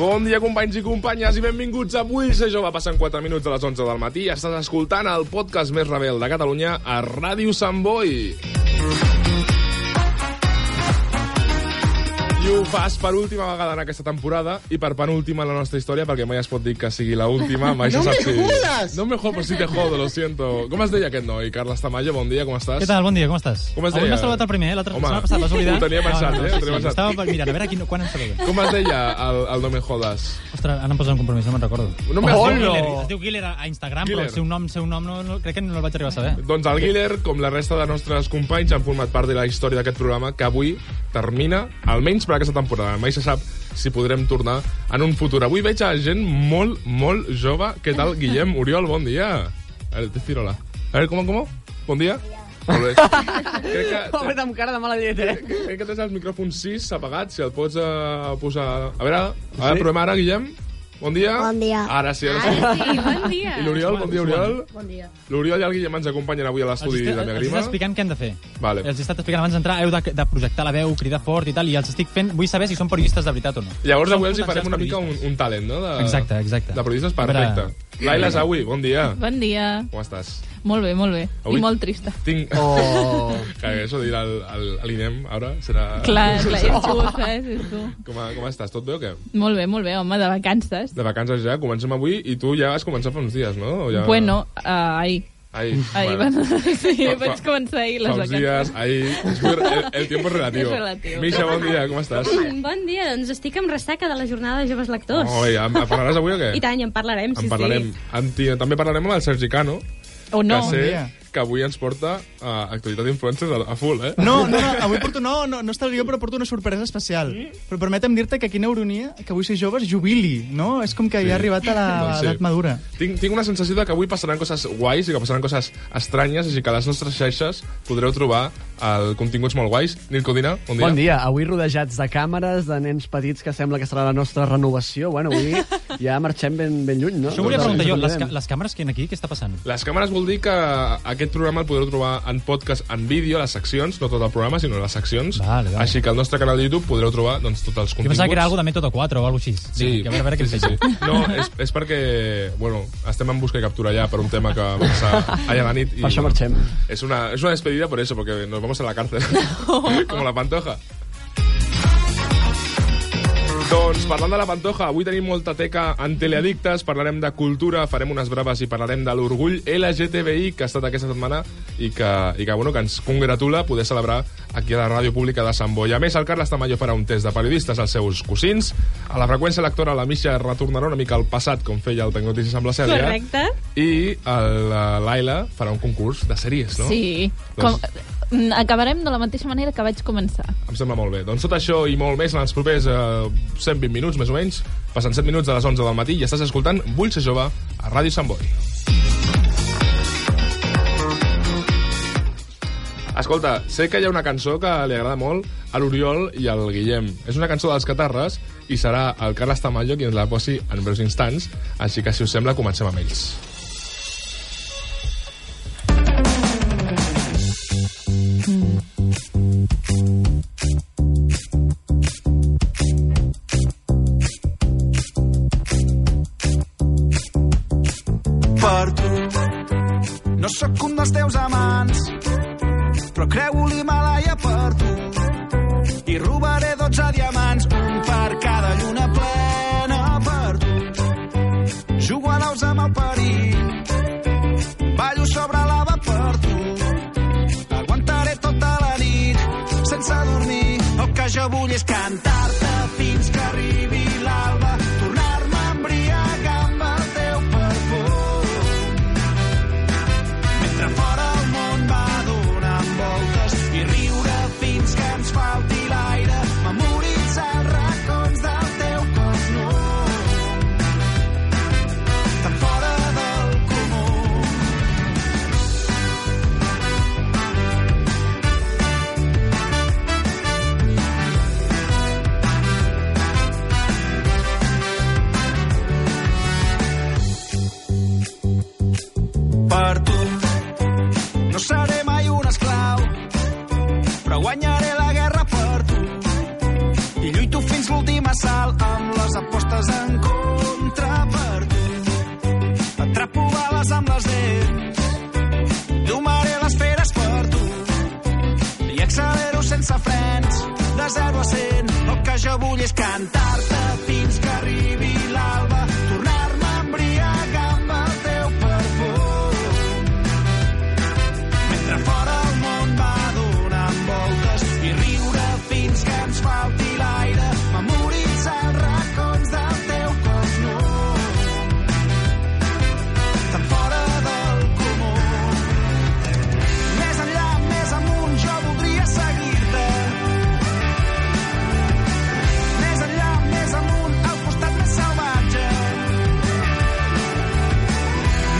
Bon dia, companys i companyes, i benvinguts. Avui ser jove passen 4 minuts de les 11 del matí. Estàs escoltant el podcast més rebel de Catalunya a Ràdio Sant Boi. I ho fas per última vegada en aquesta temporada i per penúltima en la nostra història, perquè mai es pot dir que sigui l'última. Mai No se sap me jodas! No me jodas, si te jodo, lo siento. Com es deia aquest noi? Carles Tamayo, bon dia, com estàs? Què tal? Bon dia, com estàs? Com es Avui deia? m'has salvat el primer, eh? l'altre Home, setmana passada, l'has oblidat? ho tenia pensat, eh? Ho tenia sí, pensat. Estava mirant, a veure quin, quan em saluda. Com es deia el, el no me jodas? Ostres, ara em posen un compromís, no me'n recordo. No me Es diu jodas. Killer, es diu Killer a a Instagram, Killer. però el seu nom, seu nom no, no, crec que no el vaig arribar a saber. Doncs el Guiller, com la resta de nostres companys, han format part de la història d'aquest programa que avui termina, almenys per aquesta temporada. Mai se sap si podrem tornar en un futur. Avui veig a gent molt, molt jove. Què tal, Guillem? Oriol, bon dia. A ver, decir hola. A ver, ¿cómo, cómo? Bon dia. Molt bé. crec, que, Pobre, amb cara de mala eh? lletra. crec que tens el micròfon 6 apagat, si el pots eh, posar... A veure, a veure, provem ara, Guillem. Bon dia. Bon dia. Ara sí, ara sí. Sí, bon dia. Ah, I l'Oriol, bon dia, Oriol. Bon dia. L'Oriol i el Guillem ens acompanyen avui a Els l'estudi estic- de la els estic Megrima. explicant què han de fer. Vale. Els he estat explicant abans d'entrar, heu de, de projectar la veu, cridar fort i tal, i els estic fent... Vull saber si són periodistes de veritat o no. Llavors Són avui els hi farem potencials una mica un, periodistes. un talent, no? De, Exacte, exacte. De periodistes perfecte. Laila Zawi, bon dia. Bon dia. Com estàs? Molt bé, molt bé. Avui- I molt trista. Tinc... Oh. Que això de dir al, al, a l'INEM ara serà... Clar, Ah, clar, és tu, saps? És tu. Com, a, com estàs? Tot bé o què? Molt bé, molt bé, home, de vacances. De vacances ja, comencem avui i tu ja has començat fa uns dies, no? O ja... Bueno, uh, ahir. Ahir, Ahir bueno. van... Sí, Fa- fa- vaig començar ahir Fa les uns vacances. dies, ahir... És que El, el tiempo es relativo. És relatiu. Misha, bon dia, com estàs? Bon dia, doncs estic amb ressaca de la jornada de joves lectors. Oi, em, em parlaràs avui o què? I tant, i en parlarem, sí, En parlarem. sí. Amb ti- també parlarem amb el Sergi Cano, O no. que sé dia. que avui ens porta a actualitat d'influencers a, a full, eh? No, no, no, avui porto, no, no, no estaré jo, però porto una sorpresa especial. Però permetem dir-te que quina ironia que avui ser joves jubili, no? És com que Sí. sí. ja ha arribat a l'edat Doncs sí. sí. madura. Tinc, tinc una sensació de que avui passaran coses guais i que passaran coses estranyes, així que a les nostres xarxes podreu trobar el continguts molt guais. Nil Codina, bon dia. Bon dia, avui rodejats de càmeres, de nens petits, que sembla que serà la nostra renovació. Bueno, avui ja marxem ben, ben lluny, no? Doncs Això ho volia Sí, preguntar sí, jo, les, ca- les càmeres que hi ha aquí, què està passant? Les càmeres vol dir que aquest programa el podreu trobar en podcast, en vídeo, a les seccions, no tot el programa, sinó a les seccions. Vale, vale. Així que al nostre canal de YouTube podreu trobar doncs, tots els Jo continguts. pensava que era algo de Método 4 o alguna cosa així. Dic, A veure, a veure què sí, em sí, feia. sí. No, és, és perquè, bueno, estem en busca i captura ja per un tema que va passar ahir a la nit. I, Per això marxem. Es una, es una despedida por eso, porque nos vamos a la cárcel. Como la Pantoja. Doncs parlant de la Pantoja, avui tenim molta teca en teleaddictes, parlarem de cultura, farem unes braves i parlarem de l'orgull LGTBI que ha estat aquesta setmana i que, i que, bueno, que ens congratula poder celebrar aquí a la Ràdio Pública de Sant Boi. A més, el Carles Tamayo farà un test de periodistes als seus cosins. A la freqüència electoral, la Misha retornarà una mica al passat, com feia el Tecnotícies amb la Cèlia. Correcte. I el, la Laila farà un concurs de sèries, no? Doncs- Sí. Com... mm, Acabarem de la mateixa manera que vaig començar. Em sembla molt bé. Doncs tot això i molt més en els propers eh, 120 minuts, més o menys. Passen 7 minuts de les 11 del matí i estàs escoltant Vull ser jove a Ràdio Sant Boi. Escolta, sé que hi ha una cançó que li agrada molt a l'Oriol i al Guillem. És una cançó dels Catarres i serà el Carles Tamayo qui ens la posi en breus instants, així que, si us sembla, comencem amb ells. per tu. No sóc un dels teus amants, però creu l'Himalaya per tu. I robaré 12 diamants, un per cada lluna plena per tu. Jugo a l'aus amb el perill, ballo sobre lava per tu. Aguantaré tota la nit, sense dormir. El que jo vull és cantar-te fins que arribi l'alba, tornar-me a embriagar amb el teu perfum. Mentre fora el món va donant voltes i riure fins que ens falti l'aire, memoritzar els racons del teu cos nu. Tan fora del comú. per tu. No seré mai un esclau, però guanyaré la guerra per tu. I lluito fins l'última sal amb les apostes coses en contra per tu. Atrapo bales amb les dents, domaré les feres per tu. I accelero sense frens, de 0 a 100. El que jo vull és cantar-te fins que arribi l'alba, tornar-me a embriagar amb el teu perfum. Mentre fora el món va donant voltes i riure fins que ens falti l'aire, memoritzar els racons del teu cos no. Tan fora del comú. Més enllà, més amunt, jo voldria seguir-te. Més enllà, més amunt, al costat més salvatge.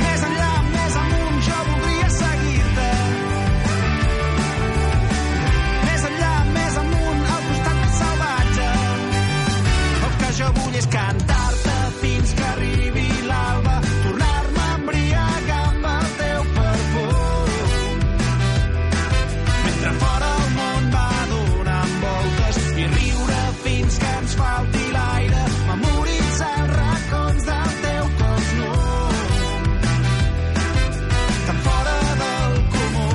Més enllà, més amunt, jo voldria seguir-te. Més enllà, més amunt, al costat més salvatge. El que jo vull és cantar-te fins que arribi l'alba, tornar-me a embriagar amb el teu perfum. Mentre fora el món va donant voltes i riure fins que ens falti l'aire, memoritzar els racons del teu cos nu. Tan fora del comú.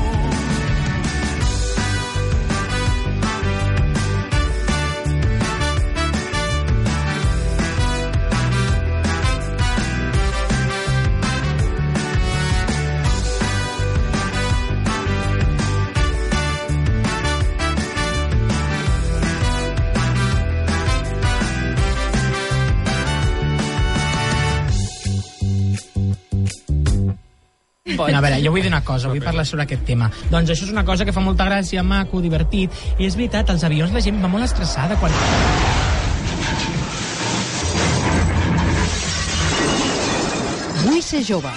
Bueno, a veure, jo vull dir una cosa, vull parlar sobre aquest tema. Doncs això és una cosa que fa molta gràcia, maco, divertit, i és veritat, als avions la gent va molt estressada quan... Vull ser jove.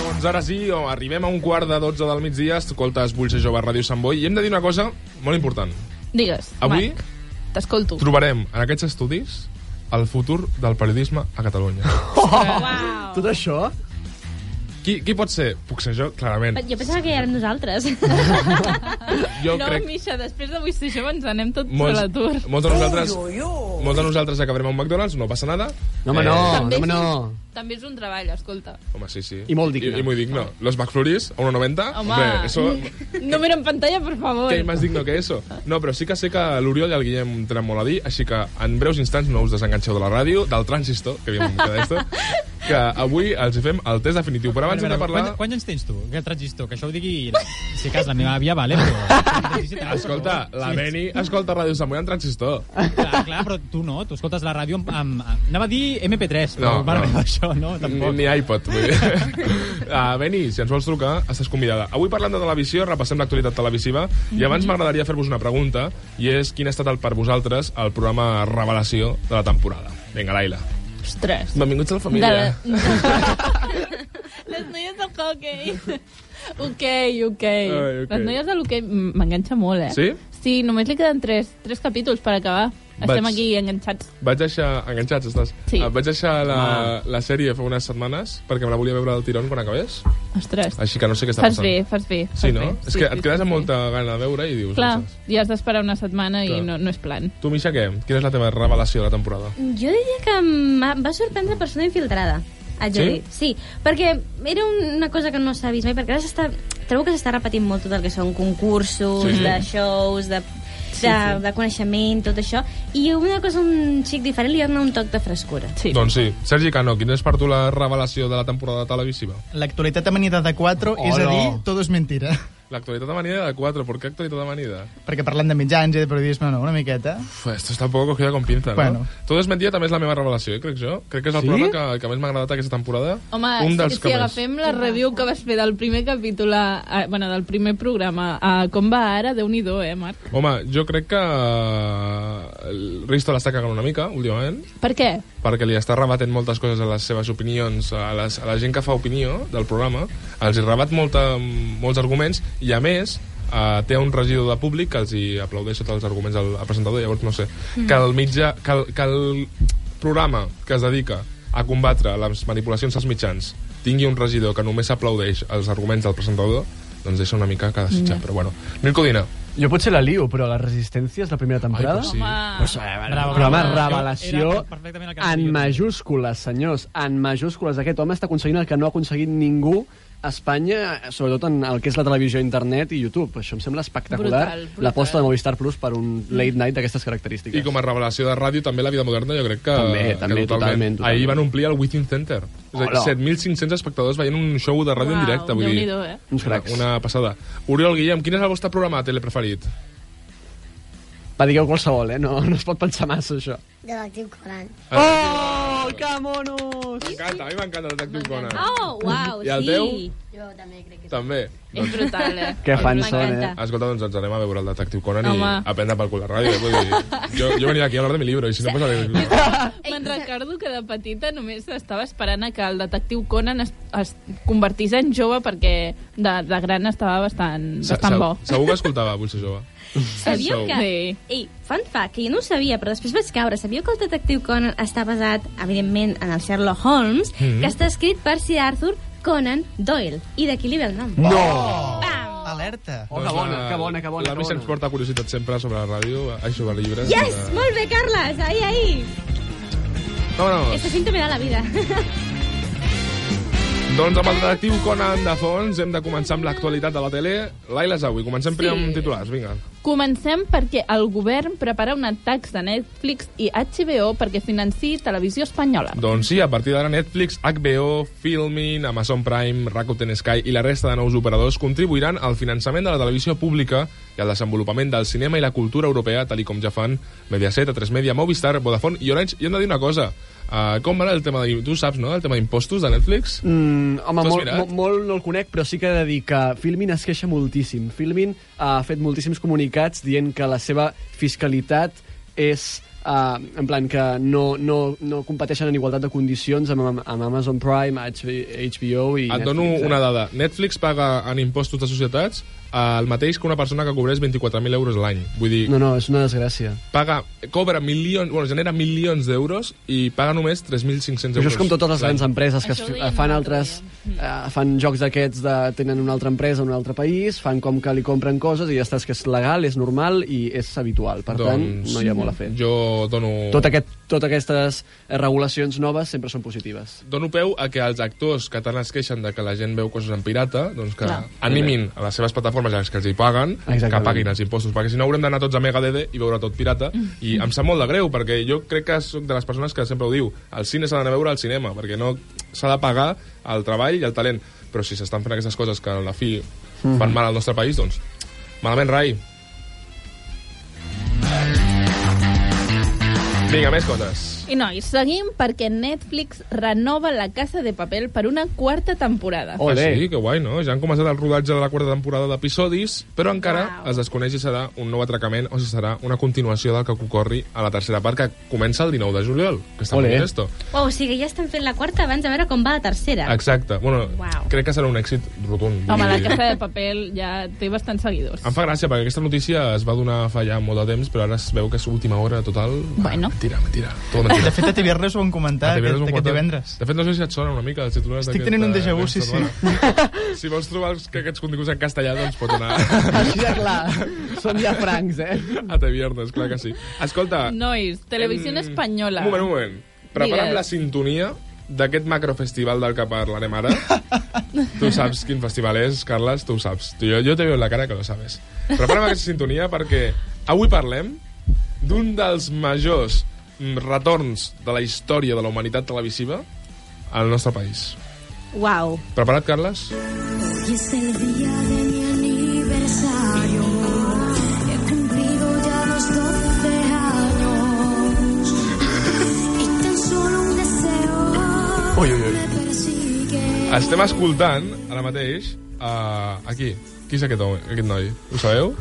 Doncs ara sí, o arribem a un quart de 12 del migdia, escoltes Vull ser jove a Ràdio Sant Boi, i hem de dir una cosa molt important. Digues, Avui? Marc, t'escolto. Trobarem en aquests estudis el futur del periodisme a Catalunya. Oh, Tot això? Qui, qui pot ser? Puc ser jo, clarament. Jo pensava que érem nosaltres. Jo no, crec... Misha, després d'avui ser jove ens anem tots a Molts, l'atur. molts, de nosaltres, molts de nosaltres acabarem a un McDonald's, no passa nada. Eh, No, home, no. També és no, un- no. També és un treball, escolta. Home, sí, sí. I molt digne. I, i molt digno. Los McFlurries, a 1,90. Home. Mm. Hombre, eso... Ah. No mira en pantalla, per favor. Eh, Què més digno que eso? No, però sí que sé que l'Oriol i el Guillem tenen molt a dir, així que en breus instants no us desenganxeu de la ràdio, del transistor, que havíem quedat esto, que avui els hi fem el test definitiu. Però abans hem de parlar... Quants, quants anys tens tu? Que transistor, que això ho digui... Si cas, la meva àvia, vale, però... Escolta, la Beni escolta Ràdio Sant Boi en transistor. Clar, clar, però tu no, tu escoltes la ràdio amb... amb, amb anava a dir MP3, però no, No, mare no. meva, això no, Ni, tampoc. ni iPod, vull dir. Ah, Beni, si ens vols trucar, estàs convidada. Avui parlant de televisió, repassem l'actualitat televisiva Mhm. i abans m'agradaria fer-vos una pregunta i és quin ha estat el, per vosaltres el programa revelació de la temporada. Vinga, Laila. Ostres. Benvinguts a la De família. la... Les noies del hockey. Ok, ok. Ai, ok. Les noies de l'hoquei m- m'enganxa molt, eh? Sí? Sí, només li queden tres, tres capítols per acabar. Vaig. Estem aquí enganxats. Vaig deixar... Enganxats estàs? Sí. Eh, Vaig deixar la, la sèrie fa unes setmanes perquè me la volia veure del tirón quan acabés. Ostres, Així que no sé què està fas passant. bé, fas bé. Sí, fas no? bé. és que et quedes sí, amb sí. molta gana de veure i dius... Clar, no saps. ja has d'esperar una setmana i Clar. no, no és plan. Tu, Misha, què? Quina és la teva revelació de la temporada? Jo diria que em va sorprendre persona infiltrada. Haig de Sí? dir. Sí, perquè era una cosa que no s'ha vist mai, perquè ara s'està... Trobo que s'està repetint molt tot el que són concursos, Sí. sí. de shows, de, de, sí, sí. de coneixement, tot això, i una cosa un xic diferent li dona un toc de frescura. Sí. Doncs sí. Sergi Cano, quina és per tu la revelació de la temporada televisiva? L'actualitat amanida de 4, és a Hola. dir, todo es mentira. La actualidad amanida de 4. ¿Por qué actualidad amanida? Perquè parlant de mitjans i de periodisme, no, una miqueta. Uf, esto está un poco cogido con pinza, no? Bueno. Todo es mentida també és la meva revelació, eh, crec jo. Crec que és el Sí? programa que, que més m'ha agradat aquesta temporada. Home, un dels si, que si més. agafem la review que vas fer del primer capítol, a, a, bueno, del primer programa, a com va ara, déu nhi eh, Marc? Home, jo crec que eh, el Risto l'està cagant una mica, últimament, Per què? perquè li està rebatent moltes coses a les seves opinions, a, les, a la gent que fa opinió del programa, els hi rebat molta, molts arguments, i a més, eh, té un regidor de públic que els hi aplaudeix sota els arguments al, al presentador, llavors no sé, mm. que el mitjà, que el, que el programa que es dedica a combatre les manipulacions als mitjans tingui un regidor que només aplaudeix els arguments del presentador, doncs deixa una mica que desitjar, però bueno. Mirko Dina, Jo potser la lio, però la resistència és la primera temporada. pues sí. Home, Bravo, Programa bravo. revelació Era perfectament el que en decidia. majúscules, senyors. En majúscules. Aquest home està aconseguint el que no ha aconseguit ningú a Espanya, eh, sobretot en el que és la televisió, internet i YouTube. Això em sembla espectacular. Brutal, brutal. L'aposta de Movistar Plus per un late night d'aquestes característiques. i com a revelació de ràdio, també la vida moderna, jo crec que... També, que també, totalment, totalment. Ahir van omplir el Within Center. És a dir, Hola. 7.500 espectadors veient un show de ràdio en directe. Vull dir, déu nhi eh? Uns cracs. Una, una passada. Oriol Guillem, quin és el vostre programa tele preferit? Va, digueu qualsevol, eh? No, no es pot pensar massa, això. de Eh. l'actiu Conan. Oh, que monos! M'encanta, a mi m'encanta el Detectiu Conan. Oh, uau, I el sí. teu? Jo també crec que... Ah. També. És brutal, eh? Que fans són, eh? M'encanta. Escolta, doncs ens anem a veure el detectiu Conan Home. Home. i a prendre pel cul la ràdio. eh? Vull dir, jo, jo venia aquí a hablar de mi llibre i si no posaré... Me'n recordo que de petita només estava esperant a que el detectiu Conan es, es convertís en jove perquè de, de gran estava bastant, bastant bo. Segur que escoltava Vull ser jove. Sabíeu Sou. que... Sí. Ei, fun fact, que jo no ho sabia, però després vaig caure. Sabíeu que el detectiu Conan està basat, evidentment, en el Sherlock Holmes, mm -hmm. que està escrit per Sir Arthur Conan Doyle. I d'aquí li ve el nom. No! Bam! Alerta. Oh, que bona, que bona, que bona. La missa Doncs, eh, ens porta curiositat sempre sobre la ràdio, això sobre llibres. Yes! sobre- Molt bé, Carles! Ahí, ahí! No, no, Este cinto me da la vida. Doncs amb el detectiu Conan de fons hem de començar amb l'actualitat de la tele. Laila Zawi, comencem sí. primer amb titulars, vinga. Comencem perquè el govern prepara una taxa de Netflix i HBO perquè financi televisió espanyola. Doncs sí, a partir d'ara Netflix, HBO, Filmin, Amazon Prime, Rakuten Sky i la resta de nous operadors contribuiran al finançament de la televisió pública i al desenvolupament del cinema i la cultura europea, tal i com ja fan Mediaset, A3 Media, Movistar, Vodafone i Orange. I hem de dir una cosa, uh, com va el tema de... Tu saps, no?, el tema d'impostos de Netflix? Mm, home, T'ho has molt, mirat? molt, molt no el conec, però sí que he de dir que Filmin es queixa moltíssim. Filmin ha fet moltíssims comunicats dient que la seva fiscalitat és... Uh, en plan que no, no, no competeixen en igualtat de condicions amb, amb- amb Amazon Prime, HBO i Et dono Netflix, eh? una dada. Netflix paga en impostos de societats eh, el mateix que una persona que cobrés 24.000 euros l'any. Vull dir, No, no, és una desgràcia. paga, cobra milions, bueno, genera milions d'euros i paga només 3.500 euros. Això és com totes les l'any. grans empreses que es, Això ho dèiem eh, fan l'altre altres... Eh, fan jocs d'aquests de... Tenen una altra empresa en un altre país, fan com que li compren coses i ja estàs que és legal, és normal i és habitual. Per tant, Doncs, no hi ha molt a fer. Jo dono... tot aquest, totes aquestes eh, regulacions noves sempre són positives. dono peu a que els actors que tant es queixen de que la gent veu coses en pirata, doncs que Clar. animin a les seves plataformes a les que els hi paguen, Exactament. que paguin els impostos, perquè si no haurem d'anar tots a Megadede i veure tot pirata, i em sap molt de greu, perquè jo crec que sóc de les persones que sempre ho diu, el cine s'ha d'anar a veure al cinema, perquè no s'ha de pagar el treball i el talent, però si s'estan fent aquestes coses que a la fi Mm. fan mal al nostre país, doncs malament rai. Vinga, més coses. I nois, seguim perquè Netflix renova la Casa de Papel per una quarta temporada. Olé. Ah, sí, que guai, no? Ja han començat el rodatge de la quarta temporada d'episodis, però encara wow. es desconeix si serà un nou atracament o si serà una continuació del que ocorri a la tercera part, que comença el 19 de juliol, que està Olé. molt bé, esto. Uau, o sigui, ja estan fent la quarta abans de veure com va la tercera. Exacte. Bueno, Uau. crec que serà un èxit rotund. Vull Home, la dir- Casa de Papel ja té bastants seguidors. Em fa gràcia, perquè aquesta notícia es va donar a fallar molt de temps, però ara es veu que és última hora total. Bueno. Ah, mentira, mentira. Tot mentira. De fet, a TV3 ho han comentat, Ah, aquest, divendres un aquest quart- divendres. De fet, no sé si et sona una mica els titulars Estic d'aquesta- tenint un déjà vu, sí, d'aquesta setmana. Si vols trobar els- que aquests continguts en castellà, doncs pot anar Així de clar, són ja francs, eh? A te viernes, clar que sí. Escolta... Nois, Televisió em, Espanyola. Mm. Un moment, un moment. Prepara'm Digues. la sintonia d'aquest macrofestival del que parlarem ara. tu saps quin festival és, Carles, tu ho saps. Tu, jo, jo te veu la cara que lo sabes. Prepara'm aquesta sintonia perquè avui parlem d'un dels majors mm, retorns de la història de la humanitat televisiva al nostre país. Uau. Preparat, Carles? Hoy es el día de mi Estem escoltant ara mateix uh, aquí. Qui és aquest, home, aquest noi? Ho sabeu?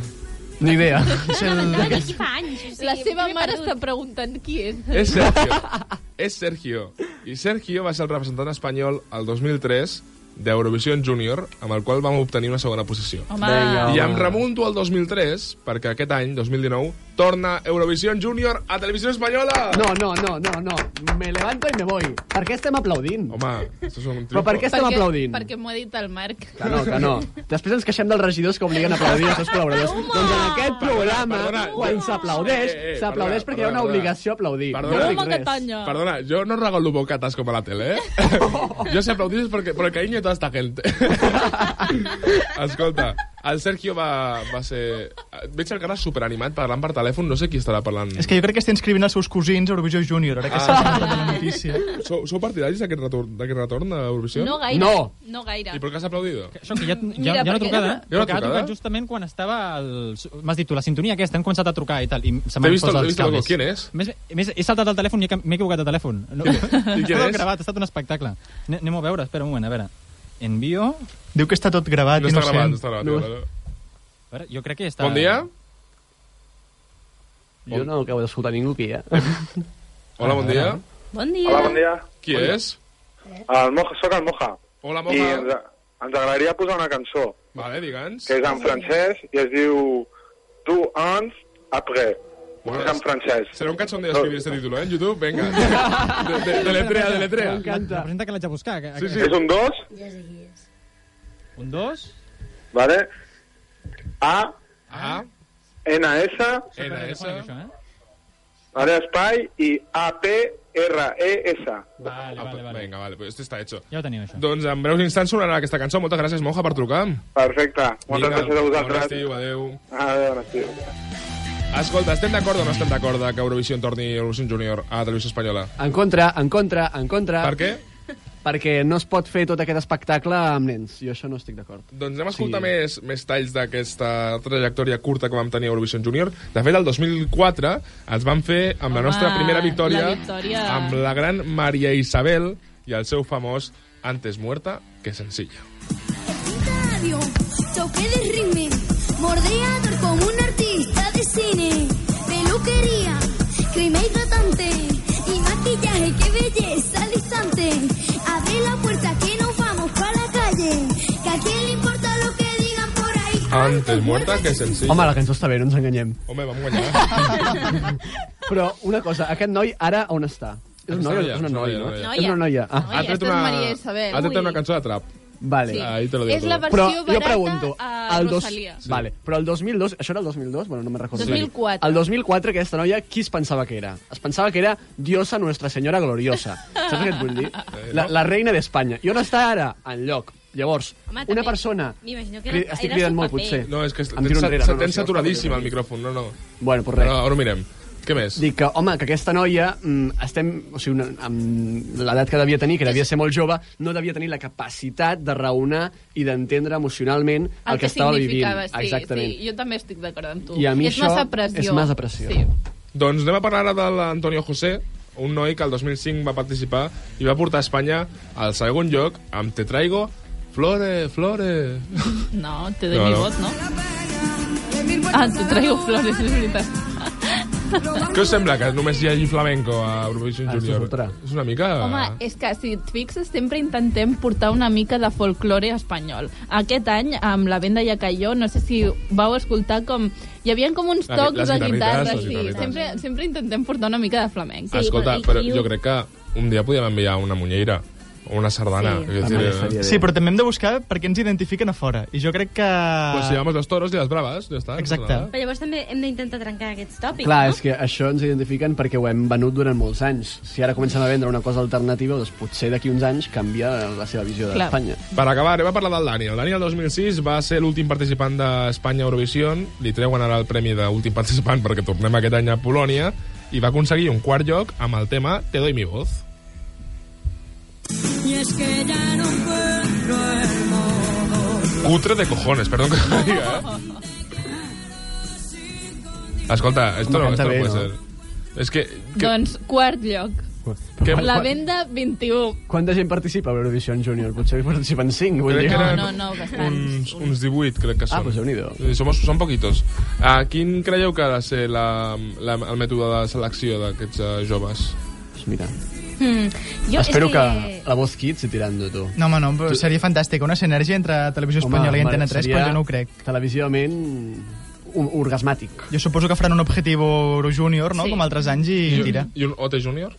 Ni idea. No, d'aquí fa anys. O sigui, La seva m'he mare perdut. està preguntant qui és. És Sergio. és Sergio. I Sergio va ser el representant espanyol al 2003 d'Eurovision Junior, amb el qual vam obtenir una segona posició. Home, Vinga. I em remunto al 2003, perquè aquest any, 2019, torna Eurovision Junior a Televisió Espanyola! No, no, no, no, no. Me levanto y me voy. Per què estem aplaudint? Home, això és un triomfo. Però per què estem perquè, aplaudint? Perquè m'ho ha dit el Marc. Que no, que no. Després ens queixem dels regidors que obliguen a aplaudir els seus col·laboradors. doncs en aquest programa, Perdona, perdona. quan s'aplaudeix, Eh, eh, eh, perdona, s'aplaudeix perquè hi ha una perdona. obligació a aplaudir. Perdona. no Home, dic Home, res. Catanya. Perdona, yo no regalo bocatas como a la tele, ¿eh? yo se aplaudís porque, por el cariño de toda tota esta gente. Escolta, el Sergio va, va ser... Veig el cara superanimat parlant per telèfon, no sé qui estarà parlant. És que jo crec que està inscrivint els seus cosins a Eurovisió Júnior, Ah. ara que s'ha sentit la notícia. Sou, sou partidaris d'aquest retorn, d'aquest retorn a Eurovisió? No gaire. No. No gaire. I per què has aplaudit? Això que ja, ja, Mira, ja no perquè- trucada, eh? Ja Perquè no ha trucada? trucat justament quan estava... El... M'has dit tu, la sintonia aquesta, hem començat a trucar i tal, i se T'he m'han vist, fos el- t'he els vist algo. cables. ¿Quién es? Més, més, he saltat el telèfon i he cam- m'he equivocat de telèfon. No, I quién és? gravat, ha estat un espectacle. Ane- Anem a veure, espera un moment, a veure. Envio... Diu que està tot gravat No i està no ho gravat, no sent. està gravat. No. ja, no. A veure, jo crec que està... Bon dia. Jo no acabo d'escoltar ningú aquí, eh? Hola, bon dia. Bon dia. Hola, bon dia. Qui és? El Moja, soc el Moja. Hola, I Moja. ens, ens agradaria posar una cançó, Vale, digue'ns. que és en francès, i es diu Tu ans après. Bueno, és en francès. Serà un cançó on d'escriure este títol, eh, en YouTube? Vinga. De, de, deletrea, deletrea. M'encanta. Representa que l'haig de buscar. Que, Sí, sí. És un dos, Ja sé qui és. Un, dos... vale? A, A, N, S, N, S... Això, eh? vale, espai, i A, P, R, E, S. Vale, vale, Apa, vale. Vinga, vale, Ah, pues esto está hecho. Ja ho teniu, això. Doncs en breus instants sonarà aquesta cançó. Moltes gràcies, Moja, per trucar. Perfecte. Moltes Vinga, gràcies a Bon vosaltres. estiu, adeu. Adéu, bon estiu. Escolta, estem d'acord o no estem d'acord que Eurovision torni Eurovision Junior a Televisió Espanyola? En contra, en contra, en contra. Ah, Per què? Perquè no es pot fer tot aquest espectacle amb nens. Jo això no estic d'acord. Doncs anem a escoltar Sí. més, més talls d'aquesta trajectòria curta que vam tenir a Eurovision Junior. De fet, el 2004 ens van fer amb la Home, nostra primera victòria, la victòria. amb la gran Maria Isabel i el seu famós Antes muerta que sencilla. radio, toque de ritme, mordeador como un artista de cine, peluquería, crema hidratante y maquillaje, qué belleza al instante. Abre la puerta que nos vamos para la calle, que a quién le importa lo que digan por ahí. Antes muerta que sencilla. Home, la cançó està bé, no ens enganyem. Home vam guanyar. Però una cosa, aquest noi ara on està? És un noi, o és una noia, no? noia. És una noia. Ah, Noia. aquesta és Maria Isabel. ha tret Ui. una cançó de trap. vale. Sí. Ahí te lo digo És la todo. Però versió jo barata pregunto, a el dos... Rosalia. Sí. Vale, però el 2002, això era el 2002? Bueno, no me'n recordo. 2004. El 2004 aquesta noia, qui es pensava que era? Es pensava que era Diosa Nuestra Senyora Gloriosa. Saps què et vull dir? La, la reina d'Espanya. I on està ara? En lloc. Llavors, Home, una també persona... m'imagino que Cri- era- Estic era el cridant seu molt, paper. potser. No, és que Em tens, tiro enrere, se- no, no, tens si no, saturadíssim no, el micròfon, no, no. Bueno, pues res. Ara, ara ho mirem. Què més? Dic que, home, que aquesta noia, mm, estem, o sigui, una, amb l'edat que devia tenir, que devia ser molt jove, no devia tenir la capacitat de raonar i d'entendre emocionalment el, El que, estava vivint. significava, Sí, Exactament. Sí, jo també estic d'acord amb tu. I a mi és això massa pressió. és massa pressió. Sí. Doncs anem a parlar ara de l'Antonio José, un noi que el 2005 va participar i va portar Espanya al segon lloc amb Te traigo flore, flore. No, te doy No, mi no. vot, no? Ah, te traigo flores, és veritat. Què us sembla, que només hi hagi flamenco a Eurovision Ah, això Junior? fotrà. És una mica... Home, és que si et fixes sempre intentem portar una mica de folklore espanyol. Aquest any, amb la venda ja caió, no sé si vau escoltar com... Hi havia com uns Ah, tocs les de guitarritas, guitarra. les Sí. guitarritas. Sempre, sempre intentem portar una mica de flamenc. Ah, Escolta, Sí, però però i- i- jo crec que un dia podíem enviar una muñeira o una sardana. Sí. que Home, diré, estaria bé. Sí, però també hem de buscar per què ens identifiquen a fora. I jo crec que... Pues llevamos los toros y las bravas, ya está. Exacte. no pasa nada. Però llavors també hem d'intentar trencar aquests tòpics, Clar, no? és que això ens identifiquen perquè ho hem venut durant molts anys. Si ara comencem a vendre una cosa alternativa, doncs potser d'aquí uns anys canvia la seva visió Clar. d'Espanya. Per acabar, anem a parlar del Dani. El Dani el 2006 va ser l'últim participant d'Espanya Eurovision. Li treuen ara el premi d'últim participant perquè tornem aquest any a Polònia i va aconseguir un quart lloc amb el tema Te doy mi voz. Cutre de cojones, perdón que lo diga, eh? Escolta, esto no, esto M'encanta no bé, puede no? ser. Es que... que Doncs, quart lloc. Que- La quan- venda 21. Quanta gent participa a l'Eurovision Junior? Potser participen 5, vull dir. Crec que eren No, no, no, uns, bastants. uns 18, crec que són. Ah, pues Déu-n'hi-do. Som, són poquitos. Uh, quin creieu que ha de ser la, la, el mètode de selecció d'aquests uh, joves? Mira, Mm, jo jo espero és que... que... Ah, la Voz Kids se tirando, tu. No, home, no, però seria fantàstic. Una sinergia entre Televisió Espanyola i Antena 3, però jo no ho crec. Televisivament, un, orgasmàtic. Jo suposo que faran un objectiu Euro Júnior, no? Sí. Sí. Com altres anys, i tira. I un OT Junior?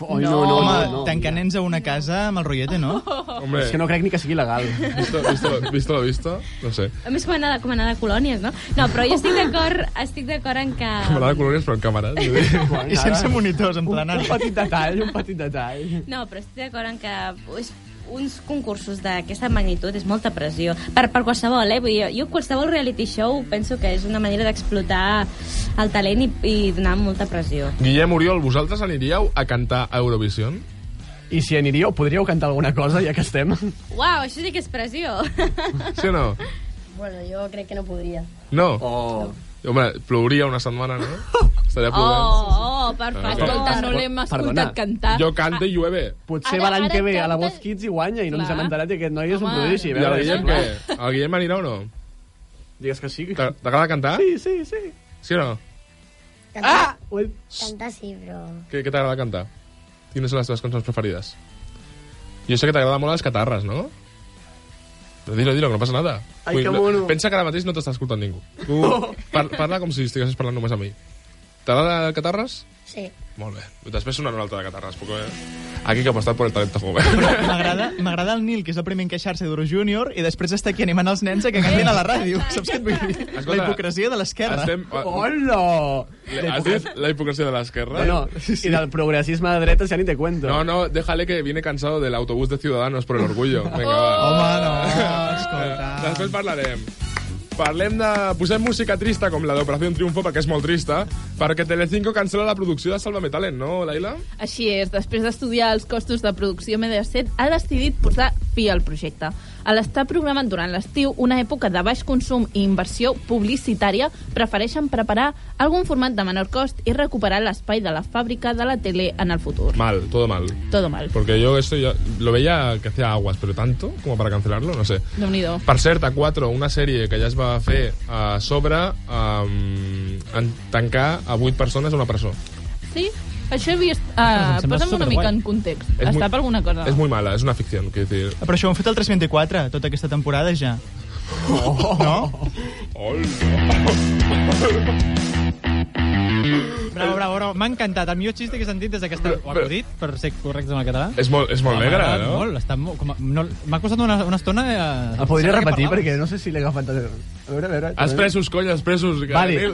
Oi, no, no, Home, no, no. tancar nens a una casa amb el rollete, no? Hombre. És que no crec ni que sigui legal. Visto, visto, visto lo visto, no sé. A més, com anar, de, com anar de colònies, no? No, però jo estic d'acord estic d'acord en que... Com de colònies, però en càmera. eh? I I sense monitors, en plan... Un petit detall, un petit detall. No, però estic d'acord en que és uns concursos d'aquesta magnitud és molta pressió. Per, per qualsevol, eh? Vull dir, jo qualsevol reality show penso que és una manera d'explotar el talent i, i donar molta pressió. Guillem Oriol, vosaltres aniríeu a cantar a Eurovision? I si aniríeu, podríeu cantar alguna cosa, ja que estem? Uau, això sí que és pressió. Sí o no? Bueno, yo creo que no podría. No? Oh. Home, plouria una setmana, no? Estaria plorant. Oh, oh, per Ah, favor. ok. Escolta, no l'hem escoltat cantar. Jo canto i llueve. Potser Ara- va l'any ara que ve a la canta- Voz Kids i guanya i no ens Clar. hem enterat i aquest noi és un Home. I prodigi. A el veure, eh? Guillem què? El Guillem anirà o no? Digues que sí. T'a- T'agrada oh. cantar? Sí, sí, sí. Sí o no? Cantar, ah! cantar sí, però... Què, què t'agrada cantar? Quines són les teves cançons preferides? Jo sé que t'agrada molt les catarres, no? Però Dilo, dilo, que no passa nada. Ai, Vull- que no- mono. Pensa que ara mateix no t'està escoltant ningú. Tu par parla com si estiguessis parlant només a mi. T'agrada catarres? Sí. Molt bé. Després sonarà una altra de catarres. Puc, eh? Aquí que apostar por el talento joven. M'agrada m'agrada el Nil, que és el primer en queixar-se d'Euro Júnior, i després està aquí animant els nens a que cantin a la ràdio. Saps què et vull dir? Escolta, la hipocresia de l'esquerra. estem- ah, Hola! Has dit la hipocresia de l'esquerra? No, no, i del progressisme de dretes ja ni te cuento. No, no, déjale que viene cansado del autobús de Ciudadanos por el orgullo. Vinga, va. Home, no, escolta. Després parlarem. Parlem de... Posem música trista com la d'Operació Triunfo, perquè és molt trista, perquè Telecinco cancela la producció de Sálvame Talent, no, Laila? Així és, després d'estudiar els costos de producció Mediaset, ha decidit posar fi al projecte. A l'estar programat durant l'estiu, una època de baix consum i inversió publicitària, prefereixen preparar algun format de menor cost i recuperar l'espai de la fàbrica de la tele en el futur. Mal, todo mal. Todo mal. Porque yo esto ya lo veía que hacía aguas, pero tanto como para cancelarlo, no sé. déu nhi Per cert, a 4, una sèrie que ja es va fer a sobre um, en tancar a 8 persones a una presó. Sí? Això he vist... Ah, em Uh, sembla Posa'm una superguai. mica en context. És Està muy- per alguna cosa. És molt mala, és una ficció, quiero decir... Però això ho han fet el 324, tota aquesta temporada ja. Oh. No? Bravo, bravo, bravo. M'ha encantat. El millor xiste que he sentit des que està... Ho acudit, per ser correctes amb el català. És molt, és molt M'ha negre, agradat no? Molt, està molt... Com, a- no, M'ha costat una, una estona... Eh, El podria saber què repetir parlaves. perquè no sé si l'he agafat... A veure, a veure... Els presos, colla, els presos. que- Vale,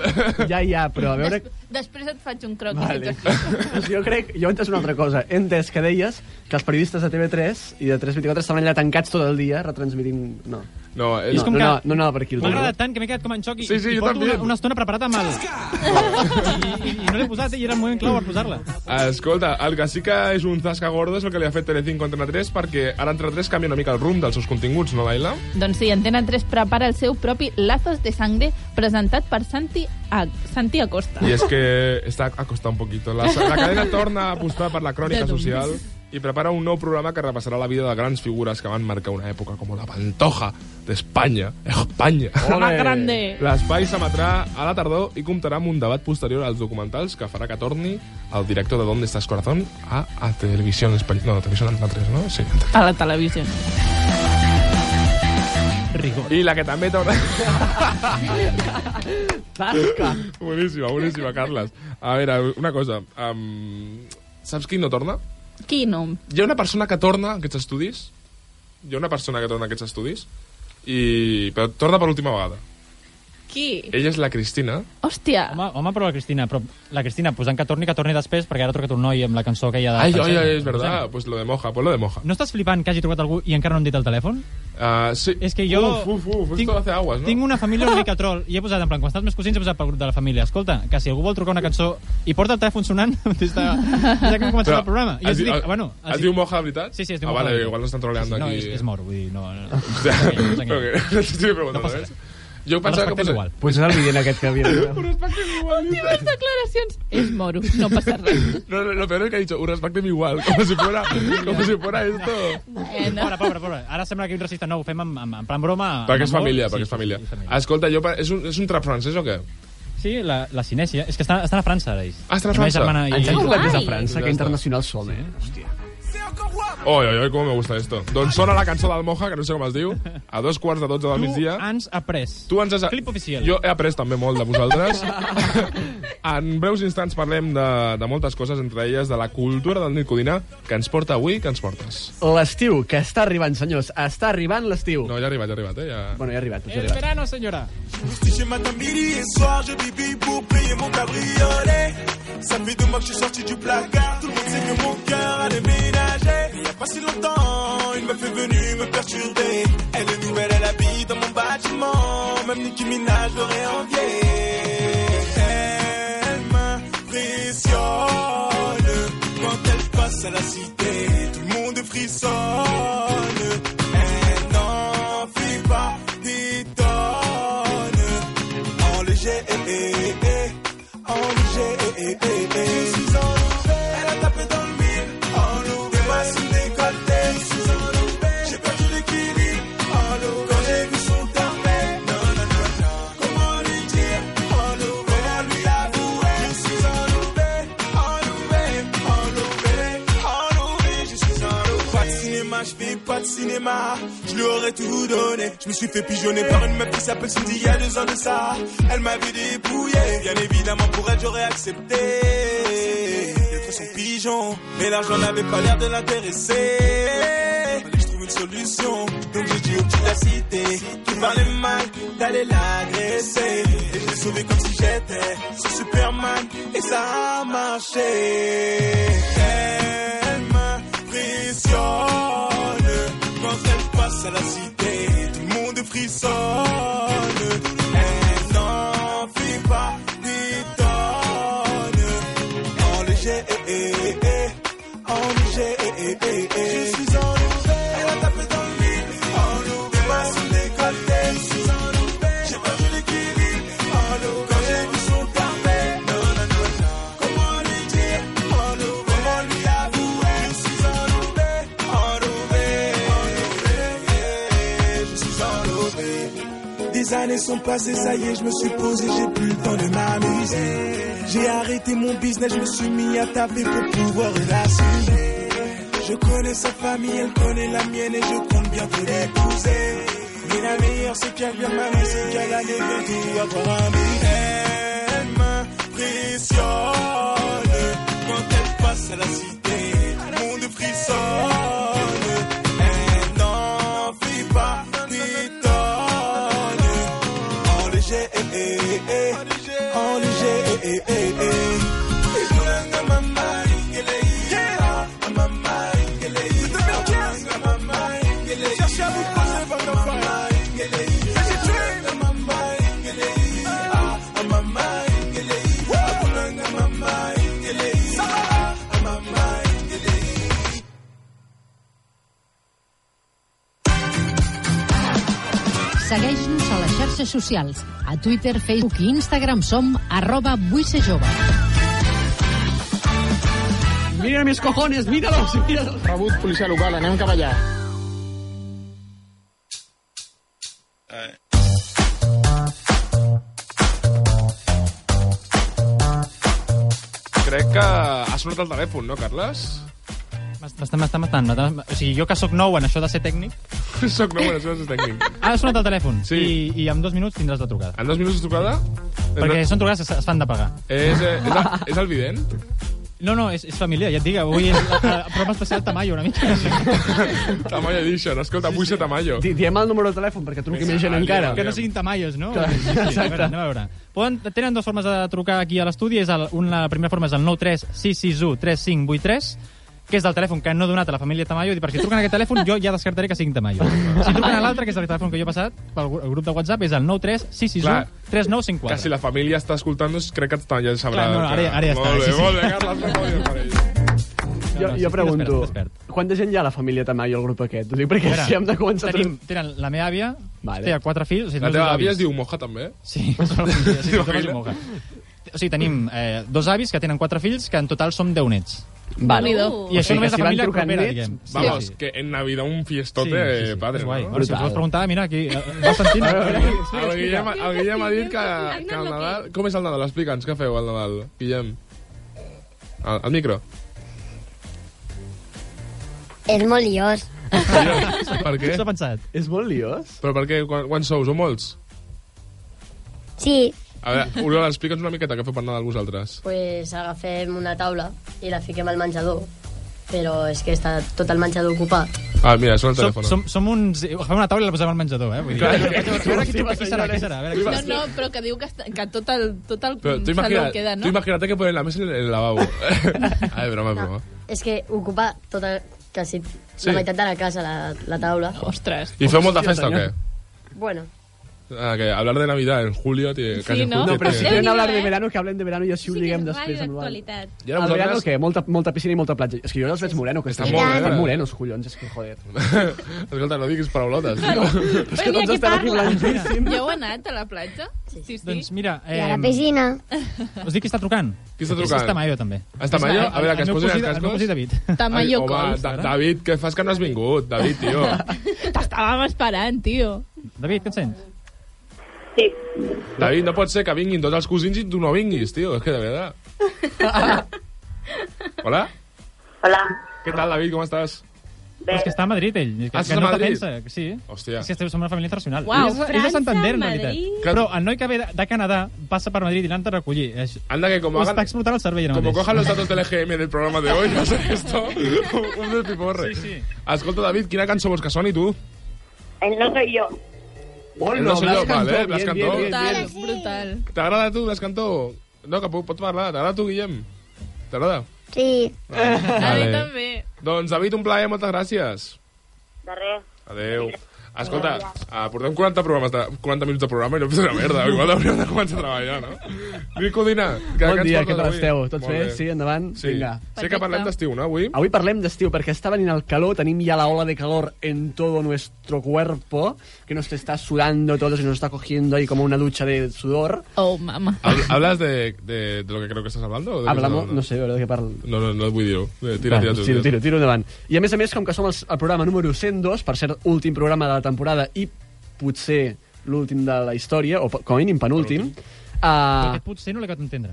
ja, ja, però a veure... Després et faig un croquis. Vale. Doncs jo crec, jo he entès una altra cosa. He entès que deies que els periodistes de TV3 i de 324 estaven allà tancats tot el dia retransmitint... No. Eh, No, és no, com no, que... no, no, anava per aquí. el M'ha tema. agradat tant que m'he quedat com en xoc i, Sí, i sí, jo porto també. una, una estona preparat amb el... I, i, i no l'he posat, eh, i era el moment clau per posar-la. Escolta, el que sí que és un tasca gordo és el que li ha fet Telecinco a Antena 3 perquè ara Antena 3 canvia una mica el rumb dels seus continguts, no, Laila? Doncs sí, Antena 3 prepara el seu propi Lazos de Sangre presentat per Santi, a, Santi Acosta. I és que està acostat un poquito. La, la cadena torna a apostar per la crònica social i prepara un nou programa que repassarà la vida de grans figures que van marcar una època com la Pantoja d'Espanya. Espanya! Ole! Más grande. L'espai s'emetrà a la tardor i comptarà amb un debat posterior als documentals que farà que torni el director de Dónde estás corazón a, a Televisió Espanyola. No, Televisió Antena 3, no? Sí, Antena A la televisió. Rigor. I la que també torna... Tasca. boníssima, boníssima, Carles. A veure, una cosa. Um, saps qui no torna? Qui no? Hi ha una persona que torna a aquests estudis. Hi ha una persona que torna a aquests estudis. I... Però torna per última vegada. Qui? Ella és la Cristina. Hòstia. Home, home, però la Cristina, però la Cristina, posant que torni, que torni després, perquè ara ha trucat un noi amb la cançó que hi ha de... Ai, per ai, sempre. ai, és verdad. Pues lo de moja, pues lo de moja. No estàs flipant que hagi trucat algú i encara no han dit el telèfon? Uh, sí. És que jo... Uf, uf, uf, tinc... esto hace aguas, no? Tinc una família una mica troll i he posat, en plan, quan estan els meus cosins he posat pel grup de la família. Escolta, que si algú vol trucar una cançó i porta el telèfon sonant des de, des de que hem començat Però el programa. I es els di- dic, es- bueno... es diu Moja, de veritat? Sí, sí, es diu Ah, Moja. vale, de veritat. igual l'estan troleando sí, sí, aquí. No, és, és mort, vull dir, no... no. Okay. No t'estic preguntant, no res. Jo pensava respectem que... Posa... igual. Pues és el vídeo aquest que havia de Últimes declaracions. És moro, no passa res. No, no, lo peor es que ha dicho, un respectem igual, como si fuera, como si fuera esto. Bueno. Pobre, pobre, pobre. Ara sembla que un racista no, ho fem en, en, en plan broma. Perquè és amb Ah, amor. família, perquè Sí, és família. Sí, sí, família. Escolta, jo, pa- és un, és un trap francès o què? sí la, la cinèsia. És que estan, estan a França, ara ells. Ah, estan a La meva França. germana Ens han I... tornat des de Guai. França, que internacional som, eh? Hòstia. Oi, oi, oi, com me gusta esto. Doncs sona la cançó del Moja, que no sé com es diu, a dos quarts de dotze del Tu migdia. ens ha pres. Tu ens has... Clip oficial. Jo he après també molt de vosaltres. en breus instants parlem de, de moltes coses, entre elles de la cultura del Nil Codina, que ens porta avui, que ens portes. L'estiu, que està arribant, senyors. Està arribant l'estiu. No, ja ha arribat, ja ha arribat, eh? Ja... Bueno, ja ha arribat, ja ha El arribat. verano, senyora. Si chez Madame Billy et soir, je bibille pour payer mon cabriolet. Ça fait deux mois que je suis sorti du placard. Tout le monde sait que mon cœur a déménagé. Il y a pas si longtemps, une meuf est venue me perturber. Elle est nouvelle, elle habite dans mon bâtiment. Même Nicki Minaj l'aurait envié. Elle m'impressionne quand elle passe à la cité. Tout le monde frissonne. Elle n'en fait pas des tonnes. En léger, eh, eh, eh, en léger, eh, eh, eh, eh. Je suis enlevé, elle a tapé dans le mille, enlevé, voici décolleté. Je suis enlevé, j'ai perdu l'équilibre, enlevé, quand j'ai vu son tarpé. Non, non, non, non, comment lui dire, enlevé, comment lui avouer. Je suis enlevé, enlevé, enlevé, enlevé, je suis enlevé. Pas de cinéma, je fais pas de cinéma, je lui aurais tout donné. Je me suis fait pigeonner par une meuf qui s'appelle Cindy il y a deux ans de ça. Elle m'avait dépouillé, bien évidemment pour elle j'aurais accepté d'être son pigeon. Mais l'argent n'avait pas l'air de l'intéresser. Fallait que je trouve une solution, donc j'ai dit au petit de la cité qui parlait mal d'aller l'agresser. Et je l'ai sauvé comme si j'étais ce Superman et ça a marché. Elle m'impressionne quand elle passe à la cité, tout le monde frissonne. Elle n'en fait pas des tonnes. En léger, eh, eh, eh, en léger, eh, eh, eh, eh. Je suis enlevé, elle a tapé dans le vide. Enlevé, ma son décolleté. Je suis enlevé, j'ai perdu l'équilibre. Enlevé, quand j'ai vu son parfait. Non, non, non, non. Comment lui dire enlevé, comment lui avouer. Je suis enlevé, enlevé, enlevé. Je suis enlevé. Des années sont passées, ça y est, je me suis posé, j'ai plus le temps de m'amuser. J'ai arrêté mon business, je me suis mis à taper pour pouvoir l'assumer. Je connais sa famille, elle connaît la mienne et je compte bientôt l'épouser. Mais la meilleure, c'est qu'elle vient m'amener, c'est qu'elle allait bientôt avoir un bébé. Elle m'impressionne quand elle passe à la cité. Tout le monde frissonne. Elle n'en fait pas des tonnes. En léger, eh, eh, eh, en léger, eh, eh, eh, eh. Cherchez à vous passer votre Segueix-nos a les xarxes socials. A Twitter, Facebook i Instagram som arroba vull ser jove. Mira mis cojones, míralos, míralos. Rebut, policia local, anem cap allà. Crec que ha sonat el telèfon, no, Carles? M'està m'està matant. m'està- O sigui, jo que sóc nou en això de ser tècnic, Soc nou, bueno, això és tècnic. ha sonat el telèfon Sí. i, i en dos minuts tindràs la trucada. En dos minuts de trucada? Perquè són trucades que es- es fan de pagar. És, eh, és, el, és el vident? No, no, és, és família, ja et dic. Avui és la, la prova eh, especial Tamayo, una mica. Tamayo Edition, escolta, vull ser Tamayo. Di- Diem el número de telèfon perquè truqui més gent Ah, encara. Que no siguin tamallos, no? Sí, a veure, anem a veure. Poden, tenen dues formes de trucar aquí a l'estudi. És el, una, la primera forma és el 936613583, que és del telèfon que no he donat a la família Tamayo. I per si truquen a aquest telèfon, jo ja descartaré que siguin Tamayo. Si truquen a l'altre, que és el telèfon que jo he passat, pel gru- el grup de WhatsApp, és el Clar, 936613954. Que si la família està escoltant-nos, crec que està- ja sabrà... Clar, no, no, ara- ara ja molt està, Bé, sí, sí. Molt bé, Carles, no podíem per ell. Jo, No, no, jo sí, pregunto, despert, despert. quanta gent hi ha a la família Tamayo al grup aquest? Ho dic perquè A veure, si hem de començar... a Tenim, tenen la meva àvia, Vale. Té quatre fills. O sigui, La teva àvia avis. es diu Moja, també? Sí, són fills, sí, tothom es diu Moja. O sigui, tenim eh, dos avis que tenen quatre fills, que en total som deu nets. Vale. I Déu-n'hi-do. O això sigui, només que la si van família trucant propera, nets, diguem. sí. Vamos, que en Navidad un fiestote, eh, padre. Guai. no? Bueno, si us vols preguntar, mira, aquí... eh, Vas sentint? El Guillem, el Guillem ha dit que, que el Nadal... Com és el Nadal? Explica'ns, què feu al Nadal, Guillem? Al, al micro. És molt liós. Per què? S'ha pensat. És molt liós? Però per què? Quan, quan sou? Sou molts? Sí. A veure, Oriol, explica'ns una miqueta què feu per Nadal vosaltres. Pues agafem una taula i la fiquem al menjador. Però és que està tot el menjador ocupat. Ah, mira, sona el Som, telèfon. som, som uns... Agafem una taula i la posem al menjador, eh? Vull dir, Clar. a veure, a veure qui, qui serà, qui serà. A veure, qui No, serà. no, però que diu que, està, que tot el, tot el Però tu saló imagina't, queda, tu no? imagina't que ponen la mesa en el lavabo. Ai, broma, broma. És que ocupa tota, quasi Sí. sí. la meitat de la casa, la, la taula. Ostres. I feu molta festa o què? Bueno, Ah, que hablar de Navidad en julio... Tiene, casi en julio No, però tiene- si quieren hablar de verano, que hablen de verano i així ho diguem després. en Joan. Actualitat. I ara Al vosaltres- verano, què? Molta, molta piscina i molta platja. És que jo ja els veig moreno, que estan molt bé, eh? Estan morenos, collons, és que joder. Escolta, no diguis paraulotes. És que tots estan aquí blanquíssims. Ja heu anat a la platja? Sí, sí. Doncs mira... i a la piscina. Us dic qui està trucant. Qui està És- trucant? És Tamayo, també. És Tamayo? A veure, que es posin els cascos. El meu cascos. cosí David. Ai, Tamayo home, Cols. Da- David, què fas que no has vingut? David, tio. T'estàvem esperant, tio. David, què et sents? David, no pot ser que vinguin tots els cosins i tu no vinguis, tio. És que de veritat. Hola? Hola. Què tal, David? Com estàs? Bé. És que està a Madrid, ell. És que, Ah, que estàs a no Madrid? Pensa, que sí. Hòstia. És que esteu- som una família internacional. Uau, Ell és, ell és de Santander, en França, realitat. Madrid. Però el noi que ve de, de Canadà passa per Madrid i l'han de recollir. És, Anda, que com Us hagan- està explotant el cervell ara Como mateix. cojan los datos del EGM del programa de hoy, no sé esto, un despiporre. Sí, sí. Escolta, David, quina cançó vols que soni, tu? Él no soy yo. El no soy yo, mal, eh? Blas Cantó. Brutal, brutal. T'agrada tu, Blas Cantó? No, que pot parlar. T'agrada tu, Guillem? T'agrada? Sí. A mi Vale. també. Doncs, David, un plaer, moltes gràcies. De res. Adéu. Escolta, uh, portem 40, programes de, 40 minuts de programa i no penso una merda. Igual hauríem de començar a treballar, no? Nico Dina, que, Bon dia, ens portes què tal avui? esteu? Tots Molt bé? Sí, endavant? Sí. Vinga. Sé que parlem d'estiu, no, avui? Avui parlem d'estiu perquè està venint el calor, tenim ya la ola de calor en todo nuestro cuerpo, que nos está sudando todos y nos está cogiendo ahí como una ducha de sudor. Oh, mama. Hab- ¿Hablas de, Eh, de, de lo que creo que estás hablando? o de qué Hablamos, estás no sé, ¿verdad? que parlo. hablando? No, no, no et vull dir-ho. Eh, Tira, tira, Bueno, tu, tira. tiro, tiro, tiro endavant. I a més a més, com que som els, el programa número 102, per cert, últim programa de la temporada i potser l'últim de la història, o po- com a mínim penúltim, uh, Aquest potser no l'he acabat d'entendre.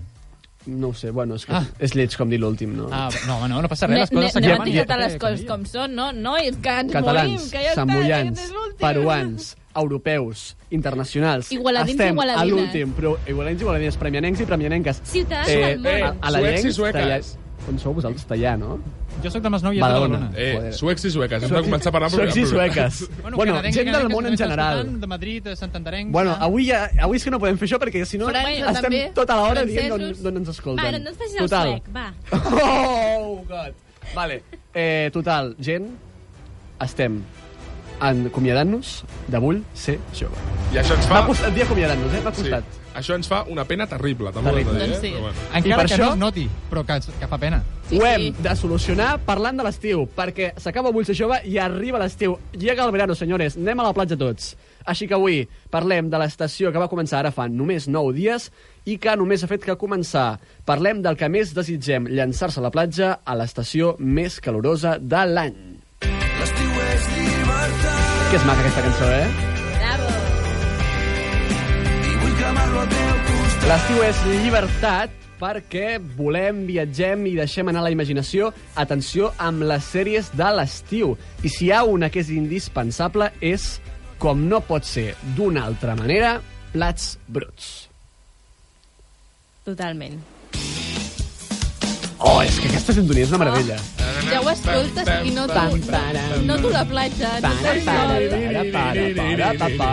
no ho sé, bueno, és, que Ah. és lleig com dir l'últim, no? Ah, no, home, no, no passa res, Ne- les coses ne- Anem a s'acaben. etiquetar les coses com són, no? Nois, que ens morim, catalans, que ja està, samollans, aquest és l'últim. peruans, europeus, internacionals. Igualadins i Estem a igualadines. l'últim, però igualadins i igualadines, premianencs i premianenques. Ciutadans del món. a, a la suecs i llencs, sueques. tallà- On sou vosaltres? Tallà, no? Jo soc de Masnou i és de Badalona. Eh, suecs i sueques. Hem de començar a parlar Suecs i sueques. Bueno, Bueno, canadenc, gent del canadenc, món també en està general. escoltant, De Madrid, de Santanderenc... Bueno, avui, ja, avui és que no podem fer això perquè si no França, estem també. tota l'hora dient d'on Francesos. d'on ens escolten. Va, Ah, no, no et facis el total. suec, va. Oh, God. Vale. Eh, total, gent, estem en- acomiadant-nos de Vull ser jove. I això ens M'ha fa... costat dir acomiadar-nos, eh? M'ha Sí, costat. això ens fa una pena terrible, també ho hem de dir, eh? Terrible. Doncs sí. Però bueno. Encara I per que això- no es noti, però que, que fa pena. Sí, ho hem de solucionar parlant de l'estiu, perquè s'acaba Vull ser jove i arriba l'estiu. Llega el verano, senyores, anem a la platja tots. Així que avui parlem de l'estació que va començar ara fa només 9 dies i que només ha fet que començar. Parlem del que més desitgem, llançar-se a la platja a l'estació més calorosa de l'any. Que és maca aquesta cançó, eh? L'estiu és llibertat perquè volem, viatgem i deixem anar la imaginació. Atenció amb les sèries de l'estiu. I si hi ha una que és indispensable és, com no pot ser d'una altra manera, Plats Bruts. Totalment. Oh, és que aquesta sintonia és una meravella. Ja ho escoltes i no Pam, tu, param. no tu la platja, no tu Para, el para, sol. para, para, para, pa, pa.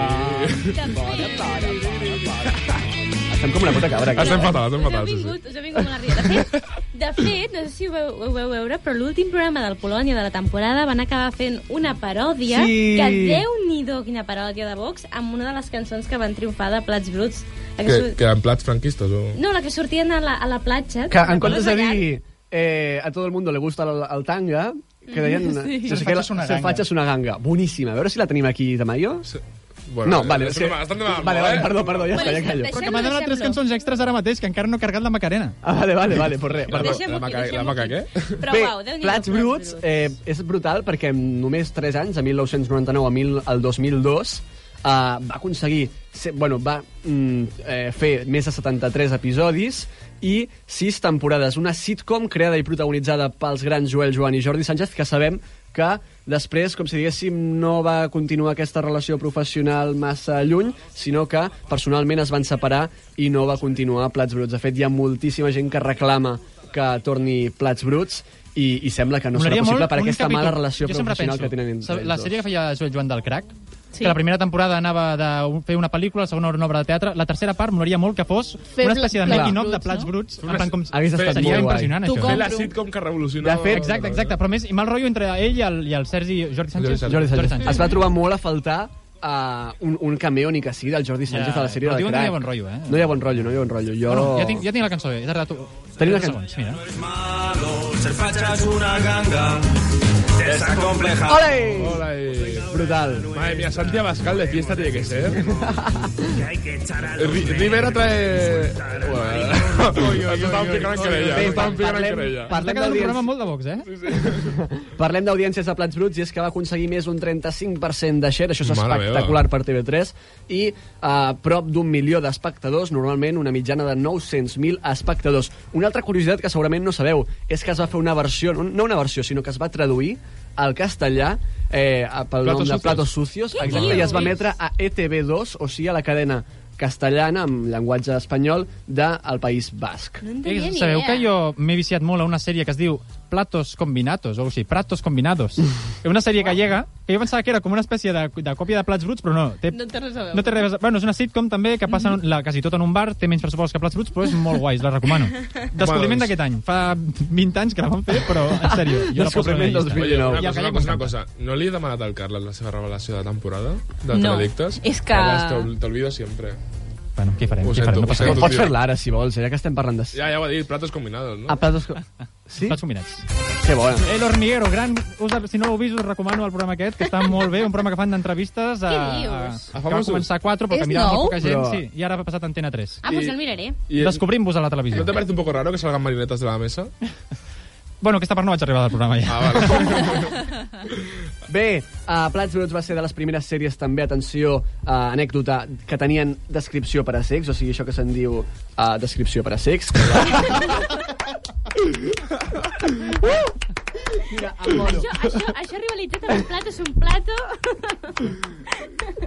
Estem com una puta cabra. aquí. Estem fatal, estem Us heu fatal, sí, sí. vingut, us heu vingut molt arriba. De fet, de fet, no sé si ho veu, ho veu veure, però l'últim programa del Polònia de la temporada van acabar fent una paròdia Sí. que déu-n'hi-do quina paròdia de Vox amb una de les cançons que van triomfar de Plats Bruts. La que Que, sor- que en plats franquistes o... No, la que sortien a la, a la platja. Que en comptes de Ballar. dir eh, a todo el mundo le gusta el, el tanga, que deien... Sí. no sé Se què, facha es una se ganga. facha es una ganga. Boníssima. A veure si la tenim aquí de maio. Bueno, no, vale, estem demà- estem demà- Vale, vale, eh? perdó, perdó, ja està, ja callo. Però que m'ha demanat tres cançons extres ara mateix, que encara no he carregat la Macarena. Ah, vale, vale, vale, pues res. La- perdó. la Maca- la Maca, què? Però, Bé, uau, Déu-n'hi-do, Plats Bruts eh, és brutal perquè en només 3 anys, de 1999 a 1000, al 2002, eh, va aconseguir... Ser, bueno, va mm, eh, fer més de 73 episodis i 6 temporades. Una sitcom creada i protagonitzada pels grans Joel Joan i Jordi Sánchez, que sabem que després, com si diguéssim, no va continuar aquesta relació professional massa lluny, sinó que personalment es van separar i no va continuar Plats Bruts. De fet, hi ha moltíssima gent que reclama que torni Plats Bruts i, i sembla que no serà Molaria possible molt per un aquesta capítol. mala relació Jo sempre professional penso, que tenen entre sa- ells La dos. sèrie que feia Joel Joan del Crac, Sí. que la primera temporada anava de un- fer una pel·lícula, la segona una obra de teatre, la tercera part molaria molt que fos Fer una espècie de Plats making-of Bruts, de plats no? bruts. Fer en plan, com, Hagués estat molt seria guai. impressiona, T'ho això. compro. Fer la sitcom que revoluciona... De fet- exacte, exacte. Però a més, i mal rotllo entre ell i el, i el Sergi Jordi Sánchez. Jordi Sánchez. Es va trobar molt a faltar uh, un, un cameo ni que sigui del Jordi Sánchez Ja, a la sèrie però de diuen que Crack. no hi ha bon rotllo, eh? No hi ha bon rotllo, no hi ha bon rotllo. Jo... Bueno, ja, tinc, ja tinc la cançó bé. He tardat... Tenim la tres can- segons, Mira. Ser facha es una ganga, desacomplejada. ¡Ole! ¡Ole! Brutal. Madre mía, Santi Abascal de fiesta tiene que ser. Ri- Ri- Rivera trae... Bueno, ens estàvem ficant en querella. Bé, ens estàvem ficant en parlem- querella. parlem Cada un d'audiència. programa molt de Vox, eh? Parlem d'audiències de plats bruts i és que va aconseguir més d'un 35% de share, això és Mare espectacular per TV3, i a prop d'un milió d'espectadors, normalment una mitjana de 900.000 espectadors. Una altra curiositat que segurament no sabeu és que es va fer una versió, no- no una versió, sinó que es va traduir al castellà eh, a- pel Platos nom de sucios. Platos Sucios, Què exacte, dius? i es va emetre a E ETV2, o sigui, a la cadena castellana, amb llenguatge espanyol, del de País Basc. No en Eh, tenia ni Sabeu idea. que jo m'he viciat molt a una sèrie que es diu Platos Combinatos, o així, Pratos Combinados. És una sèrie gallega que jo pensava que era com una espècie de, de còpia de plats bruts, però no. Té, No té res a veure. no té res... a- Bueno, és una sitcom també que passa Mhm. la, quasi tot en un bar, té menys pressupost que plats bruts, però és molt guai, us la recomano. Descobriment doncs. d'aquest any. Fa 20 anys que la vam fer, però en sèrio. Jo la poso a la Descobriment llista. I 2019. Una el cosa, una gallec cosa, una m'encanta. cosa. No li he demanat al Carles la seva revelació de temporada de No, Teledictes? és que- Carles, t'ol- t'olvido sempre. Bueno, què farem? Ho Què sento, farem? No ho passa sento, res. tio. Pots fer-la ara, si vols, eh, ja que estem parlant de... Ja, ja ho ha dit, platos combinados, no? A platos... co- Sí? Plats combinats. Que bona. El Hormiguero, gran... Us, si no l'heu vist, us recomano el programa aquest, que està molt bé, un programa que fan d'entrevistes a... Què dius? a, a A que va famosos. començar a 4, però És que mirava nou? molt poca gent, Però- sí. I ara ha passat a Antena 3. Ah, I- doncs el miraré. I- Descobrim-vos a la ¿No televisió. te parece un poco raro que salgan marionetas de la mesa? Bueno, aquesta part no vaig arribar del programa ja. Ah, vale. Bé, uh, Plats Bruts va ser de les primeres sèries també, atenció, uh, anècdota, que tenien descripció per a sex, o sigui, això que se'n diu uh, descripció per a sex. Mira, Això, això, això rivalitzat amb el plato és un plato.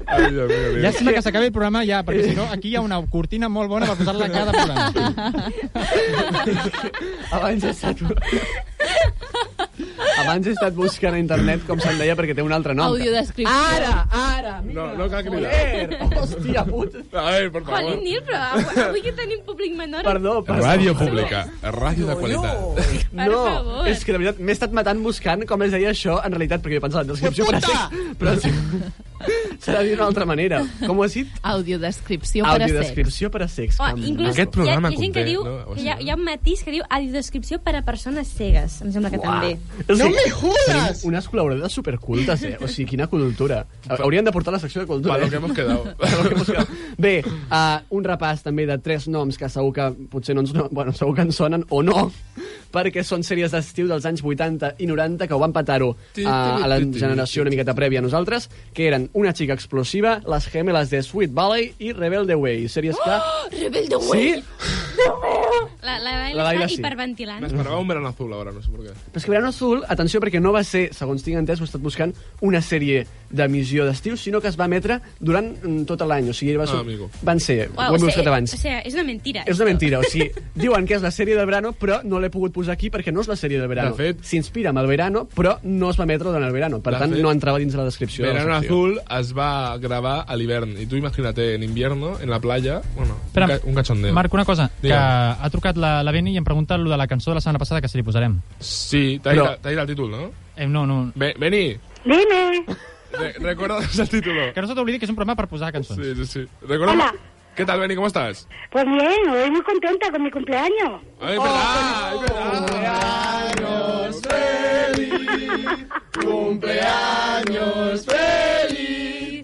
Ai, Dios mío, Dios mío. Ja sembla que s'acabi el programa ja, perquè si no, aquí hi ha una cortina molt bona per posar-la a cada programa. abans he estat... abans he estat buscant a internet com se'n deia perquè té un altre nom. Audiodescripció. Ara, ara, mira. No, no cal cridar. Joder, hòstia puta. A ver, por favor. Jolín, Nil, però avui, avui que tenim públic menor... Perdó, perdó. Radio pública, radio de qualitat. Per favor. és que de veritat m'he estat matant buscant com es deia això en realitat, perquè jo pensava en descripció per a sex, però sí, serà d'una altra manera. Com ho has dit? Audiodescripció per a sex. Audiodescripció per a sex. Oh, Cam. inclús Aquest programa hi ha, hi ha gent que conté, diu... no? O que sigui- hi, ha, hi ha un matís que diu audiodescripció per a persones cegues. Em sembla que Uah. també. O sigui, No me jodas! Tenim unes col·laboradores supercultes, eh? O sigui, quina cultura. Hauríem de portar la secció de cultura. Pa lo eh? que hemos quedado. Para lo que hemos quedado. Bé, uh, un repàs també de tres noms que segur que potser no ens, no, bueno, segur que ens sonen o no, perquè són sèries d'estiu dels anys 80 i 90 que ho van petar-ho uh, a la generació una miqueta prèvia a nosaltres, que eren Una xica explosiva, Les gemeles de Sweet Valley i Rebel the Way, sèries que... Oh! Rebel the Sí, La, la La Laila Laila està sí. Me hiperventilant. esperaba un verano azul ahora, no sé por qué. Però és que Verano Azul, atenció, perquè no va ser, segons tinc entès, ho he estat buscant, una sèrie d'emissió d'estiu, sinó que es va emetre durant mm, tot l'any. O sigui, va ser, Ah, amigo. van ser, Uau, ho o hem sigui, buscat abans. O sigui, és una mentira. És una mentira, o sigui, diuen que és la sèrie de verano, però no l'he pogut posar aquí perquè no és la sèrie de verano. De fet- S'inspira en el verano, però no es va emetre durant el verano. Per De tant, fet- no entrava dins la descripció. de la Verano secció. Azul es va a grabar al hivern. Y tú imagínate, eh, en invierno, en la playa, bueno, un Espera, ca- un cachondeo. Marc, una cosa, que Digue'm. ha trucat la, la Beni i em pregunta lo de la cançó de la setmana passada que si li posarem. Sí, te ha Però- ido- te ha ido al título, ¿no? Eh, no, no. Ve- Vení, Dime. re- ¿recuerdas el título? Que no se t'oblidi que és un programa per posar cançons. Sí, sí, sí. ¿Recuerdas? Hola. ¿Qué tal, Beni? ¿Cómo estás? Pues bien, hoy muy contenta con mi cumpleaños. ¡Ay, verdad! ¡Ay, verdad! ¡Cumpleaños feliz! ¡Cumpleaños feliz!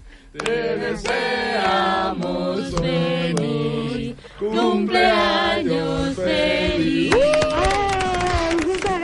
Cumpleaños feliz. ¡Ay, muchas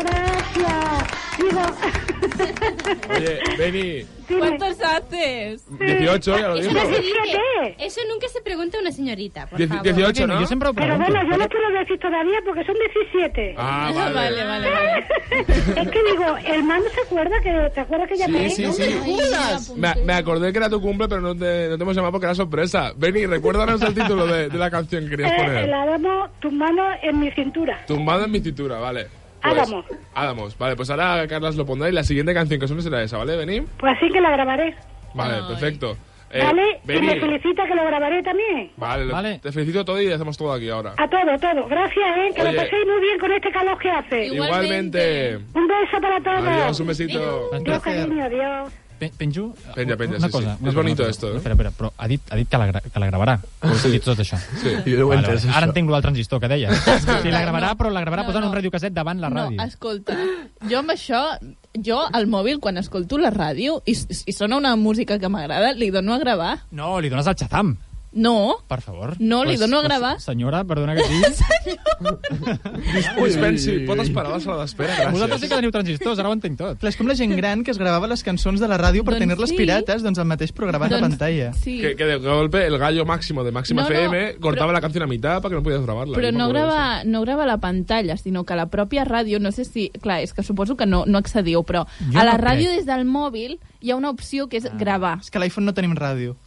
gracias! Digo, Oye, Beni, ¿Cuántos haces? 18, ya lo Eso dijo. no se dice. Eso nunca se pregunta a una señorita, por Dieci- favor. 18, ¿no? Yo siempre lo Pero pregunto. bueno, yo no quiero decir todavía porque son 17. Ah, vale. Vale, vale, es que digo, el man no se acuerda que te acuerdas que ya Sí, me sí, ¿No sí. me acuerdas? me, me acordé que era tu cumple, pero no te, no te hemos llamado porque era sorpresa. Beni, recuérdanos el título de, de la canción que querías Eh, el poner. Adamo, tus manos en mi cintura. Tumbado en mi cintura, vale. Álamos. Álamos. Vale, pues ahora Carlas lo pondrá y la siguiente canción que suene será esa, ¿vale, Beni? Pues así que la grabaré. Vale, perfecto. Eh, ¿Vale? Y Beni, me felicita que lo grabaré también. Vale, lo- te felicito todo y hacemos todo aquí ahora. A todo, a todo. Gracias, ¿eh? Que Oye. lo paséis muy bien con este calor que hace. Igualmente. Un beso para todos. Adiós, un besito. Adiós, cariño, adiós. Pe- Penjo, Penja, penja, una cosa, sí, sí. una És cosa, bonito una cosa. esto, eh? Espera, espera, però ha dit, ha dit que la, gra- que la gravarà. Sí. Ha dit tot això. Sí, jo ho he entès, això. Ara entenc el transistor que deia. Sí, la gravarà, No. però la gravarà no, No, posant no. no. un radiocasset davant la No, ràdio. escolta, jo amb això, jo al mòbil quan escolto la ràdio i, i sona una música que m'agrada, li dono a gravar. No, li dones el xatam, No, per favor. No, li dono a gravar. Senyora, perdona que et digui. Ui, Pensi, pot Ah, esperar a la sala d'espera, gràcies. Vosaltres sí que teniu transistors, ara ho entenc tot. Clar, és com la gent gran que es gravava les cançons de la ràdio per Doncs tenir-les sí. pirates, doncs el mateix programa de Doncs pantalla. sí. Que, que de golpe el gallo máximo de Máxima No, no, FM cortaba la canción a mitad para que no pudieras grabarla. Però Yo me no acuerdo de grava, no grava la pantalla, sinó que la pròpia ràdio, no sé si... Clar, és que suposo que no, no accediu, però Jo jo a la no crec. ràdio des del mòbil hi ha una opció que és ah. gravar. És que a l'iPhone no tenim ràdio. Però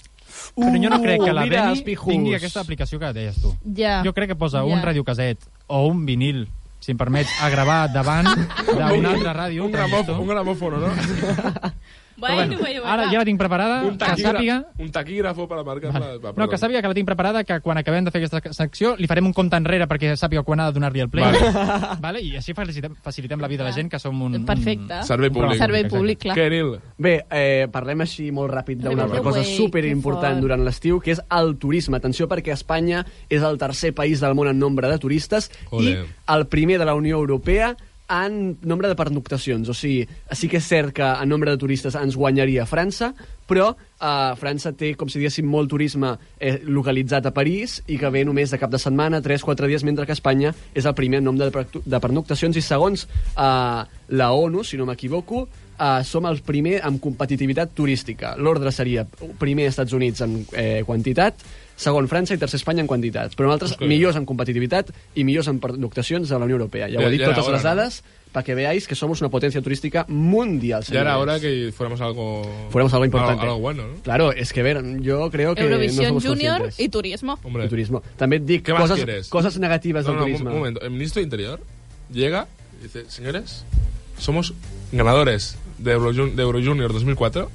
jo no Uh, crec que la mira, els Beni pijus. tingui aquesta aplicació que deies tu. Ja. Jo crec que posa Ja. un radiocaset o un vinil, si em permets, a gravar davant d'una altra ràdio. Un gramòfon, un gramòfon, no? Bueno, bueno, bueno. Ara ja la tinc preparada, eso. Un, Ah, que taquígra- sàpiga... un taquígrafo para marcar la... va, No, perdón. que sàpiga que la tinc preparada, que quan acabem de fer aquesta secció li farem un compte enrere perquè sàpiga quan ha de donar-li el play. Vale. vale. I així facilitem, facilitem la vida a la gent, que som un... Mm, Perfecte. Un... Mm. Servei públic. Servei públic, clar. Què, Nil? Bé, eh, parlem així molt ràpid d'una Arriba altra el cosa güey, que superimportant fort. durant l'estiu, que és el turisme. Atenció, perquè Espanya és el tercer país del món en nombre de turistes Joder. i el primer de la Unió Europea en nombre de pernoctacions. O sigui, sí que és cert que en nombre de turistes ens guanyaria França, però eh, França té, com si diguéssim, molt turisme eh, localitzat a París i que ve només de cap de setmana, 3-4 dies, mentre que Espanya és el primer en nombre de, pernoctu- de pernoctacions i segons eh, la ONU, si no m'equivoco, eh, som el primer amb competitivitat turística. L'ordre seria primer Estats Units en eh, quantitat, segon França i tercer Espanya en quantitat. Però nosaltres Ok. millors en competitivitat i millors en pernoctacions de la Unió Europea. Ja ho Ja- he dit ja era totes hora, les no? dades perquè veáis que somos una potencia turística mundial. Ya era señores. hora que fuéramos algo... Fuéramos algo importante. Algo, bueno, ¿no? Claro, es que, a ver, yo creo que Eurovisión no somos Junior conscientes. i turismo. Hombre. El turismo. També et dic ¿Qué más coses, quieres? cosas negativas No, del no, un- turismo. Un momento. El ministro de Interior llega y dice, señores, somos ganadores de, Euro, de Euro Junior 2004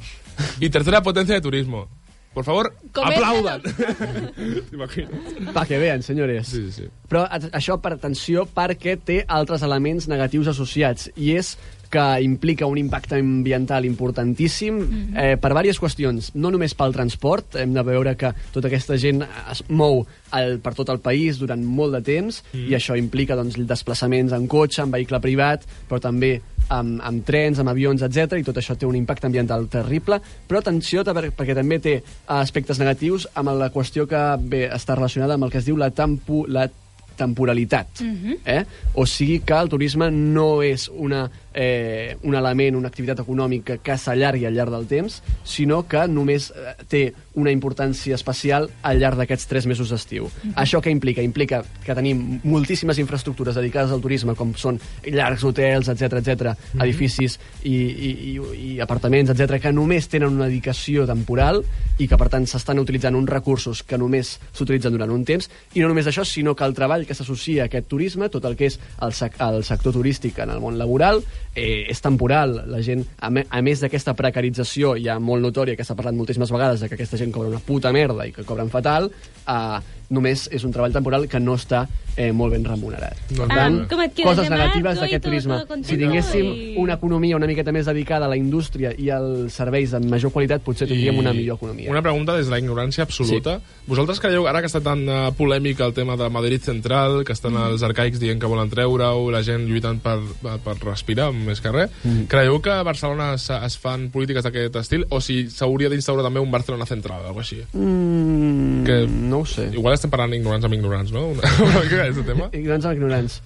y tercera potencia de turismo. Por favor, Coméntanos. aplaudan. Te imaginas. Pa que vean, senyores. Sí, sí. Però a- això, per atenció, perquè té altres elements negatius associats, i és que implica un impacte ambiental importantíssim mm -hmm. eh, per diverses qüestions. No només pel transport, hem de veure que tota aquesta gent es mou el, per tot el país durant molt de temps Mhm. mm. i això implica doncs, desplaçaments en cotxe, en vehicle privat, però també amb, amb trens, amb avions, etc i tot això té un impacte ambiental terrible, però atenció ta- perquè també té eh, aspectes negatius amb la qüestió que bé, està relacionada amb el que es diu la, tempo, la Mm. temporalitat. Mhm. eh? O sigui que el turisme no és una, eh, un element, una activitat econòmica que s'allargui al llarg del temps, sinó que només eh, té una importància especial al llarg d'aquests tres mesos d'estiu. Això què implica? Implica que tenim moltíssimes infraestructures dedicades al turisme, com són llargs hotels, etc etc, edificis i, i, i, i apartaments, etc, que només tenen una dedicació temporal i que, per tant, s'estan utilitzant uns recursos que només s'utilitzen durant un temps, i no només això, sinó que el treball que s'associa a aquest turisme, tot el que és el, sec el sector turístic en el món laboral, eh, és temporal. La gent, a, me a més d'aquesta precarització ja molt notòria, que s'ha parlat moltíssimes vegades de que aquesta gent cobra una puta merda i que cobren fatal, eh, només és un treball temporal que no està eh, molt ben remunerat. Per Ah, tant, com et quedes de coses negatives Marco i d'aquest todo, turisme. todo contento Si tinguéssim i- una economia una miqueta més dedicada a la indústria i als serveis amb major qualitat, potser tindríem una millor economia. Una pregunta des de la ignorància absoluta. Sí. Vosaltres creieu, ara que està tan eh, polèmic el tema de Madrid Central, que Mm. estan els arcaics dient que volen treure-ho, la gent lluitant per, per per respirar, més que res, mm. creieu que a Barcelona es, es fan polítiques d'aquest estil o si s'hauria d'instaurar també un Barcelona Central, o alguna cosa així? Mm, que... No ho sé. Igual estem parlant ignorants amb ignorants, no? Una, una mica d'aquest tema. Ignorants amb ignorants.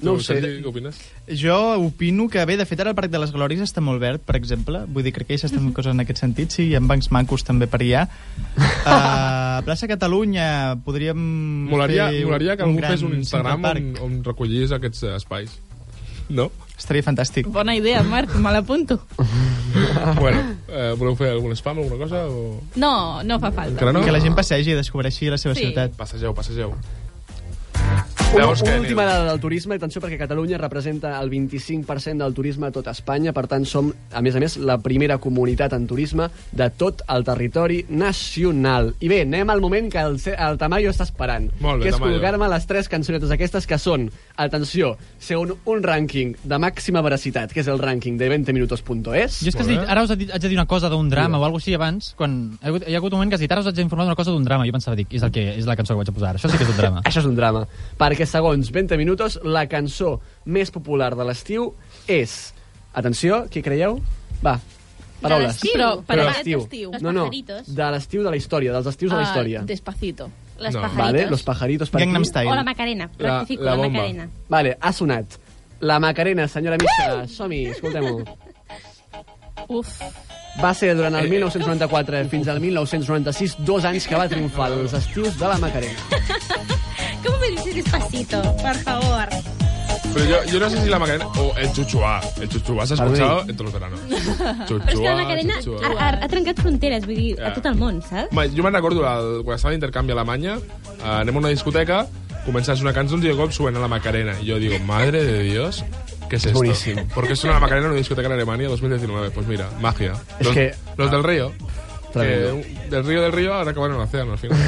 No ho sé. Sergi, què opines? Jo opino que, bé, de fet, ara el Parc de les Glòries està molt verd, per exemple. Vull dir, crec que hi s'estan fent coses en aquest sentit. Sí, hi ha bancs macos també per allà. A uh, plaça Catalunya podríem Molaria, fer molaria que algú gran fes un Central Instagram on, Park. on recollís aquests eh, espais. No? Estaria fantàstic. Bona idea, Marc, me l'apunto. bueno, eh, voleu fer algun spam, alguna cosa? O... No, no fa falta. Encara no? Que la gent passegi i descobreixi la seva Sí. ciutat. Passegeu, passegeu. Una, Llavors, què, una última Neus? dada del turisme, atenció, perquè Catalunya representa el 25% del turisme a tot Espanya, per tant som, a més a més, la primera comunitat en turisme de tot el territori nacional. I bé, anem al moment que el, Ce- el Tamayo està esperant, Molt bé, que és Tamayo. col·locar-me les tres cançonetes aquestes que són, atenció, segons un rànquing de màxima veracitat, que és el rànquing de 20minutos.es. Jo és que has dit, ara us he dit, haig de dir una cosa d'un drama o alguna cosa així abans, quan hi ha, hagut, hi ha hagut un moment que has dit, ara us haig d'informar d'una cosa d'un drama. Jo pensava, dic, és, el que, és la cançó que vaig a posar ara. Això sí que és un drama. Això és un drama. Perquè, segons 20 minutos, la cançó més popular de l'estiu és... Atenció, qui creieu? Va, paraules. l'estiu? Però- De però l'estiu. aquest estiu. Los No, no, pajaritos. de l'estiu de la història, dels estius de la història. Ah, despacito. Les No. pajaritos. Vale, los pajaritos per aquí. O la Macarena. La- Rectifico, la la, bomba. Macarena. Vale, ha sonat. La Macarena, senyora Missa, som-hi, escoltem-ho. Uf. Va ser durant el 1994 fins al 1996, dos anys que va triomfar els estius de la Macarena. ¿Cómo me dices despacito? Por favor. Pero yo, yo no sé si la Macarena o el Chuchuá. El Chuchuá se ha Para mí. escuchado en todos los veranos. Però és que la Chuchuá, Macarena ha, Chuchuá. ha, ha trencat fronteres, vull dir, Ja. a tot el món, saps? Home, jo me'n recordo, el, quan estava d'intercanvi a Alemanya, eh, anem a una discoteca, comença a sonar cançons i de cop suena la Macarena. I jo digo, madre de Dios, ¿qué es esto? Boníssim. ¿Por qué suena la Macarena en una discoteca en Alemania 2019? Pues mira, magia. Es los, que- los del río. Tremendo. que un- del río del río ahora acabaron en el océano al final.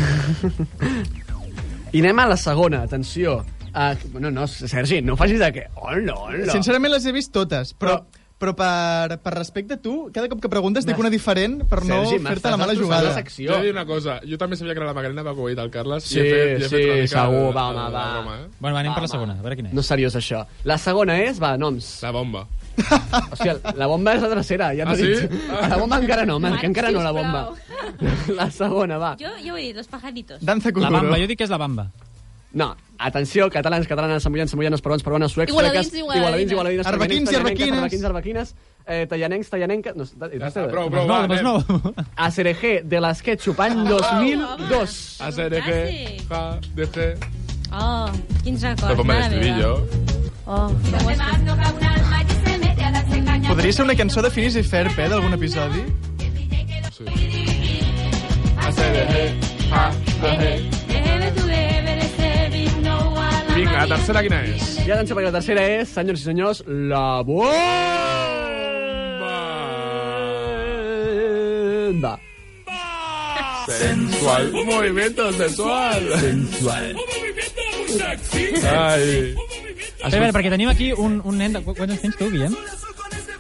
I anem a la segona, atenció. Uh, no, no, Sergi, no facis de que... Hola, hola. Sincerament les he vist totes, però, però per, per respecte a tu, cada cop que preguntes dic una diferent per no Sergi, fer-te m'estàs la mala destrossant jugada. la secció. Jo- He de dir una cosa, jo també sabia que era la Macarena, va, com ho ha dit el Carles. Sí, i he fet, i he sí, fet una mica segur, de- va, de home, va. broma, eh? Bueno, va, anem per la segona, a veure quina és. No és seriós, això. La segona és, va, noms. La bomba. Hòstia, la bomba és la tercera, ja t'ho Ah, he dit. sí? La bomba encara no, Marc, Marc, encara no, la bomba. sisplau. La segona, va. Jo, jo ho he dit, los pajaritos. Danza La bamba, jo dic que és la bamba. No, atenció, catalans, catalanes, samollans, samollanes, peruans, peruanes, suecs, Igualadins, sueques, igualadines. igualadins, igualadines, Arbequins i arbequines. arbequins, arbequines, eh, tallanencs, tallanenques... No, Ja està, prou, prou, Doncs no, doncs va, no. A Cereje de les Ketchup, any 2002. A ser que... Fantàstic. Ja, deje... Oh, quins Però records, com mare meva. l'estribillo... Oh, que bo. Podria ser una cançó de Finis i Ferb, eh, d'algun episodi? Sí. Ah, A ser que... Ja, deje... Vinga, la tercera quina és? I atenció, perquè la tercera és, senyors i senyors, la bomba. Sensual. Un movimiento sensual. Sensual. Ai. Espera, espera, perquè tenim aquí un, un nen de... qu- Quants anys tens tu, Guillem?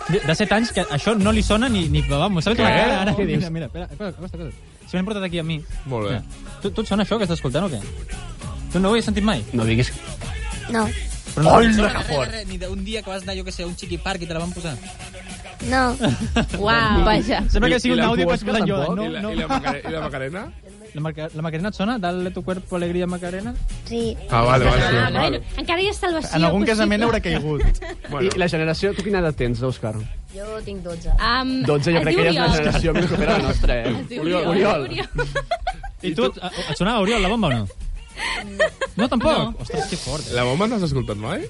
De, de 7 anys, que això no li sona ni... ni vamos, saps la Què? cara, ara? Mira, mira, espera, espera, costa, costa. Si m'han portat aquí a mi. Molt bé. Mira, Tu, tu et sona això que estàs escoltant o què? Tu no ho has sentit mai? No diguis... No, Però no, Hola, que Re, fort! re, ni d'un dia que vas anar, jo que sé, a un chiqui park i te la van posar. no, Uau, vaja. Sembla que I- sigui i un la àudio que vaig fosca posar jo. eh? tampoc? No, I la- no. i la Macare- i la Macarena? La, Maca- la Macarena et sona? Dale tu cuerpo, alegría, Macarena? sí. Ah, vale, vale. Ah, Sí, bueno, vale. encara hi ha salvació. En algun possible. casament haurà caigut. I Bueno, la generació, tu quina edat tens, Òscar? Jo tinc 12. Um, 12, jo crec que ja és una generació més propera a la nostra, eh? Oriol. Oriol. I tu, et, et sonava Oriol, la bomba o no? No, tampoc? No. Ostres, que fort. Eh? la bomba no has escoltat mai?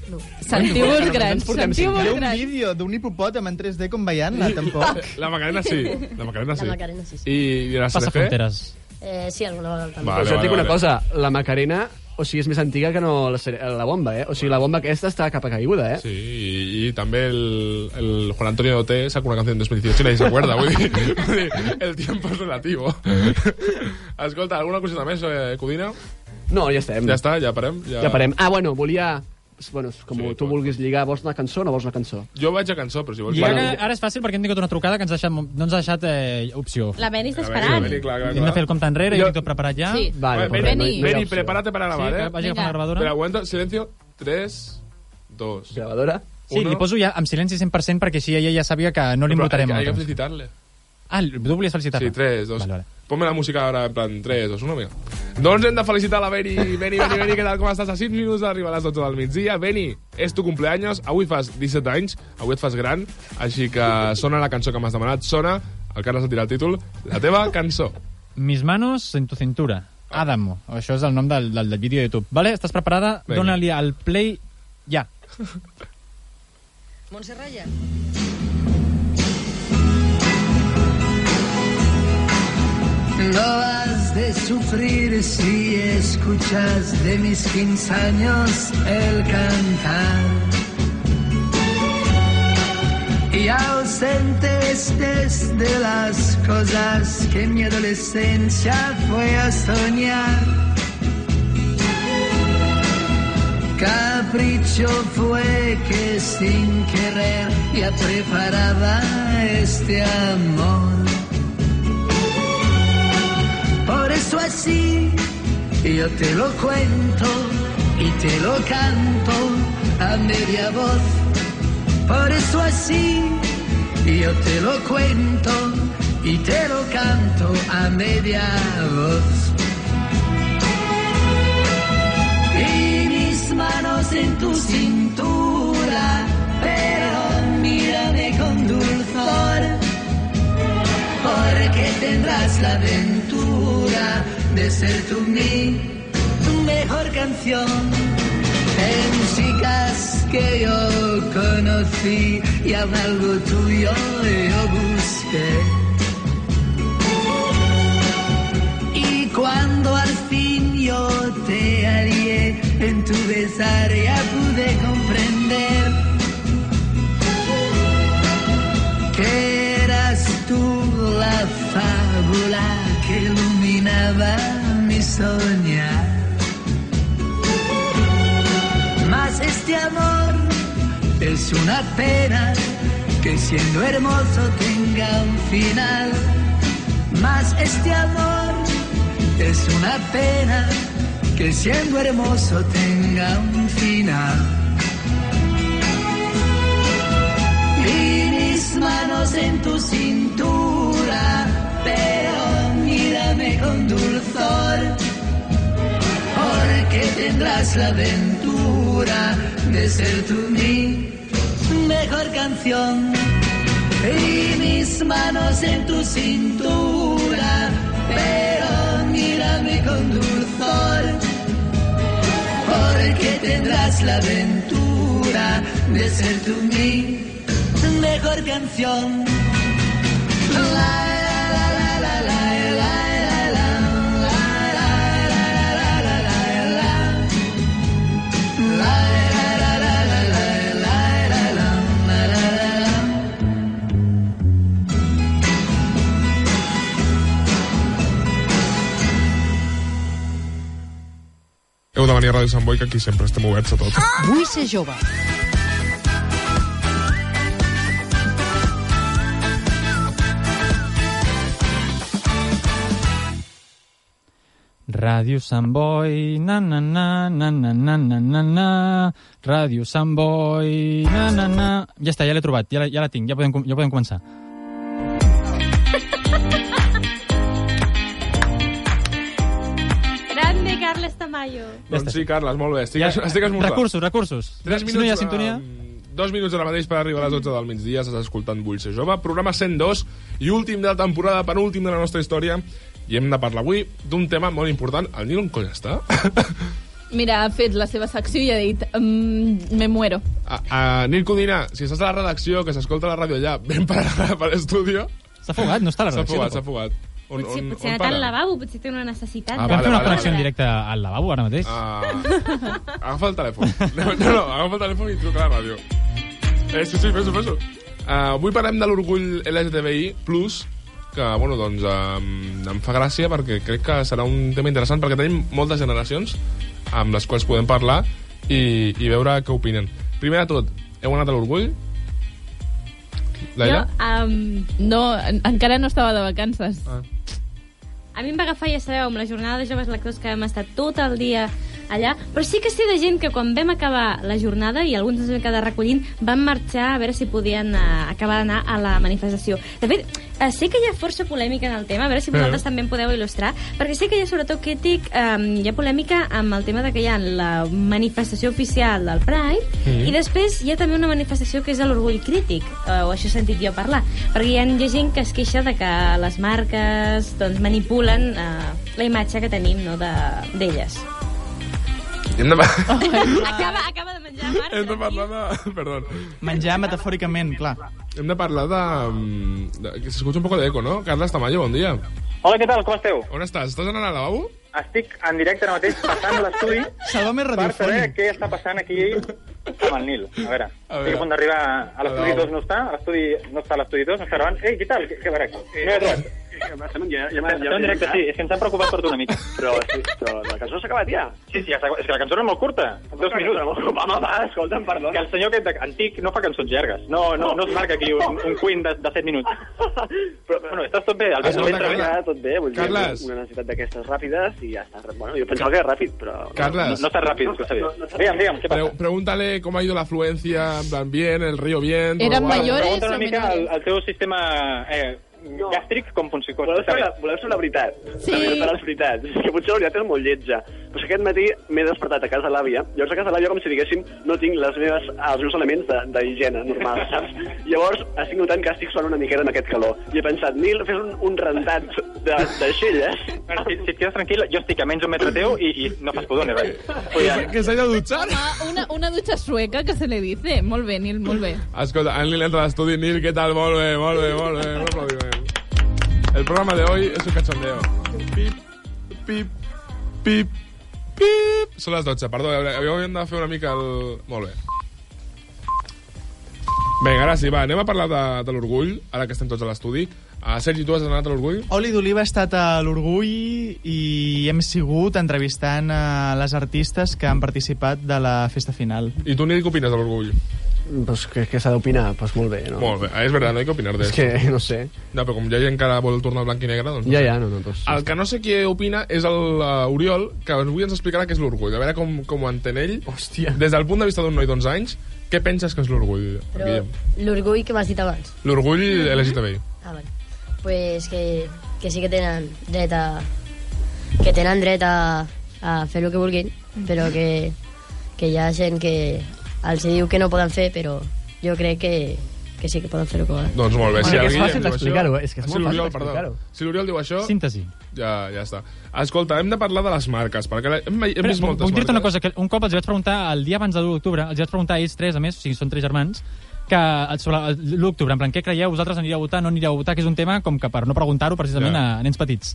Sentiu-vos grans, Hi ha sentiu-vos un grans. vídeo d'un hipopòtam en 3D com ballant-la, tampoc. Eh, La Macarena sí. La Macarena Ah, sí. La Macarena sí, sí. I i la Passa CDC? fronteres. Eh, sí, alguna vegada també. Vale, Vale, jo et vale, dic una vale. cosa, la Macarena, o sigui, és més antiga que no la, cere- la bomba, eh? O sigui, la bomba aquesta està cap a caiguda, eh? Sí, y, y también el, el Juan Antonio Doté sacó una canción en 2018 y nadie se acuerda. vull dir, vull dir, el tiempo es relativo. Escolta, alguna cosita més, eh, Codina? No, ja estem. Ja està, ja parem. Ja, Ja parem. Ah, bueno, volia... Bueno, com Sí, sí, tu pot. vulguis lligar, vols una cançó o no vols una cançó? Jo vaig a cançó, però si vols... I ara, ara és fàcil perquè hem tingut una trucada que ens ha deixat, no ens ha deixat eh, opció. La Beni A està esperant. veure, clar, clar, Hem de fer el clar. compte enrere, Jo- jo, jo tot preparat ja. Sí. Vale, Vale, perfecte, Beni, hi ha Veni, opció. prepárate para Sí, grabar, que eh? vagi Vinga. agafant la Espera, gravadora. un momento, silencio. 3, 2... Gravadora? Sí, uno. li poso ja amb silenci 100% perquè així ella ja sabia que no li Però votarem Hay, que- hay que nosaltres. felicitarle. Ah, tu volies felicitar-la. Sí, 3, 2... Vale, vale. Ponme la música ara, en plan, 3, 2, 1, vinga. Doncs hem de felicitar la Beni. Beni, Beni, Beni, què tal, com estàs? A 6 minuts d'arribar a les 12 del migdia. Beni, és tu cumpleaños, avui fas 17 anys, avui et fas gran, així que sona la cançó que m'has demanat, sona, el Carles et dirà el títol, la teva cançó. Mis manos en tu cintura. Adamo. Això és el nom del, del, del vídeo de YouTube. Vale? Estàs preparada? Vinga. Dóna-li al play ja. Montse Raya. No has de sufrir si escuchas de mis 15 años el cantar. Y ausentes desde las cosas que en mi adolescencia fue a soñar. Capricho fue que sin querer ya preparaba este amor. Por eso así yo te lo cuento y te lo canto a media voz. Por eso así yo te lo cuento y te lo canto a media voz. Y mis manos en tu cintura, pero mírame con dulzor, porque tendrás la aventura de ser tú mi mejor canción. En chicas que yo conocí y a algo tuyo yo busqué. Y cuando al fin yo te hallé, en tu besar ya pude comprender que eras tú la fábula que iluminaba mi soñar. Mas este amor es una pena que siendo hermoso tenga un final. Mas este amor es una pena que siendo hermoso tenga un final. Y mis manos en tu cintura, pero mírame con dulzor, porque tendrás la aventura de ser tú mi mejor canción. Y mis manos en tu cintura, pero mírame con dulzor, porque tendrás la aventura de ser tú mi mejor canción. Heu de venir a Ràdio Sant Boi, que aquí sempre estem oberts a tot. Vull ser jove. Ràdio Sant Boi, na na na, na na na na na na, Ràdio Sant Boi, na na na... Ja està, ja l'he trobat, ja la, ja la tinc, ja podem, com- ja podem començar. Grande, Carles Tamayo. Doncs sí, Carles, molt bé. Estic, ja, estic esmorzant. Recursos, recursos. Tres si no hi ha minuts, eh, sintonia... mm, Dos minuts ara mateix per arribar a les 12 del migdia. Estàs escoltant Vull ser jove. Programa 102 i últim de la temporada, penúltim de la nostra història. I hem de parlar avui d'un tema molt important. El Nil on coll està? Mira, ha fet la seva secció i ha dit mm, me muero. A, a Nil Codina, si estàs a la redacció, que s'escolta la ràdio allà, ven per, per estudio. S'ha fugat, no està a la S'ha redacció, fugat, s'ha tampoc. fugat. On, Potser, on, on potser ha anat al para? lavabo, potser té una necessitat. Ah, Vam vale, fer una vale, connexió vale. en directe al lavabo ara mateix. Ah, agafa el telèfon. No, no, no, agafa el telèfon i truca a la ràdio. Eh, sí, sí, penso, penso. Uh, avui parlem de l'orgull LGTBI+, que, bueno, doncs, um, em fa gràcia perquè crec que serà un tema interessant perquè tenim moltes generacions amb les quals podem parlar i, i veure què opinen. Primer de tot, heu anat a l'orgull? Laila? Jo, um, no, en- encara no estava de vacances. Ah. A mi em va agafar, ja sabeu, amb la jornada de joves lectors que hem estat tot el dia allà. Però sí que sé de gent que quan vam acabar la jornada, i alguns ens vam quedar recollint, van marxar a veure si podien eh, acabar d'anar a la manifestació. De fet, eh, sé que hi ha força polèmica en el tema, a veure si Mm. vosaltres també en podeu il·lustrar, perquè sé que hi ha sobretot crític, eh, hi ha polèmica amb el tema de que hi ha la manifestació oficial del Pride, Mm. i després hi ha també una manifestació que és de l'orgull crític, eh, o això he sentit jo parlar, perquè hi ha, hi ha gent que es queixa de que les marques doncs, manipulen eh, la imatge que tenim no, de- d'elles. Hem de... acaba, acaba de menjar, Marc. Hem de parlar de... Perdó. Menjar metafòricament, clar. Hem de parlar de... de... que S'escucha un poco de eco, no? Carles Tamayo, bon dia. Hola, què tal? Com esteu? On estàs? Estàs anant al lavabo? Estic en directe ara mateix passant l'estudi per saber què està passant aquí amb el Nil. A veure, a veure. estic a punt d'arribar a l'estudi A veure. 2 no està, a l'estudi no està a l'estudi 2, no està gravant. Ei, què tal? Què, Eh, què a veure, m'he trobat. Ja, ja, ja, Estem en directe, sí, és que ens hem preocupat per tu una mica. Però, sí, però la cançó s'ha acabat ja. Sí, sí, ja s'ha- és que la cançó era molt curta, dos que minuts. era molt curta. Home, va, escolta'm, perdona. Que el senyor aquest de- antic no fa cançons llargues. No, no, no es marca aquí un, un queen de, de 7 minuts. Però, bueno, estàs tot bé. Ah, El Es nota, pensament Carles. treballat, tot bé. Vull dir, Carles. una necessitat d'aquestes ràpides i ja està. Bueno, jo pensava que era ràpid, però... Carles. No, no, no està ràpid, no, no, no, Digue'm, digue'm, què passa? Pre- pregúntale cómo ha ido la afluencia, en plan, bien, el río bien... todo guay. Pregunta una mica al, al teu sistema eh, gàstric com funciona. Voleu saber, la, voleu saber la veritat? Sí. La veritat de les veritats. És que potser la veritat és molt lletja. Però és que aquest matí m'he despertat a casa de l'àvia. Llavors a casa de l'àvia, com si diguéssim, no tinc les meves, els meus elements de- d'higiene normal, saps? Llavors estic notant que estic suant una miqueta en aquest calor. I he pensat, Nil, fes un, un rentat de, de xelles. Bueno, si, si et quedes tranquil, jo estic a menys un metre teu i, i no fas pudor ni res. Vull dir, Que s'ha ido a dutxar? Home, una, una ducha sueca que se le dice. Molt bé, Nil, molt bé. Escolta, en Lila entra a l'estudi. Nil, què tal? Molt bé, molt bé, molt bé. Un aplaudiment. El programa de hoy es un cachondeo. Pip, pip, pip, pip. Són les 12, perdó. Havíem de fer una mica el... Molt bé. Vinga, ara sí, va, anem a parlar de, de l'orgull, ara que estem tots a l'estudi. Uh, Sergi, tu has anat a l'orgull? Oli d'Oliva ha estat a l'Orgull i hem sigut entrevistant a les artistes que han participat de la festa final. I tu, Nil, què opines de l'orgull? Pues que, que s'ha d'opinar, pues molt bé, no? Molt bé, Ah, és veritat, no hi ha que opinar És d'això. que, no sé. No, però com hi ha gent que ara vol tornar blanc i negre, doncs... Ja, ja, no, no, pues... El que no sé qui opina és l'Oriol, que avui ens explicarà què és l'orgull. A veure com, com ho entén ell. Hòstia. Des del punt de vista d'un noi d'11 anys, què penses que és l'orgull, Però Guillem? l'orgull que m'has dit abans. L'orgull LGTBI. Ah, bueno. Pues que, que sí que tenen dret a... Que tenen dret a, a fer el que vulguin, Mm. però que, que hi ha gent que els diu que no poden fer, però jo crec que, que sí que poden fer el que volen. Doncs molt bé. Bueno, que és el Guillem fàcil diu això- d'explicar-ho, Ah, eh? És que és si molt fàcil l'Oriol, perdó, d'explicar-ho. Si l'Oriel diu això... Síntesi. Ja, ja està. Escolta, hem de parlar de les marques, perquè hem, hem Espera, vist puc- moltes eh? Puc dir-te marques. una cosa, que un cop els vaig preguntar, el dia abans de l'1 d'octubre, els vaig preguntar a ells tres, a més, o sigui, són tres germans, que sobre el- l'1 d'octubre, en plan, què creieu, vosaltres anireu a votar, no anireu a votar, que és un tema com que per no preguntar-ho precisament Ja. a nens petits.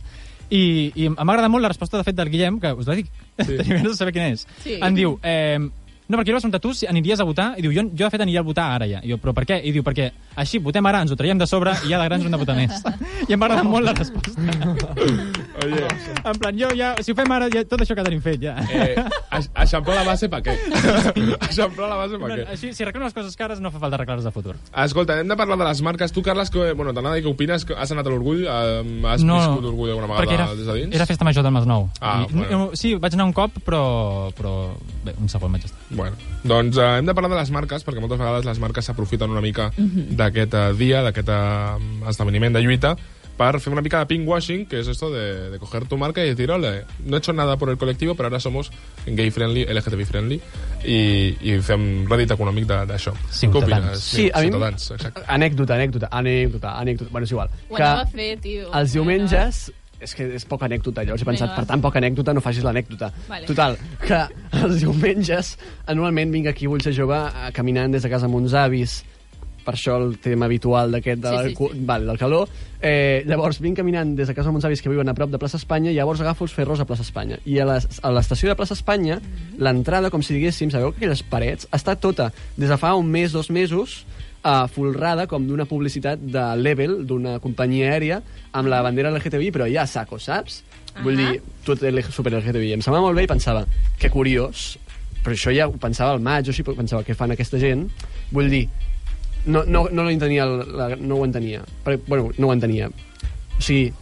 I, i m'ha agradat molt la resposta, de fet, del Guillem, que us la dic, sí. tenia ganes de saber quina és. Sí. Em diu, eh, no, perquè jo li vaig preguntar tu si aniries a votar, i diu, jo, jo de fet aniria a votar ara ja. I jo, però per què? I diu, perquè així votem ara, ens ho traiem de sobre, i ja de grans ho hem de votar més. I em va agradar molt la resposta. Oye, En plan, jo ja, si ho fem ara, ja, tot això que tenim fet, ja. eh, aix- eixamplar la base per què? eixamplar la base per què? Així, si arreglem les coses cares, no fa falta arreglar-les de futur. Escolta, hem de parlar de les marques. Tu, Carles, que, bueno, t'anava a dir què opines. que Has anat a l'orgull? Eh, Has No, viscut l'orgull alguna vegada perquè era- des de dins? Era festa major del Masnou. Ah, I, bueno. no, Sí, vaig anar un cop, però... però bé, un segon vaig estar. Bueno, doncs eh, hem de parlar de les marques, perquè moltes vegades les marques s'aprofiten una mica d'aquest eh, dia, d'aquest eh, esdeveniment de lluita, per fer una mica de pinkwashing, que es esto de, de coger tu marca y decir, ole, no he hecho nada por el colectivo, pero ahora somos gay friendly, LGTB friendly, i, i fem rèdit econòmic de- d'això. Què opines? Sí, a mi... Ciutadans, exacte. Anècdota, anècdota, anècdota, anècdota. Bueno, és igual. Ho anava a fer, tio. els diumenges... És que és poca anècdota, llavors he pensat, Vinga, va. per tant, poca anècdota, no facis l'anècdota. Vale. Total, que els diumenges, anualment vinc aquí, vull ser jove, eh, caminant des de casa amb uns avis, per això el tema habitual d'aquest de Sí, la- sí, sí. Val, del calor. Eh, llavors vinc caminant des de casa amb uns avis que viuen a prop de plaça Espanya i llavors agafo els ferros a plaça Espanya. I a les- a l'estació de plaça Espanya, Mhm. l'entrada, com si diguéssim, sabeu que aquelles parets, està tota, des de fa un mes, dos mesos, eh, folrada com d'una publicitat de Level, d'una companyia aèria, amb la bandera LGTBI, però ja a saco, saps? Vull dir, tot el super LGTBI. Em semblava molt bé i pensava, que curiós, però això ja ho pensava al maig, o així, però pensava, què fan aquesta gent? Vull dir, no, no, no, lo entenia, el- la, no ho entenia. Perquè, bueno, no ho entenia. O sigui,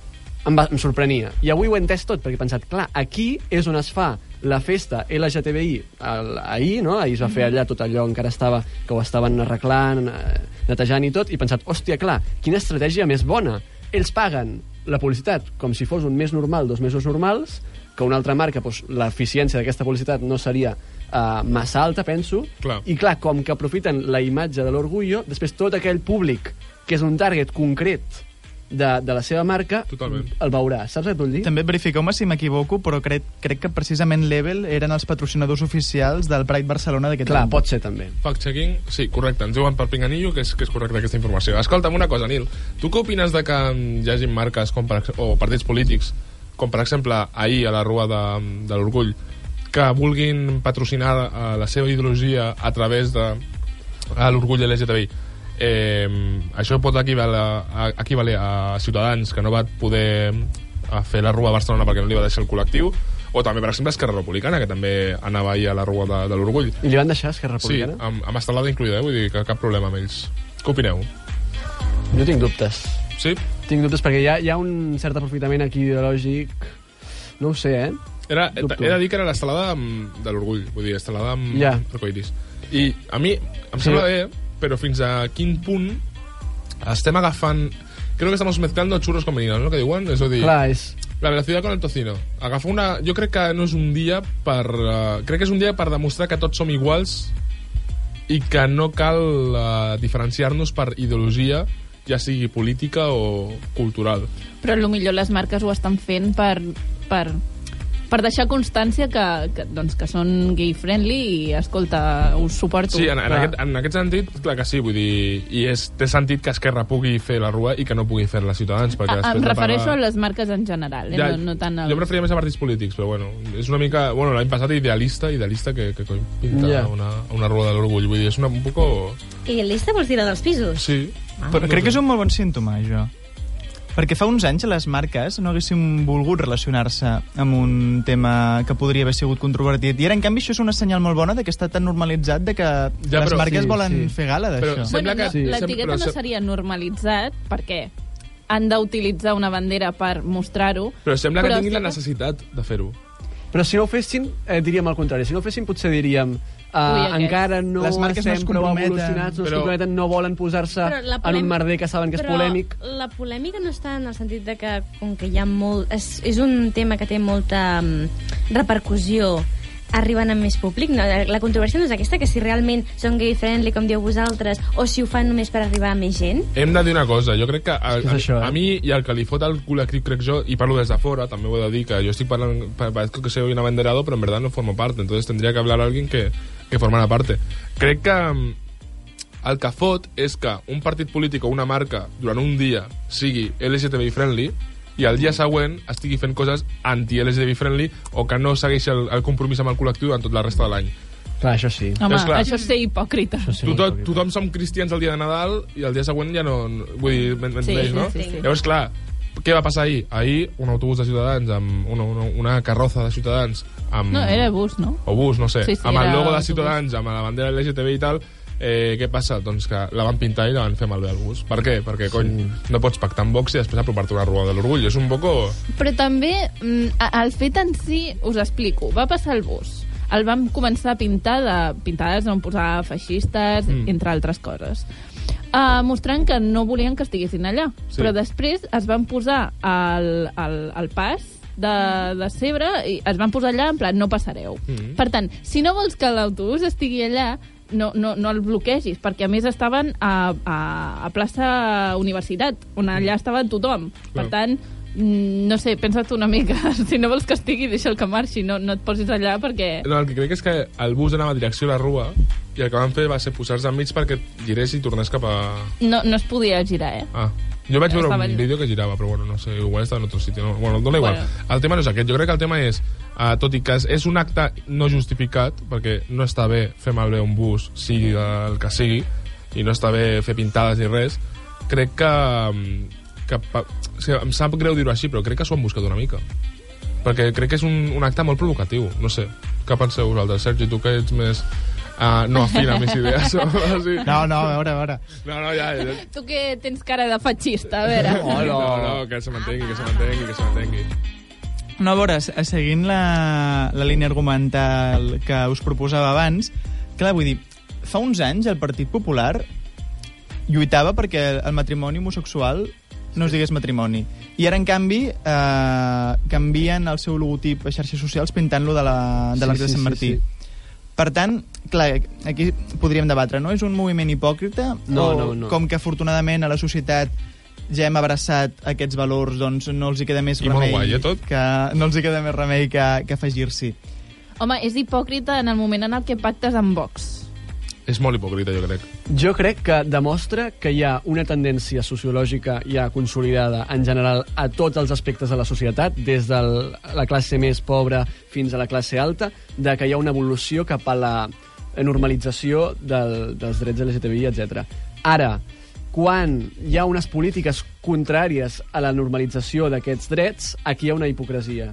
em, va, em sorprenia. I avui ho he entès tot, perquè he pensat, clar, aquí és on es fa la festa LGTBI el, ahir, no? ahir es va fer allà tot allò encara estava, que ho estaven arreglant, eh, netejant i tot, i he pensat, hòstia, clar, quina estratègia més bona. Ells paguen la publicitat com si fos un mes normal, dos mesos normals, que una altra marca, doncs, l'eficiència d'aquesta publicitat no seria eh, massa alta, penso, Clar. i clar, com que aprofiten la imatge de l'orgullo, després tot aquell públic que és un target concret de, de la seva marca Totalment. el veurà. Saps què et vull dir? També verifiqueu-me si m'equivoco, però crec, crec que precisament l'Evel eren els patrocinadors oficials del Pride Barcelona d'aquest Clar, pot ser també. Fact-checking, sí, correcte, ens diuen per Pinganillo que és, que és correcta aquesta informació. Escolta'm una cosa, Nil, tu què opines de que mm, hi hagi marques com per, ex- o partits polítics, com per exemple ahir a la Rua de, de l'Orgull, que vulguin patrocinar eh, la seva ideologia a través de a l'orgull LGTBI? Eh, això pot equivaler, a, equivaler a Ciutadans, que no va poder a fer la Rua a Barcelona perquè no li va deixar el col·lectiu, o també, per exemple, Esquerra Republicana, que també anava ahir a la Rua de, de l'Orgull. I li van deixar Esquerra Sí, Republicana? amb, amb estelada incluïda, eh? vull dir que cap problema amb ells. Què opineu? Jo tinc dubtes. Sí? Tinc dubtes perquè hi ha, hi ha un cert aprofitament aquí ideològic... No ho sé, eh? Era, he Dubto. de dir que era l'estelada amb- de l'orgull, vull dir, estelada amb Ja. yeah. arcoiris. I a mi em sembla bé, però fins a quin punt estem agafant... Creo que estamos mezclando churros con meninas, ¿no? Que diuen, és a dir... Clar, és... La veracidad con el tocino. Agafa una... Jo crec que no és un dia per... Uh, crec que és un dia per demostrar que tots som iguals i que no cal uh, diferenciar-nos per ideologia, ja sigui política o cultural. Però a lo millor les marques ho estan fent per, per, per deixar constància que, que, doncs, que són gay-friendly i, escolta, us suporto. Sí, en, en, Clar. aquest, en aquest sentit, clar que sí, vull dir... I és, té sentit que Esquerra pugui fer la rua i que no pugui fer-la Ciutadans, perquè A, després Ah, em de refereixo pagar- a les marques en general, eh? Ja, no, no tant Jo el... preferia més a partits polítics, però bueno, és una mica... Bueno, l'any passat idealista, idealista que, que coi, pinta Ja. yeah. una, una rua de l'orgull. Vull dir, és una, un poco... I l'Ista vols dir la dels pisos? Sí. Ah. Però crec que és un molt bon símptoma, això. Perquè fa uns anys les marques no haguessin volgut relacionar-se amb un tema que podria haver sigut controvertit. I ara, en canvi, això és una senyal molt bona de que està tan normalitzat de que ja, Ja, les però- marques sí, sí, volen sí. sí. fer gala Però d'això. sembla Bueno, que- no, sem- l'etiqueta però no sem- seria normalitzat perquè han d'utilitzar una bandera per mostrar-ho. Però sembla però que tinguin la necessitat de fer-ho. Però si no ho fessin, eh, diríem el contrari. Si no ho fessin, potser diríem... Uh, Ui, aquest. encara no Les marques no es estem prou comprometen. evolucionats, no es Però- comprometen, no volen posar-se Però la en polèmica- un merder que saben que és però polèmic. la polèmica no està en el sentit de que, com que hi ha molt... És, és un tema que té molta mm, repercussió arriben a més públic. No, la la controvèrsia no és aquesta, que si realment són gay-friendly, com dieu vosaltres, o si ho fan només per arribar a més gent. Hem de dir una cosa, jo crec que a, És que és a, això, eh? a mi i el que li fot el cul a Crip, crec jo, i parlo des de fora, també ho he de dir, que jo estic parlant, pa- parezco que soy un abanderado, però en verdad no formo parte, entonces tendría que hablar a alguien que, que formara parte. Crec que mm, el que fot és que un partit polític o una marca durant un dia sigui LGTBI friendly i el dia següent estigui fent coses anti-LGTBI friendly o que no segueixi el, el compromís amb el col·lectiu en tot la resta de l'any. Clar, això sí. Home, És clar. això és ser hipòcrita. Sí, tothom, tothom som cristians el dia de Nadal i el dia següent ja no... no- Vull dir, m'entendeix, Sí, sí, no? sí, sí. Llavors, clar, què va passar ahir? Ahir un autobús de Ciutadans, amb una, una, una carroza de Ciutadans amb... No, era bus, no? O bus, no sé, Sí, sí, amb el era logo de autobús. Ciutadans, amb la bandera LGTB i tal, eh, què passa? Doncs que la van pintar i la van fer malbé al bus. Per què? Perquè, cony, no pots pactar amb Vox i després apropar-te una rua de l'orgull. És un poco... Però també, mm, a- el fet en si, us explico, va passar el bus. El vam començar a pintar de pintades on posar feixistes, Mm. mm. entre altres coses. Uh, mostrant que no volien que estiguessin allà. Sí. Sí. Però després es van posar al, al, al pas de, de Cebre i es van posar allà en plan no passareu. Mm. Mm. Per tant, si no vols que l'autobús estigui allà, no, no, no el bloquegis, perquè a més estaven a, a, a plaça Universitat, on allà Mm. estava tothom. Per Clar. tant, mm, no sé, pensa't una mica. Si no vols que estigui, deixa'l que marxi, no, no et posis allà perquè... No, el que crec és que el bus anava a direcció a la rua i el que van fer va ser posar-se enmig perquè girés i tornés cap a... No, no es podia girar, eh? Ah, jo vaig veure Estava un allà. vídeo que girava, però bueno, no sé, igual estava en otro sitio. No? Bueno, dona igual. Bueno. El tema no és aquest. Jo crec que el tema és, uh, tot i que és- és un acte no justificat, perquè no està bé fer malbé un bus, sigui el que sigui, i no està bé fer pintades ni res, crec que... mm, que pa- o sigui, em sap greu dir-ho així, però crec que s'ho han buscat una mica. Perquè crec que és un, un acte molt provocatiu, no sé. Què penseu vosaltres? Sergi, tu que ets més... Uh, no afina a mis idees. o així. No, no, a veure, a veure. No, no, ja, ja, Tu que tens cara de feixista, a veure. No, no, que se mantengui, que se mantengui, que se mantengui. No, a veure, se- seguint la, la línia argumental que us proposava abans, clar, vull dir, fa uns anys el Partit Popular lluitava perquè el matrimoni homosexual no es digués matrimoni. I ara, en canvi, eh, canvien el seu logotip a xarxes socials pintant-lo de la- de Sí, l'Arc de, sí, de Sant sí, Martí. sí. Per tant, clar, aquí podríem debatre, no? És un moviment hipòcrita? No, o no, no. Com que afortunadament a la societat ja hem abraçat aquests valors, doncs no els hi queda més I molt remei... guai, eh, tot? Que, no els hi queda més remei que, que afegir-s'hi. Home, és hipòcrita en el moment en el que pactes amb Vox. És molt hipòcrita, jo crec. Jo crec que demostra que hi ha una tendència sociològica ja consolidada en general a tots els aspectes de la societat, des de la classe més pobra fins a la classe alta, de que hi ha una evolució cap a la eh, normalització del, dels drets LGTBI, etc. Ara, quan hi ha unes polítiques contràries a la normalització d'aquests drets, aquí hi ha una hipocresia.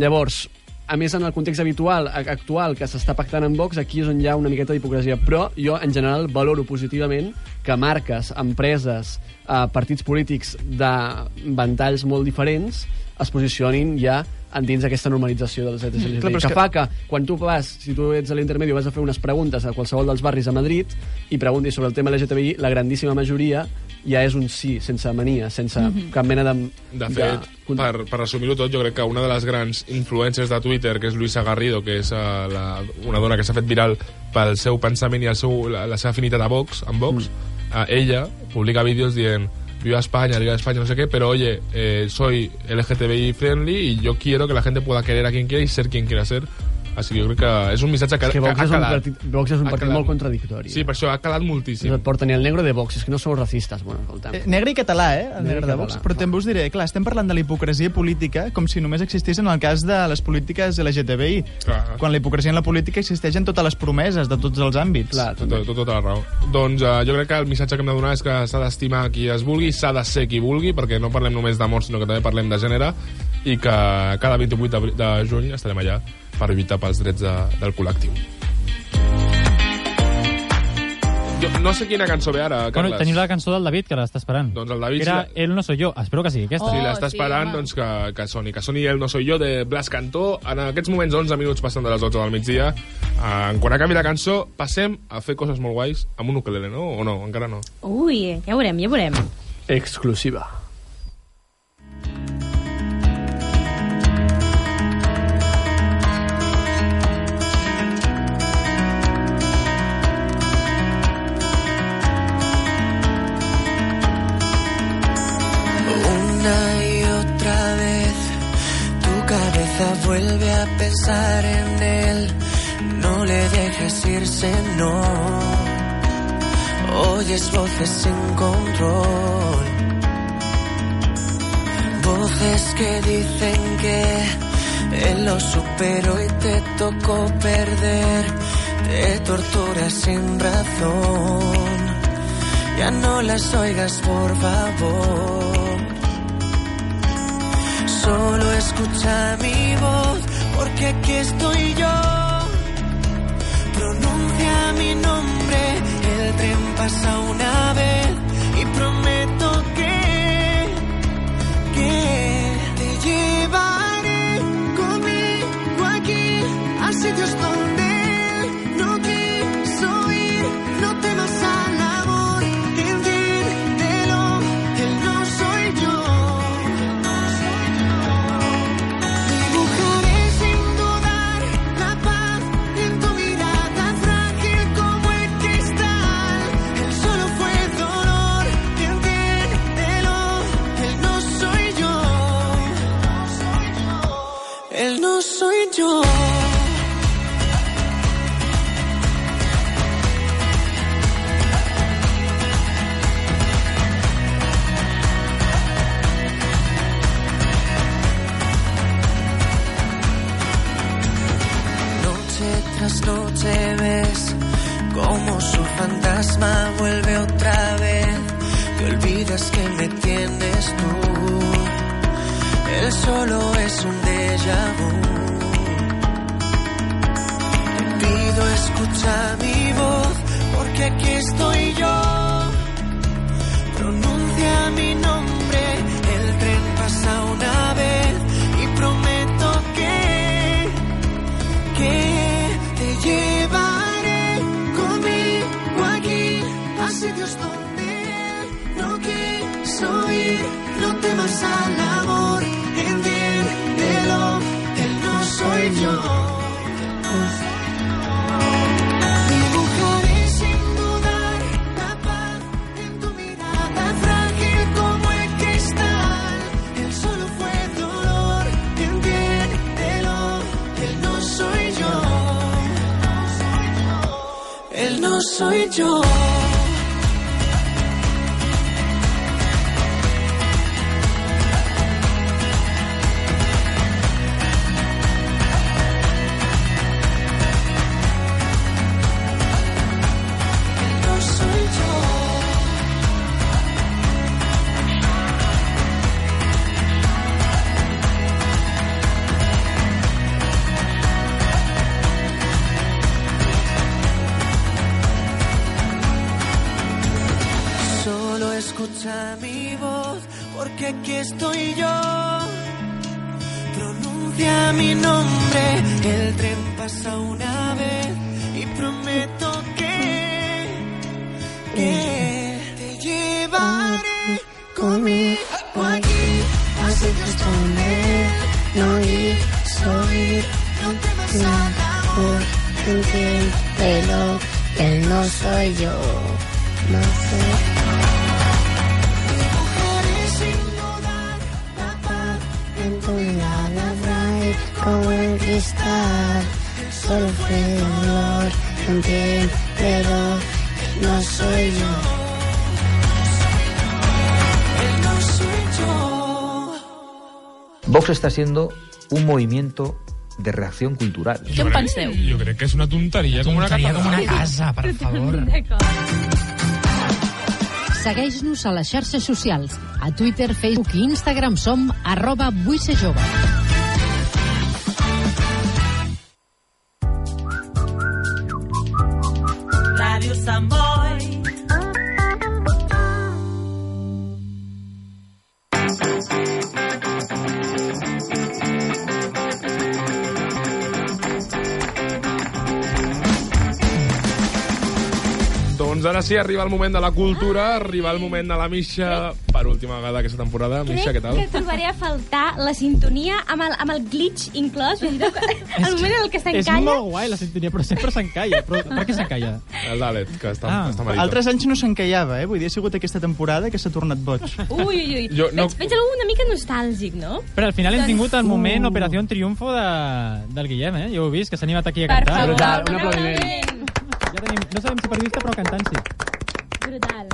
Llavors, a més, en el context habitual, a- actual, que s'està pactant amb Vox, aquí és on hi ha una miqueta d'hipocresia. Però jo, en general, valoro positivament que marques, empreses, eh, partits polítics de ventalls molt diferents es posicionin ja en dins d'aquesta normalització dels drets LGTBI. Mm, Clar, però que, és que que- fa que quan tu vas, si tu ets a l'intermedi, vas a fer unes preguntes a qualsevol dels barris a Madrid i preguntis sobre el tema LGTBI, la grandíssima majoria ja és un sí, sense mania, sense Mhm. cap mena de... De fet, per, per resumir-ho tot, jo crec que una de les grans influències de Twitter, que és Luisa Garrido, que és uh, la, una dona que s'ha fet viral pel seu pensament i el seu, la, la seva afinitat a Vox, amb Vox, mm. uh, ella publica vídeos dient viva España, viva España, no sé qué, pero oye, eh, soy LGTBI friendly y yo quiero que la gente pueda querer a quien quiera y ser quien quiera ser. Així que jo crec que és un missatge que, És que que, Vox ha és un calat. partit, Vox és un Ha partit calat. molt contradictori. Sí, per això ha calat moltíssim. No et porta ni el negro de Vox, és que no sou racistes. Bueno, escolta. Eh, Negre i català, eh? El Negre i negre de Vox. català. Però també us diré, clar, estem parlant de la hipocresia política com si només existís en el cas de les polítiques LGTBI. Clar. Quan la hipocresia en la política existeix en totes les promeses de tots els àmbits. Clar, tot, tot, tota la raó. Doncs eh, jo crec que el missatge que hem de donar és que s'ha d'estimar qui es vulgui, s'ha de ser qui vulgui, perquè no parlem només d'amor, sinó que també parlem de gènere, i que cada 28 de, de juny estarem allà per lluitar pels drets de, del col·lectiu. Jo no sé quina cançó ve ara, Carles. Bueno, tenim la cançó del David, que l'està esperant. Doncs el David... Era El no soy yo. Espero que sigui aquesta. Oh, si l'està esperant, doncs que, que soni. Que soni el No soy yo de Blas Cantó. En aquests moments, 11 minuts passant de les 12 del migdia. Eh, En quan acabi la cançó, passem a fer coses molt guais amb un ukelele, no? O no? Encara no. Ui, ja veurem, ja veurem. Exclusiva. Una y otra vez tu cabeza vuelve a pensar en él. No le dejes irse, no. Oyes voces sin control. Voces que dicen que él lo superó y te tocó perder. Te torturas sin razón. Ya no las oigas, por favor. Solo escucha mi voz, porque aquí estoy yo. Pronuncia mi nombre, el tren pasa una vez y prometo que, que te llevaré conmigo aquí a sitios donde él no quiso ir. No temas al amor, entiéndelo, él no soy yo. Dibujaré sin dudar la paz en tu mirada frágil como el cristal. Él solo fue dolor, entiéndelo, él no soy yo. Él no soy yo. Noche tras noche ves cómo su fantasma vuelve otra vez. Te olvidas que me tienes tú. Él solo es un déjà vu. Te pido escucha mi voz, porque aquí estoy yo. Pronuncia mi nombre, el tren pasa una vez y prometo Adiós al amor, entiéndelo, él no soy yo. Dibujaré sin dudar la paz en tu mirada, frágil como el cristal. Él solo fue dolor, entiéndelo, él no soy yo. Él no soy yo. No soy yo. Solo escucha mi voz, porque aquí estoy yo. Pronuncia mi nombre, el tren pasa una vez y prometo que, que te llevaré conmigo aquí. Así que esconde, no ir, soy, no te vas a dar amor, entiéndelo, él no soy yo, no soy En tu mirada bright como el cristal Solo fue dolor, entiéndelo No soy yo Él no soy yo Vox está siendo un movimiento de reacción cultural. Què en penseu? Jo crec que és una tonteria, com una Seria com catalana. una casa, per favor. Segueix-nos a les xarxes socials. A Twitter, Facebook i Instagram som arroba vull ser jove. Ràdio Sant Boi. Doncs ara sí, arriba el moment de la cultura, arriba el moment de la Misha, per última vegada aquesta temporada. Misha, què tal? que trobaré a faltar la sintonia amb el, amb el glitch inclòs. vull dir, El moment en el que És s'encalla... molt guai la sintonia, però sempre s'encalla. Però per què s'encalla? El d'Alet, que està, ah, està malito. Altres anys no s'encallava, eh? Vull dir, ha sigut aquesta temporada que s'ha tornat boig. Ui, ui, ui. Jo Jo, no- no... veig, veig algú una mica nostàlgic, no? Però al final hem Doncs- tingut el moment Uh. Operació Triunfo de, del Guillem, eh? Jo ho he vist, que s'ha animat aquí a Per cantar. favor, Ah, Brutal, un un aplaudiment. Ja tenim, no sabem si periodista, però cantant sí. Brutal.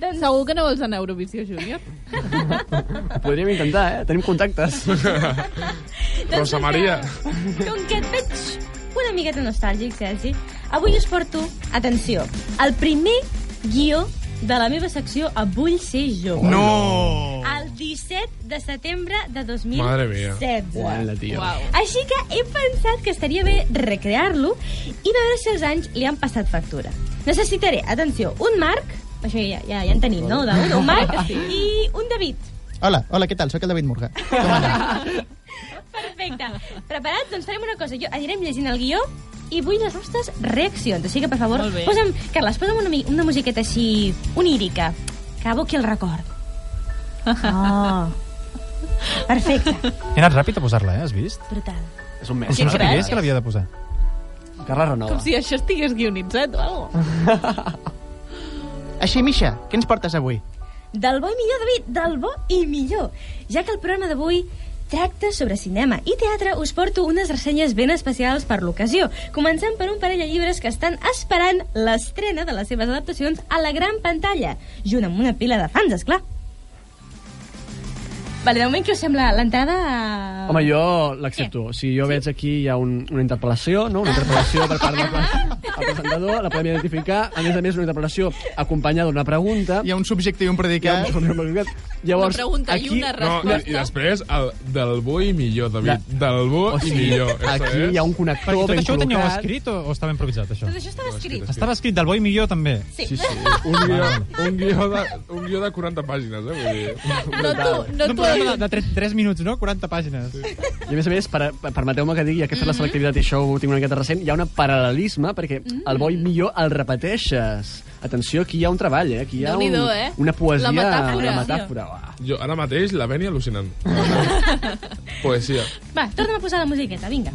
Doncs... Segur que no vols anar a Eurovisió Júnior? Ho podríem intentar, eh? Tenim contactes. Rosa Maria. Doncs Com que et veig una miqueta nostàlgic, Sergi, avui us porto, atenció, el primer guió de la meva secció a Vull ser jove. No! El 17 de setembre de 2016. Madre mía. Uala, tio. Uau. Així que he pensat que estaria bé recrear-lo i veure si els anys li han passat factura. Necessitaré, atenció, un Marc, això ja, ja, ja en tenim, no? De, un Marc i un David. Hola, hola, què tal? Sóc el David Murga. Perfecte. Preparats? Doncs farem una cosa. Jo anirem llegint el guió i vull les vostres reaccions. Així que, per favor, Molt bé. posa'm... Carles, posa'm una, mi- una musiqueta així onírica, que aboqui el record. Oh. Perfecte. He anat ràpid a posar-la, eh? Has vist? Brutal. És un Com si no sabés que l'havia de posar. Carles Com si això estigués guionitzat o alguna cosa. Així, Misha, què ens portes avui? Del bo i millor, David, del bo i millor. Ja que el programa d'avui tracta sobre cinema i teatre, us porto unes ressenyes ben especials per l'ocasió, començant per un parell de llibres que estan esperant l'estrena de les seves adaptacions a la gran pantalla, junt amb una pila de fans, esclar. Vale, de moment, què us sembla l'entrada? a- Home, jo l'accepto. O sigui, jo veig aquí hi ha un, una interpel·lació, no? Una interpel·lació per part del Ah. el presentador, la podem identificar. A més a més, una interpel·lació acompanyada d'una pregunta. Hi ha un subjecte i un predicat. Hi ha un, predicat. Llavors, aquí... No, i, i després, el del bo i millor, David. Del bo O sigui, i millor. Això aquí és. hi ha un Perquè connector tot ben això ho teníeu col·locat. escrit o, o estava improvisat, això? Doncs això estava escrit. Estava escrit del bo i millor, també. Sí. Un guió, un guió, de, un guió de 40 pàgines, eh? Vull dir. No t'ho no t'ho he programa de, de 3, 3 minuts, no? 40 pàgines. I a més a més, per, per- permeteu-me que digui, ja que he Mhm. fet la selectivitat i això ho tinc una miqueta recent, hi ha un paral·lelisme, perquè Mhm. el bo i millor el repeteixes. Atenció, aquí hi ha un treball, eh? Aquí hi ha un, Déu-n'hi-do, eh? una poesia, La metàfora. Una metàfora. uah. Jo ara mateix la venia al·lucinant. Poesia. Va, torna'm a posar la musiqueta, vinga.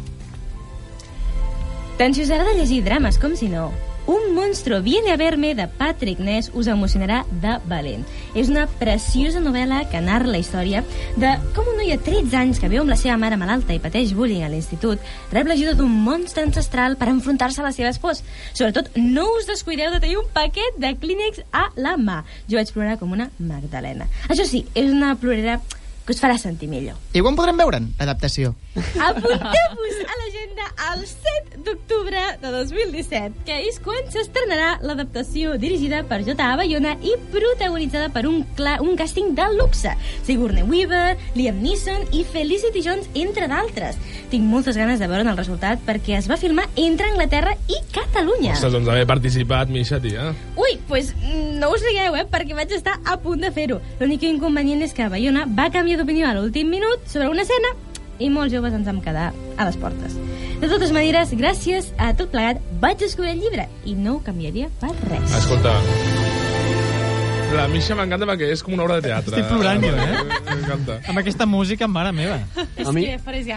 Tant si us agrada llegir drames com si no, Un monstruo viene a verme de Patrick Ness us emocionarà de valent. És una preciosa novel·la que narra la història de com un noi de 13 anys que viu amb la seva mare malalta i pateix bullying a l'institut rep l'ajuda d'un monstre ancestral per enfrontar-se a les seves pors. Sobretot, no us descuideu de tenir un paquet de clínics a la mà. Jo vaig plorar com una magdalena. Això sí, és una plorera que us farà sentir millor. I quan podrem veure'n, l'adaptació? Apunteu-vos a l'agenda el 7 d'octubre de 2017, que és quan s'estrenarà l'adaptació dirigida per J.A. Bayona i protagonitzada per un, cla un càsting de luxe. Sigourney Weaver, Liam Neeson i Felicity Jones, entre d'altres. Tinc moltes ganes de veure'n el resultat perquè es va filmar entre Anglaterra i Catalunya. Ostres, doncs haver participat, Misha, tia. Ui, pues mm, no us rigueu, eh, perquè vaig estar a punt de fer-ho. L'únic inconvenient és que Bayona va canviar d'opinió a l'últim minut sobre una escena i molts joves ens vam quedar a les portes. De totes maneres, gràcies a tot plegat vaig descobrir el llibre i no ho canviaria per res. Escolta, la Misha m'encanta perquè és com una obra de teatre. Estic plorant jo, eh? M'encanta. Amb aquesta música, mare meva. A mi,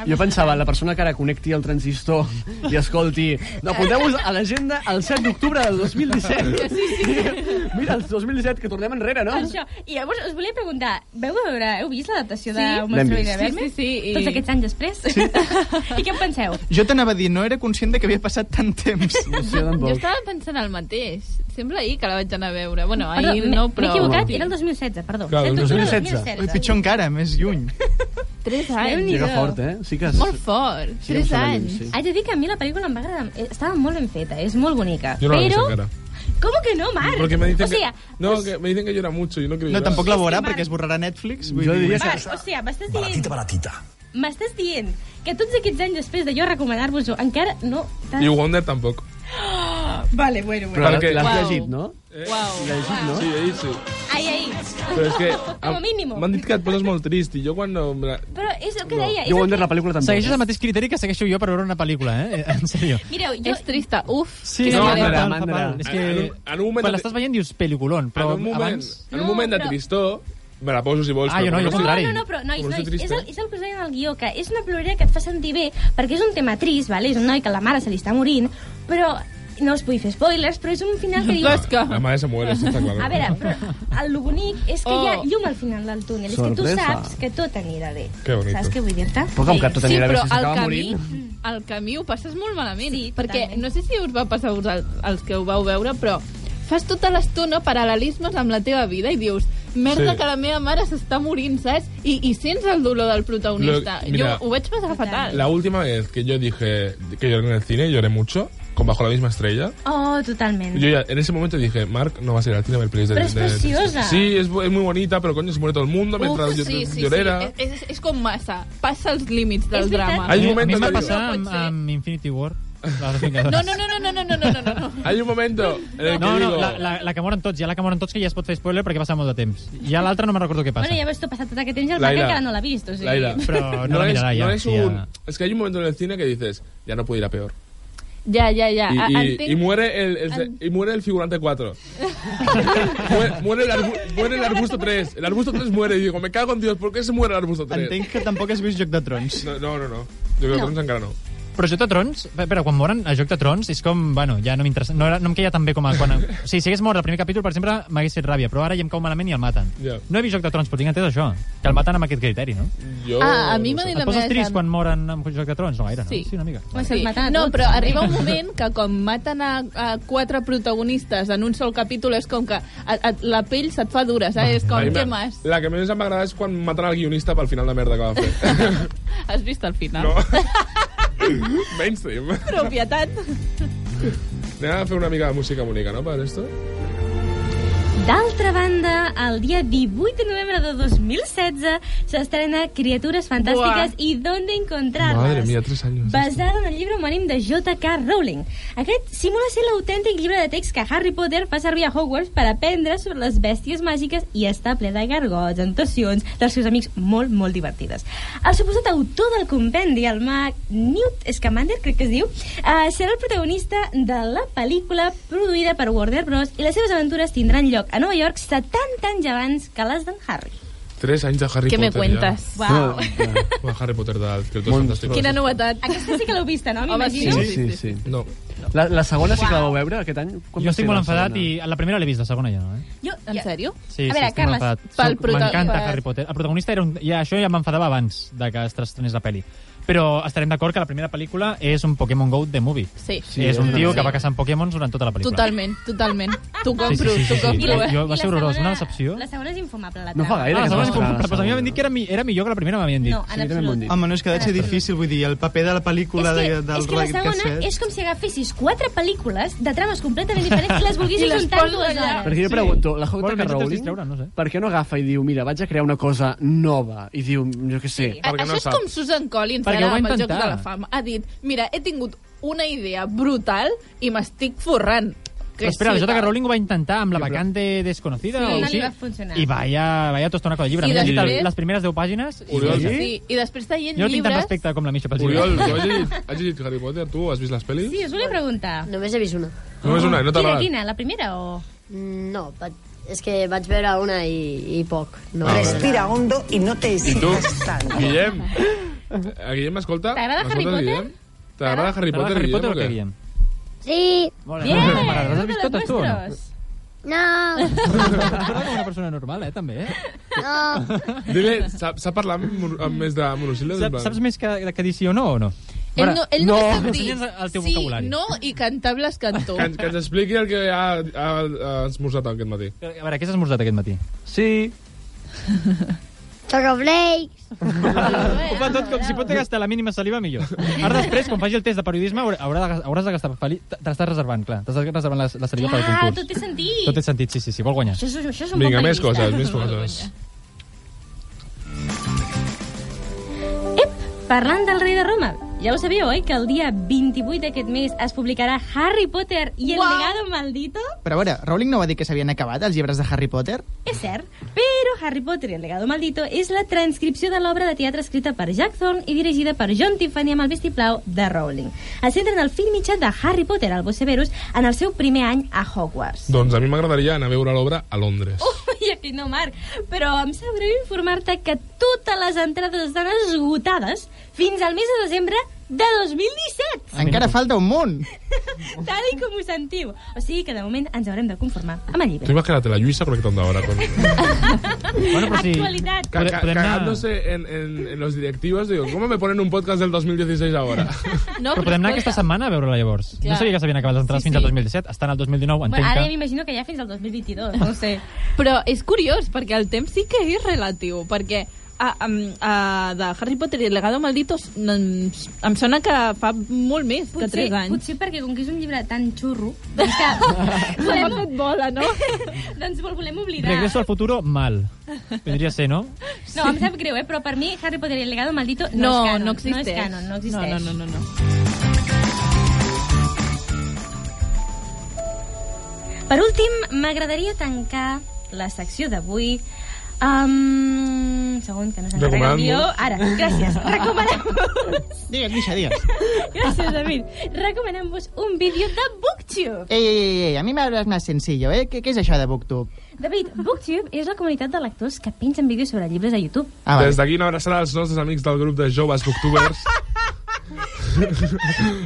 jo pensava, la persona que ara connecti el transistor i escolti... No, Apunteu-vos a l'agenda el 7 d'octubre del 2017. Sí, sí. Mira, el 2017, que tornem enrere, no? Això. I llavors us volia preguntar, veu veure, heu vist l'adaptació de L'hem Un monstruo vist. de Verme? Sí, sí, sí, i- Tots aquests anys després? Sí. I què en penseu? Jo t'anava a dir, no era conscient de que havia passat tant temps. Jo estava pensant el mateix. Sembla ahir que la vaig anar a veure. Bueno, Perdó, ahir m'he- no, M'he però... equivocat, era el 2016, perdó. Clar, doncs, el 2016. Ui, pitjor encara, més lluny. 3 anys. Llega fort, eh? Sí que... Molt fort. Sí, em 3 sona anys. lluny, sí. Haig de dir que a mi la pel·lícula em va agradar. eh, Estava molt ben feta, és molt bonica. Jo no l'he vist però... encara. Com que no, Marc? Porque me dicen o pues sea, que... No, que me dicen que llora mucho, yo no quiero No, llorar. tampoc la veurà, perquè es borrarà Netflix. Vull Jo dir. diria Marc, o sea, m'estàs dient, baratita. m'estàs dient que tots aquests anys després de jo recomanar-vos-ho encara no... I Wonder tampoc. Vale, bueno, Però bueno. Perquè- L'has Uau. llegit, no? Uau. Llegit, no? Sí, he dit, sí. Ai, ai. Però és que... Com a mínimo. M'han dit que et poses molt trist, i jo quan... No, me la- Però és el que deia. és el Jo Wonder la pel·lícula també. Segueixes el mateix criteri que segueixo jo per veure una pel·lícula, eh? En sèrio. Mireu, jo... És trista. Uf. Sí, quina no, merda. Mandra, Mandra. Mandra. És que En un- en un moment quan de- l'estàs veient dius peliculón, En però un moment, abans... en un moment de però- tristor, me la poso si vols. Ah, jo no, però eh? jo al com contrari. No, no, no, però, nois, Com no nois, estic és trista. el, és el que us deia en el guió, que és una plorera que et fa sentir bé, perquè és un tema trist, vale? és un noi que la mare se li està morint, però no us vull fer spoilers, però és un final que dius... La madre se muere, eso está claro. A veure, però el lo bonic és que Oh. hi ha llum al final del túnel. És que tu Sorpresa. saps que tot anirà bé. Que bonito. Saps què vull dir-te? Però com que tot anirà bé, si s'acaba morint... camí, el camí ho passes molt malament. Mm. Sí, perquè totalment. no sé si us va passar a vosaltres, els que ho vau veure, però fas tota l'estona paral·lelismes amb la teva vida i dius merda Sí. sí. que la meva mare s'està morint, saps? I, I sents el dolor del protagonista. Lo- mira, jo ho vaig passar fatal. La última vez que yo dije que lloré en el cine, lloré mucho, con Bajo la misma estrella. Oh, totalment. Yo ya en ese momento dije, Mark, no vas a ir al cine a ver películas de Pero es de- de- preciosa. Sí, es, bu- es muy bonita, pero coño, se muere todo el mundo mientras Uf, yo, sí, Eh, sí, llorera. sí. És, és, és com massa. Passa els límits del És veritat. drama. Hay un A mi momento, em va en el- passar amb, amb Infinity War. la de No, no, no, no, no, no, no, no, no, no. hay un momento en el que No, no, digo, la, la, la que moren tots, ja la que moren tots, que ja es pot fer spoiler perquè passa molt de temps. Ja l'altra no me'n recordo què passa. Bueno, ja veus, tu ha passat tot aquest temps i el Marc Laila, encara no l'ha vist. O sigui... Laila, Pero no la es, mirará ya, no es sí, un- ya. es que hay un momento en el cine que dices, ya no puedo ir a peor. Ja, ja, ja. Y, y- Entenc- y muere el, el- y muere el figurante 4. muere, muere el arbu- muere el arbusto 3. El arbusto 3 muere. Y digo, me cago en Dios, ¿por qué se muere el arbusto 3? Entenc que tampoc has vist Joc de Trons. No, no, no. no. Yo creo que no. encara no. Però Joc de Trons, però quan moren a Joc de Trons és com, bueno, ja no m'interessa, no, era, no em queia tan bé com a quan... O sigui, si hagués mort el primer capítol, per exemple, m'hagués fet ràbia, però ara ja em cau malament i el maten. Ja. No he vist Joc de Trons, però tinc entès això, que el maten amb aquest criteri, no? Jo... Ah, a mi m'ha dit Et la meva poses trist Sant- quan moren amb Joc de Trons? No gaire, no? Sí. sí una mica. Home, se'ls mata a No, tots, però també. arriba un moment que com maten a, a quatre protagonistes en un sol capítol és com que a, a, la pell se't fa dura, saps? És A mi com, m'ha- què més? La que més em va agradar és quan maten el guionista pel final de merda que va fer. Has vist el final? No. Mainstream. Propietat. Anem a fer una mica de música bonica, no, per esto? D'altra banda, el dia 18 de novembre de 2016 s'estrena Criatures Fantàstiques i Dónde Encontrarlas. Madre mía, tres años. basada en el llibre homònim de J.K. Rowling. Aquest simula ser l'autèntic llibre de text que Harry Potter fa servir a Hogwarts per aprendre sobre les bèsties màgiques i està ple de gargots, entocions, dels seus amics molt, molt divertides. El suposat autor del compendi, el mag Newt Scamander, crec que es diu, eh, serà el protagonista de la pel·lícula produïda per Warner Bros. i les seves aventures tindran lloc a Nova York 70 anys abans que les d'en Harry. Tres anys de Harry Què me Potter. cuentas? Ja. Uau. Uau, Harry Potter de Escritors Fantàstics. Quina novetat. Aquesta sí que l'heu vista, no? M'imagino. sí, sí. No. La, la segona sí que la vau veure aquest any? Jo estic molt enfadat i la primera l'he vist, la segona ja no, eh? Jo, en sèrio? Sí, a veure, sí, Carles, pel prota... M'encanta Harry Potter. El protagonista era un... Ja, això ja m'enfadava abans de que estrenés la pel·li. Però estarem d'acord que la primera pel·lícula és un Pokémon Go de movie. Sí. sí és un tio que va caçant Pokémon durant tota la pel·lícula. Totalment, totalment. T'ho Sí, compro, sí, sí, sí, t'ho sí. compro. eh? Jo, va ser horrorós, una decepció. La segona és infumable, la No fa gaire. Ah, la segona és va com... estrenar la Pues a mi m'han dit que era, mi... era millor que la primera, m'havien dit. No, em en Sí, també m'ho han absolut. dit. Home, no és que ha de ser difícil, vull dir, el paper de la pel·lícula és que, de, del és que la segona casset. és com si agafessis quatre pel·lícules de trames completament diferents i les I volguessis les juntar poses dues allà. hores. Perquè jo pregunto, la Bueno, J.K. mentre t'has Rowling, distreure, no sé. per què no agafa i diu, mira, vaig a crear una cosa nova? I diu, jo què sé. A- Això és com Susan Collins Perquè ara ho va amb els intentar. Jocs de la Fama. Ha dit, mira, he tingut una idea brutal i m'estic forrant. Però espera, la sí, J.K. va. Rowling ho va intentar amb la vacante desconocida Sí, o no li així. va funcionar. I vaya, vaya tostona con el llibre. I I després... després- les primeres 10 pàgines... I... Oriol, Sí, i després està llegint Jo no tinc tant llibres... respecte com la Misha pels Oriol, llibres. tu has llegit, has llegit Harry Potter? Tu has vist les pel·lis? Sí, us volia preguntar. Només he vist una. Mm, Només una, no t'ha Quina, agradat? quina? La primera o...? No, va- és que vaig veure una i, i poc. No. Ah, Respira hondo i no te I tu, Guillem, a Guillem, m'escolta? T'agrada Harry M'escoltes, Potter? Guillem? T'agrada Harry T'agrada Potter, Harry Guillem, Potter o o què, què? Guillem? Sí. Molt Bien. Molt M'agrada. L'has vist Totes totes tu o no? No. Parla com una persona normal, eh, també, eh? No. Dile, sap, sap parlar amb, mono- amb més de monosíl·labs? Saps, saps més que, que dir sí o no o no? Ell no, ell no, no. sap dir Ensenya'ns el teu sí, vocabulari. no i cantables cantó. Que, ens- que ens expliqui el que ha, ha, ha esmorzat aquest matí. A veure, què has esmorzat aquest matí? Sí. Chocoflakes. Ah, Ho fa tot com si pot gastar la mínima saliva, millor. Ara després, quan faci el test de periodisme, haurà- haurà de, hauràs de gastar... Feli... Te te l'estàs reservant, clar. T'estàs reservant la, la saliva pel Ah, concurs. tot té sentit. Tot té sentit, sí, sí, sí, vol guanyar. Això és, això és un Vinga, bon més periodista. coses, més coses. Parlant del rei de Roma, ja ho sabíeu, oi? Que el dia 28 d'aquest mes es publicarà Harry Potter i el Uau! legado maldito. Però a veure, Rowling no va dir que s'havien acabat els llibres de Harry Potter? És cert, però Harry Potter i el legado maldito és la transcripció de l'obra de teatre escrita per Jack Thorne i dirigida per John Tiffany amb el vistiplau de Rowling. Es centra en el fill mitjà de Harry Potter, Albus Severus, en el seu primer any a Hogwarts. Doncs a mi m'agradaria anar a veure l'obra a Londres. Ui, aquí no, Marc, però em sap greu informar-te que totes les entrades estan esgotades fins al mes de desembre de 2017, Encara falta un munt! tal i com ho sentiu. O sigui que de moment ens haurem de conformar amb el llibre. T'ho imagina't, la Lluïsa connectando ahora con... Bueno, però sí... Actualitat. Ca- ca- Podem anar- Cagándose en, en, en los directivos, digo, ¿cómo me ponen un podcast del 2016 ahora? No, Però podem anar aquesta setmana a veure-la llavors. Clar. No sabia que s'havien acabat les entrades Sí, fins al 2017, estan al 2019, Bueno, entenc ara ja que... m'imagino que ja fins al 2022, no ho sé. Però és curiós, perquè el temps sí que és relatiu, perquè a, a, a, de Harry Potter i el legado maldito s- n- em sona que fa molt més que 3 anys. potser perquè com que és un llibre tan xurro, doncs que... L'ha fet bola, no? doncs vol- volem oblidar. Regreso al futuro mal. Vendria a ser, no? No, em sap greu, eh? però per mi Harry Potter i el legado maldito no, és canon. No, no No existeix. és canon, no existeix. No, no, no, no. Per últim, m'agradaria tancar la secció d'avui Um, un segon, que no se'n carrega el Recomanant-vos. guió. Ara, gràcies. Recomanem-vos... Digues, Misha, digues. gràcies, David. Recomanem-vos un vídeo de BookTube. Ei, ei, ei, ei, a mi m'ha més senzill, eh? Què, què és això de BookTube? David, BookTube és la comunitat de lectors que pengen vídeos sobre llibres a YouTube. Ah, Des d'aquí una abraçada als nostres amics del grup de joves booktubers.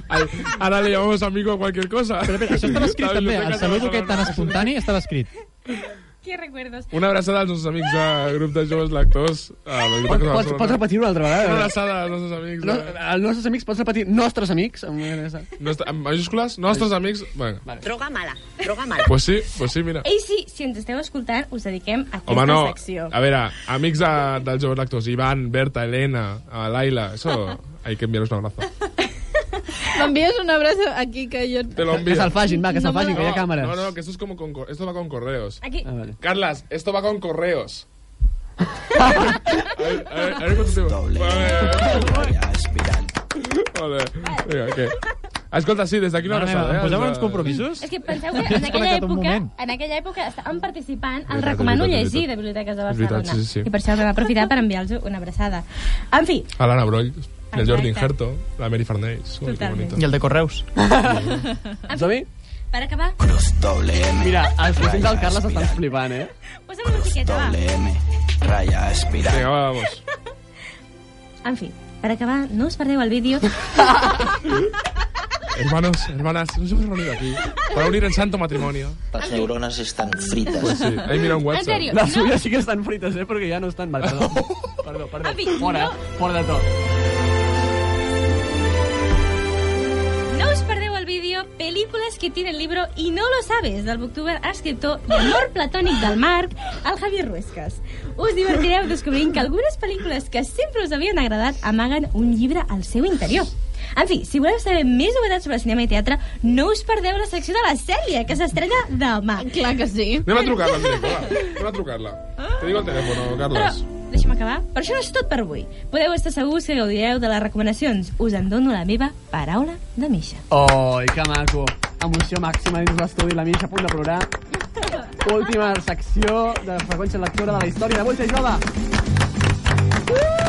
Ai, Ara le llamamos amigo a cualquier cosa. Però, però, això estava escrit també, el saludo aquest tan espontani estava escrit. Què recuerdes? Una abraçada als nostres amics del grup de joves lectors. Pot, pot, pot repetir una altra vegada? Una abraçada als nostres amics. No, de- eh. als nostres amics pots repetir nostres amics? Amb una abraçada. Nostre, amb majúscules, nostres amics... Bueno, Droga mala, droga pues sí, pues sí, mira. Ei, sí, si ens esteu escoltant, us dediquem a aquesta Home, no, secció. a veure, amics de, dels joves lectors, Ivan, Berta, Elena, eh, Laila, eso, hay que enviaros un abrazo. M'envies un abraç aquí que jo... Te lo envío. Que se'l facin, va, que se'l No me facin, lo- que hi ha càmeres. No, no, que esto es como con... cor- Esto va con correos. Aquí. Ah, vale. Carlas, esto va con correos. a ver, a ver, a ver cuánto tiempo. Vale, vale, vale. Vale, vinga, què? Escolta, sí, des d'aquí una Mare meva, em abraçada. eh? poseu Els, uns eh, compromisos? És que penseu que en aquella Desconnecta't un època, moment. en aquella època estàvem participant, el Veritat, recomano veritat, llegir veritat. de Biblioteques de Veritat, Barcelona. sí, sí, sí. I per això vam aprofitar per enviar-los una abraçada. En fi, A l'Anna Broll, el Jordi Exacte. Ingerto, la Mary Farnells. Ui, que Totalment. bonito. I el de Correus. Xavi? per acabar, Mira, els cosins del Carles estan flipant, eh? posa'm una xiqueta, va. Raya espiral. Vinga, va, vamos. En fi, per acabar, no us perdeu el vídeo. Hermanos, hermanas, nos hemos reunido aquí para unir en santo matrimonio. Las neuronas están fritas. Pues sí. Ahí mira un En WhatsApp. sèrio, Les no? fulles sí que estan frites, eh? Perquè ja no estan... Vale, perdó. Perdó, perdó. Avi, Fora, no. fora de tot. No us perdeu el vídeo Películes que tiene el libro i no lo sabes, del booktuber, escriptor i amor platònic del Marc, el Javier Ruescas. Us divertireu descobrint que algunes pel·lícules que sempre us havien agradat amaguen un llibre al seu interior. En fi, si voleu saber més novetats sobre cinema i teatre, no us perdeu la secció de la sèrie, que s'estrena demà. Clar que sí. Anem a trucar-la, en directe, va. Anem a trucar-la. Te digo el teléfono, Carlos. Però, deixa'm acabar. Però això no és tot per avui. Podeu estar segurs que gaudireu de les recomanacions. Us en dono la meva paraula de mitja. Oh, que maco. Emoció màxima dins l'estudi, la mitja a punt de plorar. Última secció de freqüència lectora de la història de Bolsa i Jove.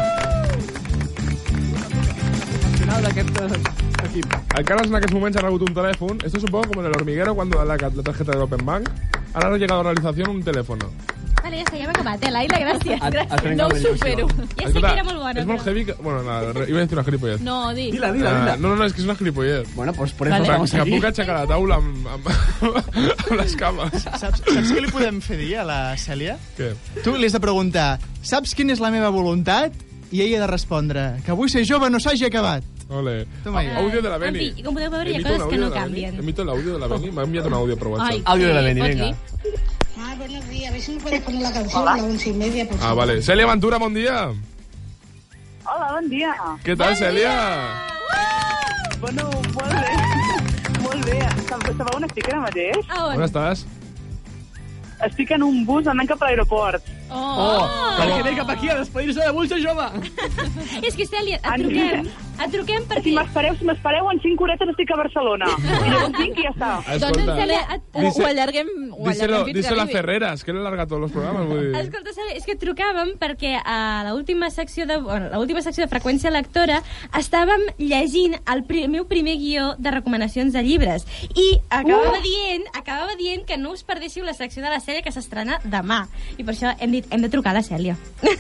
Final d'aquest eh, equip. El Carlos en aquests moments ha rebut un telèfon. Esto es un poco como en el hormiguero cuando da la, la tarjeta del Open Bank. Ahora ha llegado a realización un teléfono. Vale, ja està, ja m'ha acabat, eh, Laila, gràcies. A- a gràcies. trencar No ho la il·lusió. supero. Ja sé que era molt bona. Es molt però- heavy que... Bueno, nada, re- iba a decir una gilipollez. No, di. Dila, dila, dila. Ah, no, no, no, es que es una gilipollez. Bueno, doncs pues por eso Vale. estamos estamos Que aquí. puc aixecar la taula amb, amb, amb les cames. Saps, saps què li podem fer dir a la Cèlia? Què? Tu li has de preguntar, saps quina és la meva voluntat? I ella ha de respondre, que vull ser jove no s'hagi acabat. Ole. Toma ja. Audio de la En Beni. fi, com podeu veure, hi ha Emito un coses que audio no de la Beni. canvien. Emito el audio de la Beni. M'ha enviat un audio por WhatsApp. Ay, Audio de la sí, Beni, venga. Mar, Ah, buenos días. A ver si me puedes poner la canción a las once y media, por Ah, vale. Celia Ventura, bon dia. Hola, bon dia. Què tal, Celia? Bueno, molt bé. molt bé. Sabeu sabeu on estic ara mateix? Ah, A On estàs? Estic en un bus anant cap a l'aeroport. Oh, perquè ve cap aquí a despedir-se de Bolsa i Jove. És que, Cèlia, et truquem. Et truquem perquè... Si m'espereu, si m'espereu, en 5 horetes estic a Barcelona. I llavors vinc i ja està. Doncs, Ah, Escolta. Cèlia, et... ho, Dice- ho allarguem, ho allarguem Díselo, fins díselo que a arribi. Ferreras, que le larga todos los programas. Vull dir. Escolta, Cèlia, és que et trucàvem perquè a l'última secció de bueno, l'última secció de freqüència lectora estàvem llegint el pri meu primer guió de recomanacions de llibres i acabava Uh! dient, acabava dient que no us perdéssiu la secció de la sèrie que s'estrena demà. I per això hem dit, hem de trucar a la Cèlia.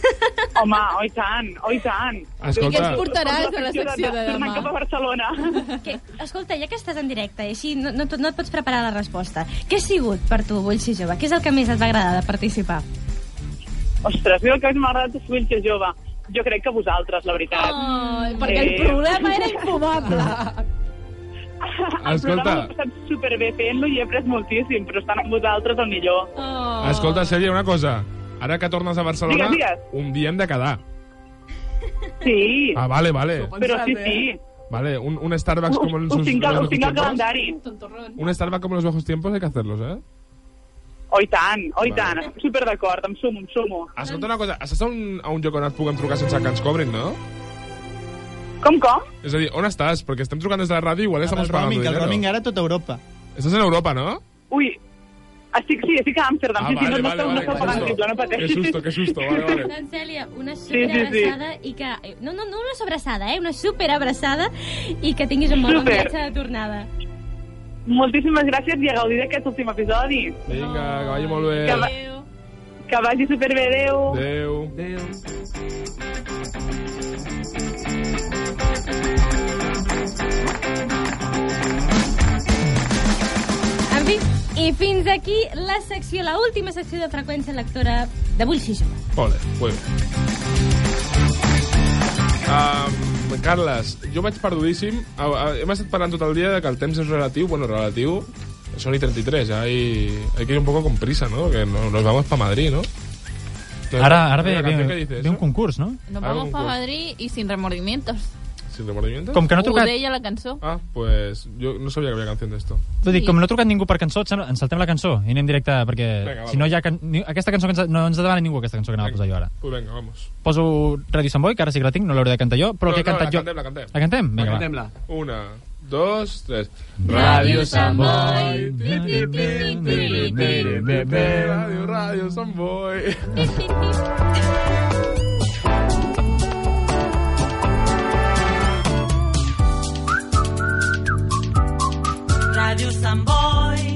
Home, oi tant, oi tant. Escolta. I què ens portaràs a la secció de demà? Tornant cap a Barcelona. Que, escolta, ja que estàs en directe i així no, no, et- no et pots preparar la resposta, què ha sigut per tu, Vull ser jove? Què és el que més et va agradar de participar? Ostres, mira el que m'ha agradat és Wills jove. Jo crec que vosaltres, la veritat. Oh. Ai, perquè el problema era infumable. El Escolta. programa l'he passat superbé fent-lo i he après moltíssim, però estan amb vosaltres el millor. Oh. Escolta, Cèlia, una cosa. Ara que tornes a Barcelona, Digues, digues. un dia hem de quedar. Sí. Ah, vale, vale. Però sí, eh? sí. Vale, un, un Starbucks como en Ho sus tinc, al- ho viejos tinc al tiempos. calendari. Un Starbucks como en los viejos tiempos hay que hacerlos, ¿eh? Oi tant, oi Vale. tant. Estic super d'acord, em sumo, em sumo. Escolta una cosa, estàs a un, a un lloc on et puguem trucar sense que ens cobrin, no? Com, com? És a dir, on estàs? Perquè estem trucant des de la ràdio, igual estamos el pagando roaming, el dinero. roaming ara a tota Europa. Estàs en Europa, no? Ui, estic, sí, estic a Amsterdam. sí, Ah, sí, vale, no, vale, no, vale, no, que no, susto. no, no Que pateixis. susto, que susto, vale, vale. Doncs, Cèlia, una sí, superabraçada sí, sí, sí. i que... eh, No, no, no una sobrassada, eh? Una superabraçada i que tinguis un molt bon Super. viatge de tornada. Moltíssimes gràcies i a gaudir d'aquest últim episodi. Vinga, que vagi molt Que, va, bé. que vagi superbé, adeu. Adéu. Adéu. En fi, i fins aquí la secció, la última secció de freqüència lectora d'avui, sí, jove. Ole, molt bé. Um, Carles, jo vaig perdudíssim. Ah, ah, Hem estat parlant tot el dia de que el temps és relatiu. Bueno, relatiu... Son y 33, ya hay, hay que ir un poco con prisa, ¿no? Que no- nos vamos para Madrid, ¿no? Entonces, Ara, ara ¿la ve, canción ve, que dices, ve un no? concurs, no? Nos Algo vamos para pues. Madrid y sin remordimientos. sin remedio mientras. Com que no ha Ho trucat... deia la cançó. Ah, pues yo no sabía que había canción de esto. Vull dir, com no ha trucat ningú per cançó, et sembla- ens saltem la cançó i anem directe, perquè Vinga, va, si no hi ha... Can... ni- Aquesta cançó que ens... no ens demana ningú, aquesta cançó que anava a posar jo ara. Pues venga, vamos. Poso Radio Sant Boi, que ara sí que la tinc, no l'hauré de cantar jo, però que No, he no, cantat la jo... cantem, la cantem. La cantem? Vinga, va. Cantem-la. Una, dos, tres. Radio Sant Boi. Radio, radio, Sant Boi. Ràdio Sant Boi.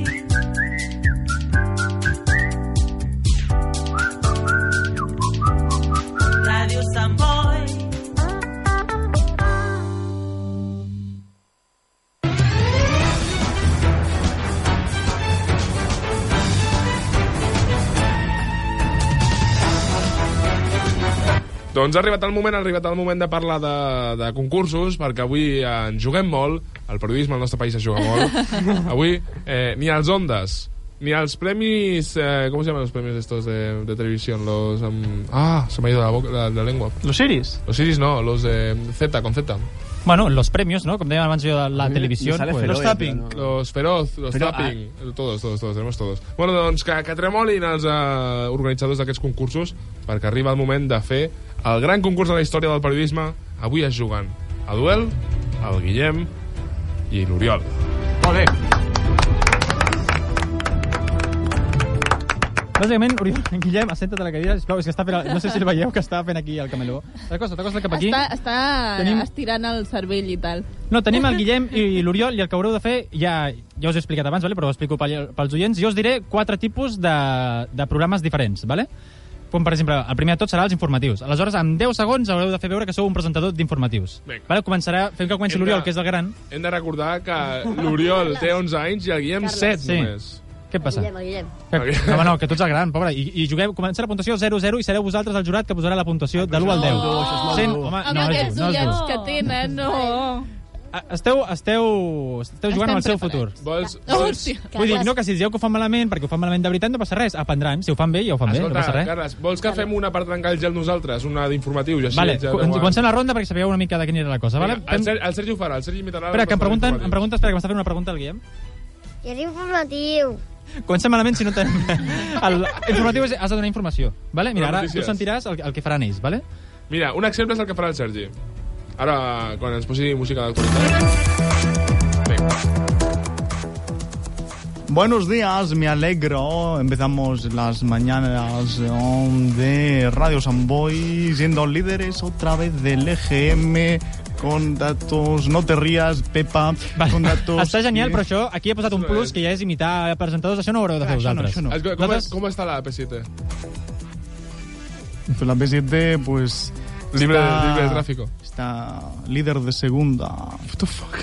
Ràdio Sant Boi. Doncs ha arribat el moment, ha arribat el moment de parlar de, de concursos, perquè avui en juguem molt, el periodisme al nostre país es juga molt. Avui eh, ni als Ondes, ni als premis... Eh, com es llaman els premis estos de, de televisió? Los, em, ah, se me ha ido la, boca, la, la lengua. Los Iris. Los Iris no, los eh, Z, con Z. Bueno, los premios, ¿no? Com dèiem abans jo de la mí me- televisió... me sale pues- Feroz, Los tapping. Los feroz, los Però, tapping, todos, todos, todos, tenemos todos. Bueno, doncs que, que tremolin els eh, organitzadors d'aquests concursos perquè arriba el moment de fer el gran concurs de la història del periodisme. Avui es juguen a duel, el Guillem i l'Oriol. Molt bé. Bàsicament, Oriol, Guillem, assenta't a la cadira, sisplau, és que està fent... el- No sé si el veieu, que està fent aquí el cameló. T'acosta, t'acosta cap aquí. Està, està Tenim- estirant el cervell i tal. No, tenim el Guillem i l'Oriol, i el que haureu de fer, ja, ja us he explicat abans, vale? però ho explico pel- pels oients. Jo us diré quatre tipus de, de programes diferents, vale? com per exemple, el primer de tot serà els informatius. Aleshores, en 10 segons haureu de fer veure que sou un presentador d'informatius. Vinga. Vale? Començarà, fem que comenci Hem de- l'Oriol, que és el gran. Hem de recordar que l'Oriol té 11 anys i el Guillem 7 Sí. només. Què et passa? Guillem, el Guillem. Que, no, no, que tu ets el gran, pobre. I, i jugueu, començarà la puntuació 0-0 i sereu vosaltres el jurat que posarà la puntuació de l'1 al 10. No, Ah, això és molt Sent- dur. home, Amb no, és aquests dur, no és ullets dur. que tenen, no. A- Esteu, esteu, esteu jugant Estem amb el seu futur. preparats. Vols... Hòstia. Vull dir, no, que si dieu que ho fan malament, perquè ho fan malament de veritat, no passa res. Aprendran. Si ho fan bé, ja ho fan bé, no Escolta, passa res. Carles, vols que fem una per trencar el gel nosaltres? Una d'informatiu? i així Vale, ja co- no- comencem la ronda perquè sabeu una mica de quina era la cosa, vale? Vinga, El, Ser, el Sergi ho farà, el Sergi imitarà... Espera, la que em persona pregunten, d'informatiu. em pregunta, espera, que m'està fent una pregunta el Guillem. I és informatiu. Comencem malament si no tenim... El informatiu és, has de donar informació, vale? Mira, Donar ara tu notícies. sentiràs el, el que faran ells, vale? Mira, un exemple és el que farà el Sergi. Ara, quan ens posi música d'actualitat. Buenos días, me alegro. Empezamos las mañanas oh, de Radio San Boy, siendo líderes otra vez del EGM con datos, no te rías, Pepa, con datos... Està genial, que- però això, aquí he posat un plus, que ja és imitar presentadors, això no ho haureu Ah, de fer Clar, això no, vosaltres. això no. Es- Com, Nosaltres- com està la P7? Pues la P7, pues... Libre- está- libre de tráfico. Está líder de segunda. What the fuck?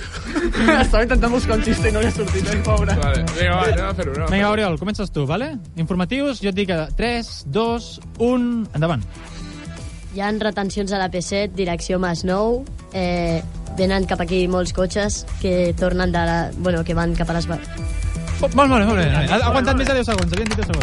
Estava intentant buscar un xiste i no li ha sortit, eh, pobre. Vale, vinga, va, anem a fer-ho. anem Vinga, a fer-ho. Oriol, comences tu, vale? Informatius, jo et dic 3, 2, 1... Endavant. Hi han retencions a la P7, direcció Mas Nou, eh, venen cap aquí molts cotxes que tornen de la... Bueno, que van cap a les... ba- Oh, molt, molt bé, molt bé. Ha aguantat més de 10 segons, havien dit 10 segons.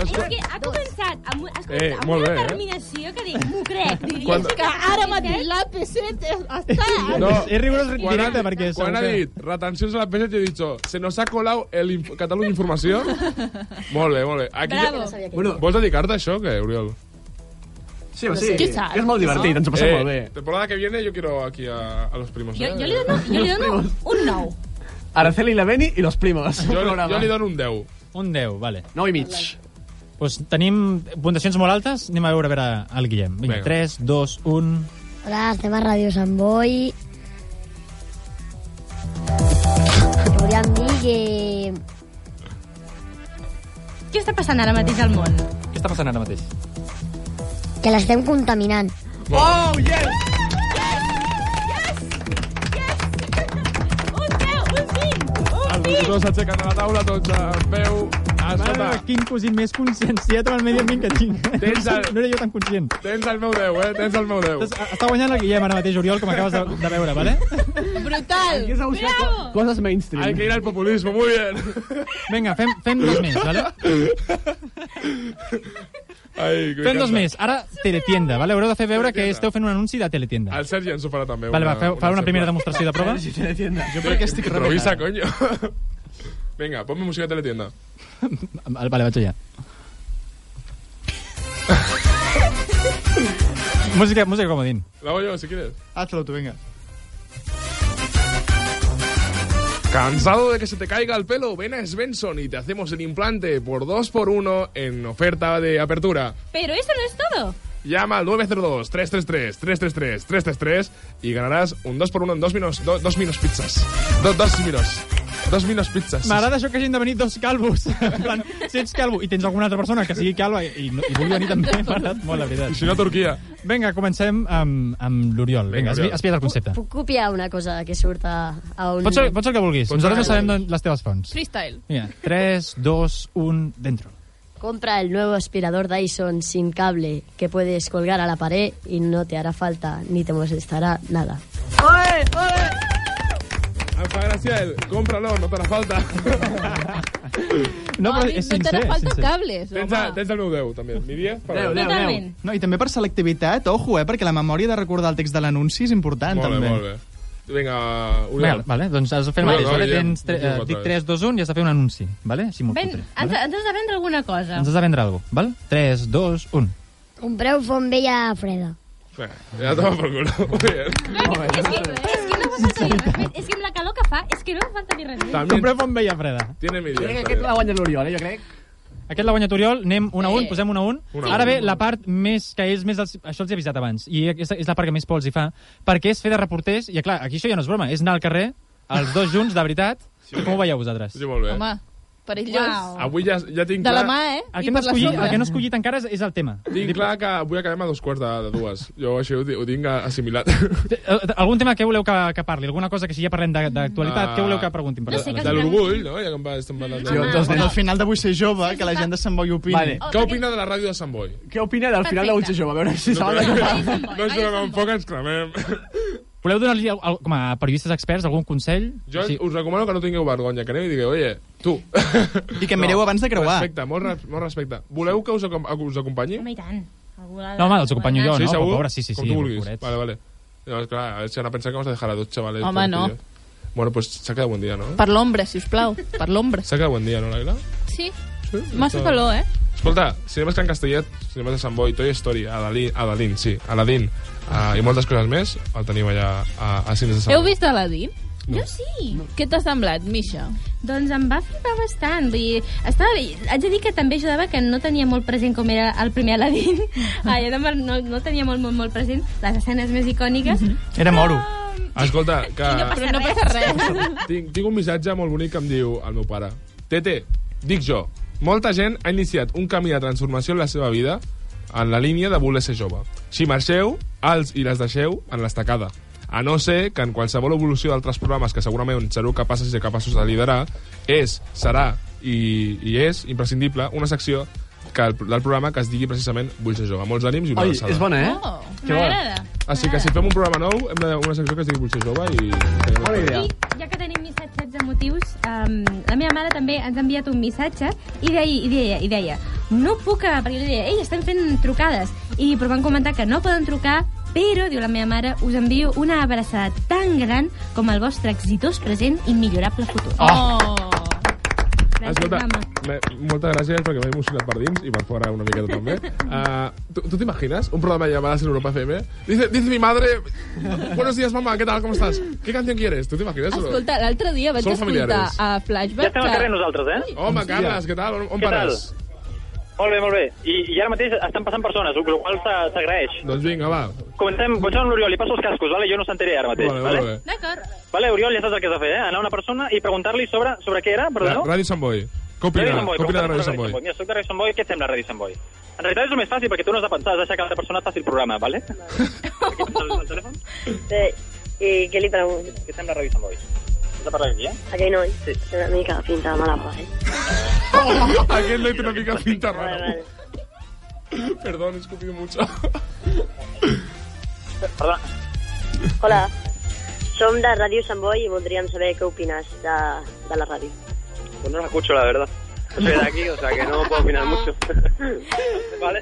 És que ha començat amb, has començat Doncs Eh, amb molt bé, una eh? determinació que dic, m'ho crec. Diria Quan- que ara mateix la PC està... No, és rigorós quan directe, ha, perquè Quan segur ha que- dit retencions a la P7, jo he dit, se nos ha colado el inf Catalunya Informació. molt bé, molt bé. Bravo. Bueno, vols dedicar-te a això, o què, Oriol? Sí, o sí, que és molt divertit, ens ho passem eh, molt bé. Temporada que viene yo quiero aquí a, a los primos. Jo, eh? jo li dono, jo li dono un 9. Araceli la Beni i los primos. Jo- jo li dono un 10. Un 10, vale. 9 i mig. Pues tenim puntuacions molt altes, anem a veure a veure el Guillem. Vinga, Vinga. 3, 2, 1... Hola, estem a Ràdio Sant Boi. Podríem dir que... Què està passant ara mateix al món? Què està passant ara mateix? que l'estem contaminant. Oh, yes! Els locutors s'aixequen de la taula, tots en peu. Escolta, Mare, quin cosí més conscienciat amb el medi ambient que tinc. Tens No, el- no era jo tan conscient. tens el meu 10, eh? Tens el meu 10. Estàs- Està guanyant el Guillem ara mateix, Oriol, com acabes de, de veure, vale? Brutal. Bravo. Coses mainstream. Hay que ir al populismo, muy bien. Vinga, fem, fem dos més, vale? Ai, que Fem dos més. m'encanta. Ara, teletienda, vale? Haureu de fer veure que esteu fent un anunci de teletienda. El Sergi ens ho farà també. Vale, va, feu- farà una primera sembla. demostració de prova. Sergi, teletienda. Jo crec que estic Improvisa, coño. Vinga, ponme música de teletienda. Ah, Vale, vale, vaig allà. música, música comodín. La hago yo, si quieres. Hazlo tú, venga. ¿Cansado de que se te caiga el pelo? Ven a Svensson y te hacemos el implante por 2x1 en oferta de apertura. Pero eso no es todo. Llama al 902-333-333-333 y ganarás un 2x1 en dos minos, do- dos minos pizzas. Do- dos minos. Dos minos pizzas. M'agrada això que hagin de venir dos calvos. En plan, si ets calvo i tens alguna altra persona que sigui calva i, i, no- i vulgui venir també, m'ha agradat molt, la veritat. I si no, Turquia. Vinga, comencem amb, amb l'Oriol. Vinga, Oriol. has, has pillat el concepte. Puc copiar una cosa que surt a, a un... Pots ser, pots ser el que vulguis. Pots Nosaltres no ser el que sabem d'on- les teves fonts. Freestyle. Mira, 3, 2, 1, dentro. Compra el nuevo aspirador Dyson sin cable que puedes colgar a la pared y no te hará falta ni te molestará nada. ¡Oye, oye! Alfa Graciel, cómpralo, no te hará falta. No, però és no sincer, t'harà falta sincer. cables, Tens, home. tens el meu 10, també. Mi 10 per Deu, deu, deu. Totalment. No, i també per selectivitat, ojo, eh, perquè la memòria de recordar el text de l'anunci és important, Molt bé, també. molt bé. Vinga, Vale, Oriol. vale, doncs has de fer el Oriol, mateix, vale? Oriol, Tens, tre, Oriol, eh, dic otra 3, 2, 1 i has de fer un anunci, vale? Així molt Ven, cutre. ens, ens has de vendre alguna cosa. Ens has de vendre alguna cosa, val? 3, 2, 1. Compreu bombella freda. Vinga, Ja toma por culo. Muy bien. És que, és que no m'ha sentit. És que amb la calor que fa, és que no em falta ni res. més. També- Comprem bon vella freda. Tiene mi 10. Crec que també. aquest la guanya l'Oriol, eh, jo crec. Eh. Aquest l'ha guanyat Oriol, anem un a un, posem un a un. Un a Ara un. ve la part més que és més... Els, això els he avisat abans, i és, és la part que més por els hi fa, perquè és fer de reporters, i clar, aquí això ja no és broma, és anar al carrer, els dos junts, de veritat, sí, com ho veieu vosaltres? Sí, molt bé. Home, perillós. Avui ja, ja tinc De clar... la mà, eh? El I que, hem per la d'escollir- sombra. el que no has escollit encara és, és el tema. Tinc clar que avui acabem ah, a dos quarts de, de dues. Jo així ho, ti- ho tinc assimilat. Eh, Algun tema que voleu que, que parli? Alguna cosa que si ja parlem de- d'actualitat, què voleu que preguntin? Per Ah. de de l'orgull, no? Ja que em va, estem parlant de... Jo, doncs, doncs, al final de Vull ser jove, que la gent de Sant Boi opini. Vale. Què opina de la ràdio de Sant Boi? Què opina del final de Vull ser jove? A veure si No, saben de però- què no ens donem un foc, ens cremem. Voleu donar-li, al- al- com a periodistes experts, algun consell? Jo us recomano que no tingueu vergonya, que aneu i digueu, oye, tu. I que mireu abans de creuar. Respecte, molt, res- molt respecte. Voleu que us, acom us acompanyi? Home, i tant. Algú l'ha de- No, home, els acompanyo jo, sí, no? Segur? Però, pobre, sí, sí, Com sí, tu vulguis. pobrets. Vale, vale. No, clar, a ver si van a pensar que vamos a dejar a dos chavales. Home, todos no. tíos. Bueno, pues se ha quedado buen día, ¿no? Per l'ombra, si us plau. Per l'ombra. Se ha quedado buen día, ¿no, Laila? Sí. Massa calor, eh? Escolta, cinemes Can Castellet, cinemes de Sant Boi, Toy Story, Adalí, Adalín, sí, Aladín, uh, i moltes coses més, el tenim allà a, a Cines de Sant Heu Boi. vist Aladdin? No. Jo sí. Què t'ha semblat, Misha? Doncs em va flipar bastant. Vull dir, estava bé. Haig de dir que també ajudava que no tenia molt present com era el primer Aladdin. Ai, no, no, no tenia molt, molt, molt present les escenes més icòniques. Mm -hmm. Era moro. Ah, Escolta, que Però no passa res. tinc, tinc un missatge molt bonic que em diu el meu pare. Tete, dic jo, molta gent ha iniciat un camí de transformació en la seva vida en la línia de voler ser jove. Si marxeu, els i les deixeu en l'estacada. A no ser que en qualsevol evolució d'altres programes que segurament sereu capaces i capaços de liderar, és, serà i, i és imprescindible una secció que el, del programa que es digui precisament Vull ser jove. Molts ànims i una Ai, abraçada. és bona, eh? Oh, Que bona. M'agrada. Així Ah, que si fem un programa nou, hem de una secció que es digui Vull ser jove i... Bona I ja que tenim missatges emotius, um, la meva mare també ens ha enviat un missatge i deia, i deia, i deia no puc, a-", perquè jo li deia, ei, estem fent trucades, i però van comentar que no poden trucar, però, diu la meva mare, us envio una abraçada tan gran com el vostre exitós present i millorable futur. Ah. Oh. Gràcies, Escolta, mama. me, moltes gràcies perquè m'he emocionat per dins i per fora una miqueta també. Uh, tu tu t'imagines un programa de llamadas en Europa FM? Dice, dice mi madre, buenos días mamá, ¿qué tal, cómo estás? ¿Qué canción quieres? Tu t'imagines? o no? Escolta, l'altre dia vaig Som escoltar familiares. a Flashback... Ja estem al carrer nosaltres, eh? Home, Carles, què tal? On, on Què pares? Molt bé, molt bé. I, i ara mateix estan passant persones, el qual s'ha- s'agraeix. Doncs vinga, va. Comencem, comencem amb l'Oriol, li passo els cascos, vale? jo no sentiré ara mateix. Vale, vale, vale, vale. D'acord. Vale, Oriol, ja saps el que has de fer, eh? Anar a una persona i preguntar-li sobre, sobre què era, perdó? Ràdio Sant Boi. Què opina? Què opina de Ràdio Sant Boi? Mira, soc de Ràdio Sant Boi, què et sembla Ràdio Sant Boi? En realitat és el més fàcil, perquè tu no has de pensar, has de deixar que l'altra persona faci el programa, vale? Sí, i què li pregunto? Què et sembla Ràdio Sant Boi? Has de parlar aquí, eh? Aquell noi sí. té una mica pinta de mala part, eh? Aquest noi té una mica pinta rara. Perdón, he escupido mucho. Perdona. Hola, som de Ràdio Sant Boi i voldríem saber què opines de, de la ràdio. Pues no la escucho, la verdad. Soy de aquí, o sea que no puedo opinar mucho. vale.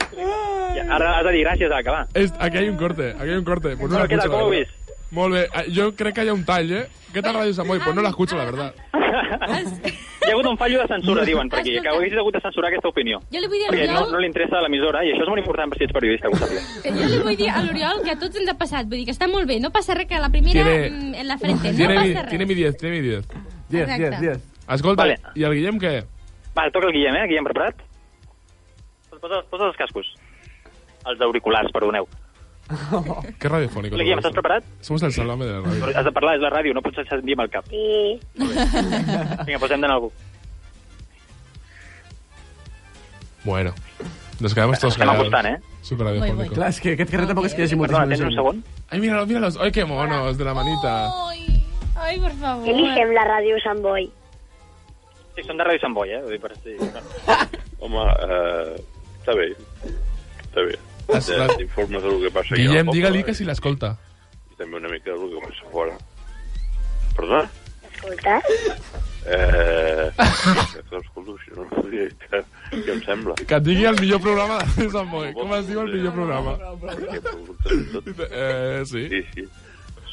I ara has de dir gràcies a acabar. És, aquí hay un corte, aquí hay un corte. Pues no Però la què tal, escucho, la com ho verdad. ves? Molt bé, Ah, jo crec que hi ha un tall, eh? Què tal, Ràdio Samoy? Pues no la Ah, escucho, la verdad. Hi ha hagut un fallo de censura, diuen per aquí, que hauries hagut de censurar aquesta opinió. Jo li vull dir a Perquè no, l'Oriol no li interessa a l'emissora, i això és molt important per si ets periodista, que ho sàpiga. que jo li vull dir a l'Oriol que a tots ens ha passat, vull dir que està molt bé, no passa res que la primera Tiene- mm, en la frente, no tiene, mi, passa res. tiene mi 10, tiene mi 10. 10, Exacte. 10, 10. Escolta, Vale. i el Guillem què? Vale, toca el Guillem, eh? Guillem, preparat? Posa, posa els cascos. Els auriculars, perdoneu. Que radiofònic. Hola, Guillem, estàs preparat? Somos el salame de la Però ràdio. Has de parlar, és la ràdio, no pots sentir amb el cap. Sí. Vinga, posem d'anar algú. Bueno, nos quedamos todos Estem callados. apostant, eh? Super radiofònico. Clar, és que aquest carrer tampoc és que hi hagi moltíssima Perdona, tens un segon? Ai, míralos, míralos. Ai, qué monos, de la Oh. manita. Ai, per favor. Què li sembla Ràdio Sant Boi? Sí, som de Ràdio Sant Boi, eh? Vull dir, per si... Home, eh, està bé. Està bé. Es- la- T'informes del que passa aquí al Guillem, poble, digue-li que si l'escolta. I també una mica del que passa fora. Perdona? Escolta. Eh... Escolta, si no, què, què em sembla? Que et digui el millor programa de Ràdio Sant Boi. Com es diu el millor programa? Eh, sí. Sí, sí.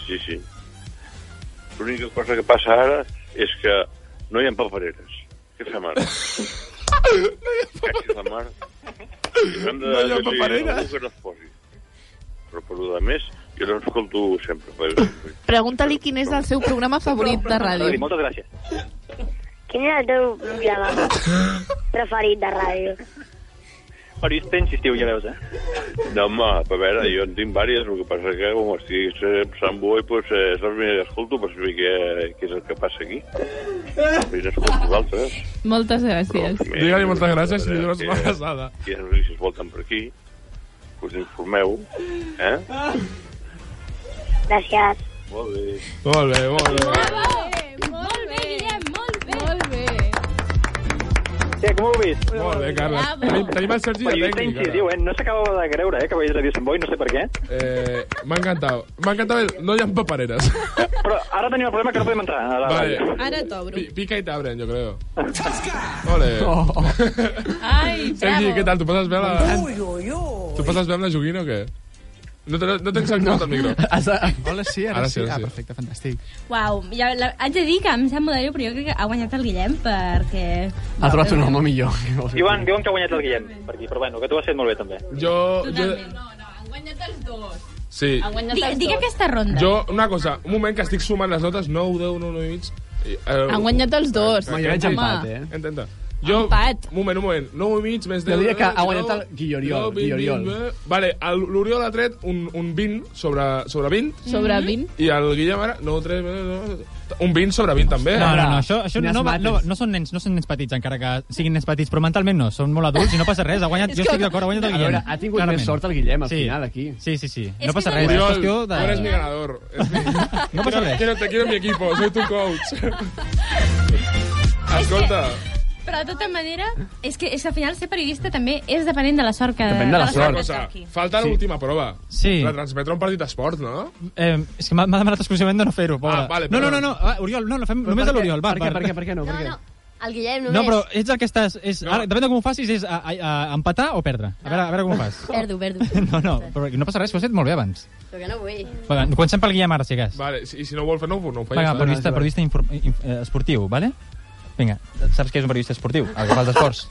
Sí, sí. L'única cosa que passa ara és que no hi ha papereres. Què fem ara? Què fem ara? Hem de No hi ha decidir papereres. algú que no es posi. Però per lo de més, jo no escolto sempre. Però... Pregunta-li quin és el seu programa favorit de ràdio. Moltes gràcies. Quin és el teu programa preferit de ràdio? Periodista insistiu, ja veus, eh? No, home, a veure, jo en tinc diverses, el que passa que com estic Sant Boi, doncs, eh, és el primer que escolto per saber què, què és el que passa aquí. Primer escolto els altres. Moltes gràcies. Digue-li moltes gràcies i li dones una Eh, abraçada. I els notícies volten per aquí, que us informeu, eh? Gràcies. Molt bé. Molt bé, molt bé. Molt bé, Guillem, molt bé. Molt bé. Què, com ho heu vist? Molt bé, Carles. Ah, Ah, Tenim, tenim el Sergi de Periodista tècnic. incisiu, eh? No s'acabava de creure, eh, que veies Ràdio Sant Boi, no sé per què. ara. Eh, M'ha encantat. M'ha encantat el... No hi ha papereres. Però ara tenim el problema que no podem entrar. A la Vale. ràdio. Ara t'obro. Pi- Pica y te abren, yo creo. Ole. Ai, Sergi, què tal? Tu passes bé a la... Ui, ui, ui. Tu passes bé amb la joguina o què? No, te, no tens el no. al micro. Hola, sí, ara, Ara sí, sí. ara Ah, sí. perfecte, fantàstic. Uau, ja, la, haig de dir que em sap molt de greu, però jo crec que ha guanyat el Guillem perquè... Ha trobat un home millor. Diuen, diuen que ha guanyat el Guillem, per aquí, però bueno, que tu ho has fet molt bé, també. Jo... jo... Han guanyat els dos. Sí. Han guanyat Digue, digue aquesta ronda. Jo, una cosa, un moment que estic sumant les notes, 9, 10, 9, 9 i mig... I, eh, Han guanyat els dos. que- Home. eh? Intenta. Jo, empat. Un moment, un moment. 9 i mig més 10... Jo diria que ha guanyat el Guilloriol, Guilloriol. Vale, el- l'Oriol ha tret un, un 20 sobre, sobre 20. Sobre 20. I el Guillem ara... No, 3, no, no, un 20 sobre 20 també. eh? No, no, no, això, això no, va- no, no, són nens, no són nens petits, encara que siguin nens petits, però mentalment no, són molt adults i no passa res. Ha guanyat, És jo que- estic d'acord, ha guanyat el A Guillem. veure, ha tingut més sort el Guillem, al final, aquí. Sí, sí, sí. És No passa que res, és Oriol, qüestió de... tu eres mi ganador. Es mi... No passa res. Quiero, te quiero en mi equipo, soy tu coach. Escolta, Però de tota manera, és que, és que al final ser periodista també és depenent de la sort Eh, que... Una cosa, falta Sí. l'última prova. Sí. La transmetrà un partit d'esport, no? Eh, és que m'ha m'ha demanat exclusivament de no fer-ho, pobre. Ah, vale, no, no, perdó. no, no, va, Oriol, no, no fem només per de què- l'Oriol. va, per què- per què- per què no, per què? No, El Guillem No, però ets el que estàs... És, ara, depèn de com ho facis, és a, a, a empatar o perdre. A veure, a veure com ho Ah. fas. Perdo, perdo. No, no, però no passa res, ho has fet molt bé abans. Però que no vull. Va, comencem pel Guillem ara, si cas. Vale, si, i si no ho vol fer, no, ho- no ho faig. Vinga, periodista, periodista infor- in- eh, esportiu, vale? Vinga, saps que és un periodista esportiu, el que fa els esports.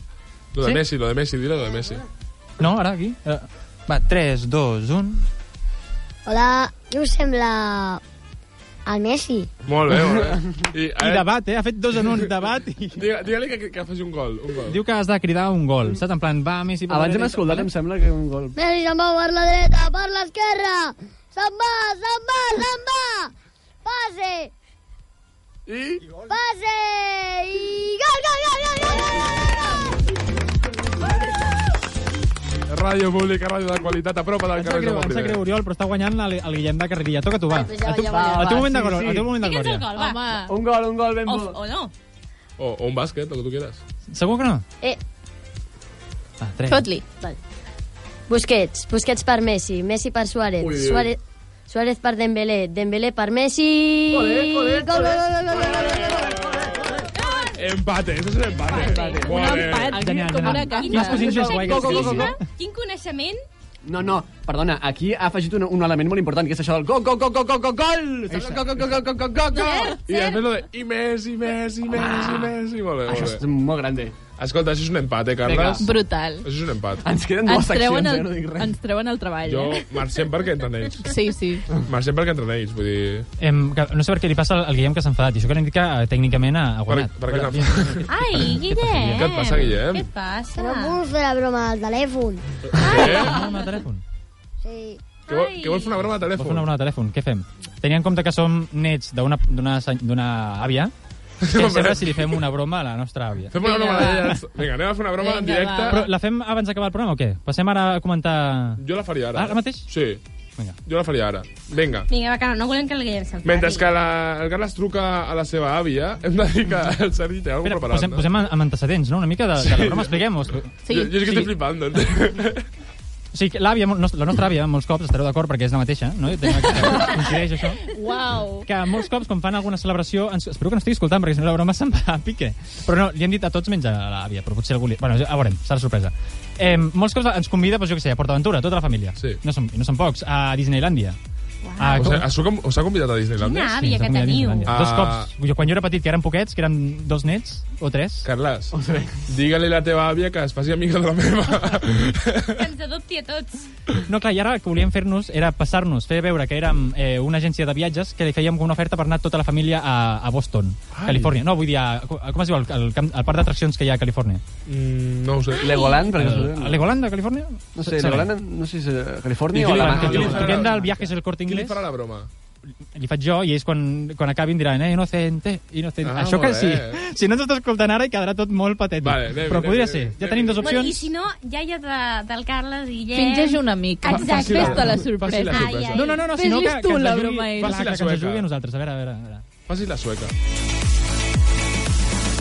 Lo de Sí? Messi, lo de Messi, dile lo de Messi. Eh, No, ara aquí. Eh, Va, 3, 2, 1... Hola, què us sembla el Messi? Molt bé, molt bé. I, I debat, eh? Ha fet dos en un, debat i... Digue- Digue-li que, que, que faci un gol, un gol. Diu que has de cridar un gol, saps? En plan, va, Messi... Abans hem escoltat, em sembla que un gol... Messi se'n va per la dreta, per l'esquerra! Se'n va, se'n va, se'n va! Passe! I? Passe! I gol, gol, gol, gol, gol! Ràdio pública, ràdio de qualitat, a prop del Em sap carrer greu, Ramon em sap greu, Primer. Oriol, però està guanyant el, el Guillem de Carrerilla. Toca tu, va. Ai, pues ja, A tu, ja guanyarà, el va, sí, sí. teu moment de glòria. El teu moment de glòria. Home. Un gol, un gol ben O, bo. o no. O, o un bàsquet, el que tu quieras. Segur que no? Eh. Va, Fot-li. Vale. Busquets, Busquets per Messi, Messi per Suárez, Ui, ui. Suárez, Suárez per Dembélé, Dembélé per Messi... Ole, ole, Gol, gol, ole. gol, gol, gol, gol. Empate, això és un empate. Empate. Molt Un bé. empat, Genial, eh? com genial. una casa. Quins cosins més guai que Quin has dit. civisme, Quin coneixement No, no, perdona, aquí ha afegit un, un element molt important, que és això del go, go, go, go, go, go, gol! Go, go, go, go, go, go, go, go! I després lo de... I més, i més, i més, i més... I molt bé, molt Això bé. és molt grande. Escolta, això és un empat, eh, Carles? Vinga. Brutal. Això és un empat. Ens queden Ens treuen, eh, eh, el, ens treuen el treball, Jo eh? marxem perquè entre ells. Sí, sí. Marxem perquè entre ells, vull dir... Em, que, no sé per què li passa al al Guillem que s'ha enfadat. I això que anem a dir que eh, tècnicament ha, ha guanyat. per què s'ha Ai, Guillem. Què et passa, Guillem? Què et passa? No puc fer la broma al telèfon. Sí. Que, vol, que vol fer una broma Vol de telèfon? fer una broma de telèfon, què fem? Tenint en compte que som nets d'una d'una seny- d'una àvia, què et sembla si li fem una broma a la nostra àvia? Fem una broma d'elles. Vinga, anem a fer una broma en directe. Però la fem abans d'acabar el programa o què? Passem ara a comentar... Jo la faria ara. Ah, eh. Ara mateix? Sí. Vinga. Jo la faria ara. Vinga. Vinga, va, que no, no volem que el Guillem se'n Mentre que la, el Carles truca a la seva àvia, hem de dir que el Sergi té alguna cosa preparat. Posem, posem en- amb antecedents, no? Una mica de, de la broma, expliquem-ho. Sí. Jo, jo és que estic flipant. Doncs. O sigui, que l'àvia, mol- la nostra àvia, molts cops, estareu d'acord perquè és la mateixa, no? Tenim aquí- Coincideix això. Uau. que molts cops quan fan alguna celebració ens... espero que no estigui escoltant perquè si no la broma se'n va a pique però no, li hem dit a tots menys a l'àvia però potser algú li... bueno, ja- a veurem, serà sorpresa eh, molts cops ens convida, doncs jo què sé, a PortAventura tota la família, sí. no, som, no som pocs a Disneylandia Ah, Us, com- ha- us, ha- us ha convidat a Disneyland? Quina àvia que teniu. Ah. Dos cops. Jo, quan jo era petit, que eren poquets, que eren dos nets o tres. Carles, digue-li a la teva àvia que es faci amiga de la meva. Que ens adopti a tots. No, clar, i ara el que volíem fer-nos era passar-nos, fer veure que érem eh, una agència de viatges que li fèiem com una oferta per anar tota la família a, a Boston, Ai. Califòrnia. No, vull dir, a, a, com es diu el, el, camp, el parc d'atraccions que hi ha a Califòrnia? Mm, no ho sé. Legoland, perquè El- és- el Eh, Legoland de Califòrnia? No sé, Saps? Legoland, no sé si és eh, I Califòrnia qui o li la farà- qui li farà- Truquem del viatge és el corte Qui inglés? li farà la broma? Li faig jo i ells quan, quan acabin diran eh, inocente, inocente. Ah, Això que molt sí. bé. Si no ens estàs escoltant ara hi quedarà tot molt patètic. Vale, anem, Però anem, podria anem, ser. anem. Ja tenim dues Bueno, I opcions. si no, iaia de, del Carles i Guillem... Fingeix una mica. Exacte. Fes-te la sorpresa. Faci la sorpresa. Ai, ai. No, no, no, no, Fes-li sinó que- tu que ens la ajudi- broma a ell. Faci Clar, la que ens ajudi a sueca. nosaltres. A veure, a veure, a veure. Faci la sueca.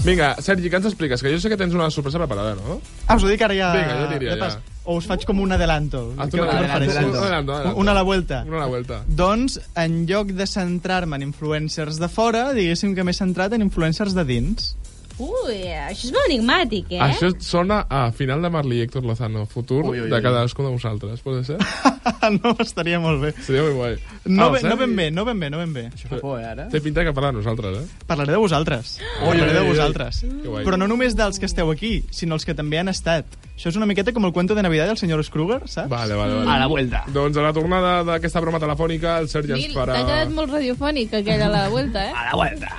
Vinga, Sergi, què ens expliques? Que jo sé que tens una sorpresa preparada, no? Ah, us ho dic ara ja... Vinga, jo diria ja. pas. O us faig com un adelanto. Ah, tu Què un adelanto, prefereixes? adelanto, adelanto, adelanto. Una a la vuelta. Una a la vuelta. Doncs, en lloc de centrar-me en influencers de fora, diguéssim que m'he centrat en influencers de dins. Ui, això és molt enigmàtic, eh? Això sona a final de Marley i Héctor Lozano, futur Ui, ui, de ui. cadascú de vosaltres, pot ser? no, estaria molt bé. Seria molt guai. No, Ah, ben, Sergi? no ben bé, no ben bé, no ben bé. Això fa por, eh, ara? Té pinta que parla de nosaltres, eh? Parlaré de vosaltres. Ui, ui, Parlaré de ui, ui. vosaltres. Que guai. Però no només dels que esteu aquí, sinó els que també han estat. Això és una miqueta com el cuento de Navidad del senyor Scruger, saps? Vale, vale, vale. A la vuelta. Doncs a la tornada d'aquesta broma telefònica, el Sergi ens Mil, farà... T'ha quedat molt radiofònic aquella a la vuelta, eh? la vuelta.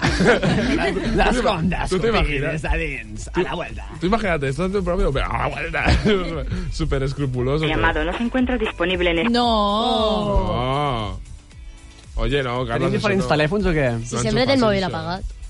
Las ondas ¿Tú te imaginas? cupidas adins, a la vuelta. Tú imagínate, estás en tu propio... A la vuelta. Súper escrupuloso. pero- Llamado, no se encuentra disponible en... No! Oh. No. Ah. Oye, no, Carles... Tenim això diferents no. telèfons o què? Si No ens ho siempre té el passis, mòbil això. apagat.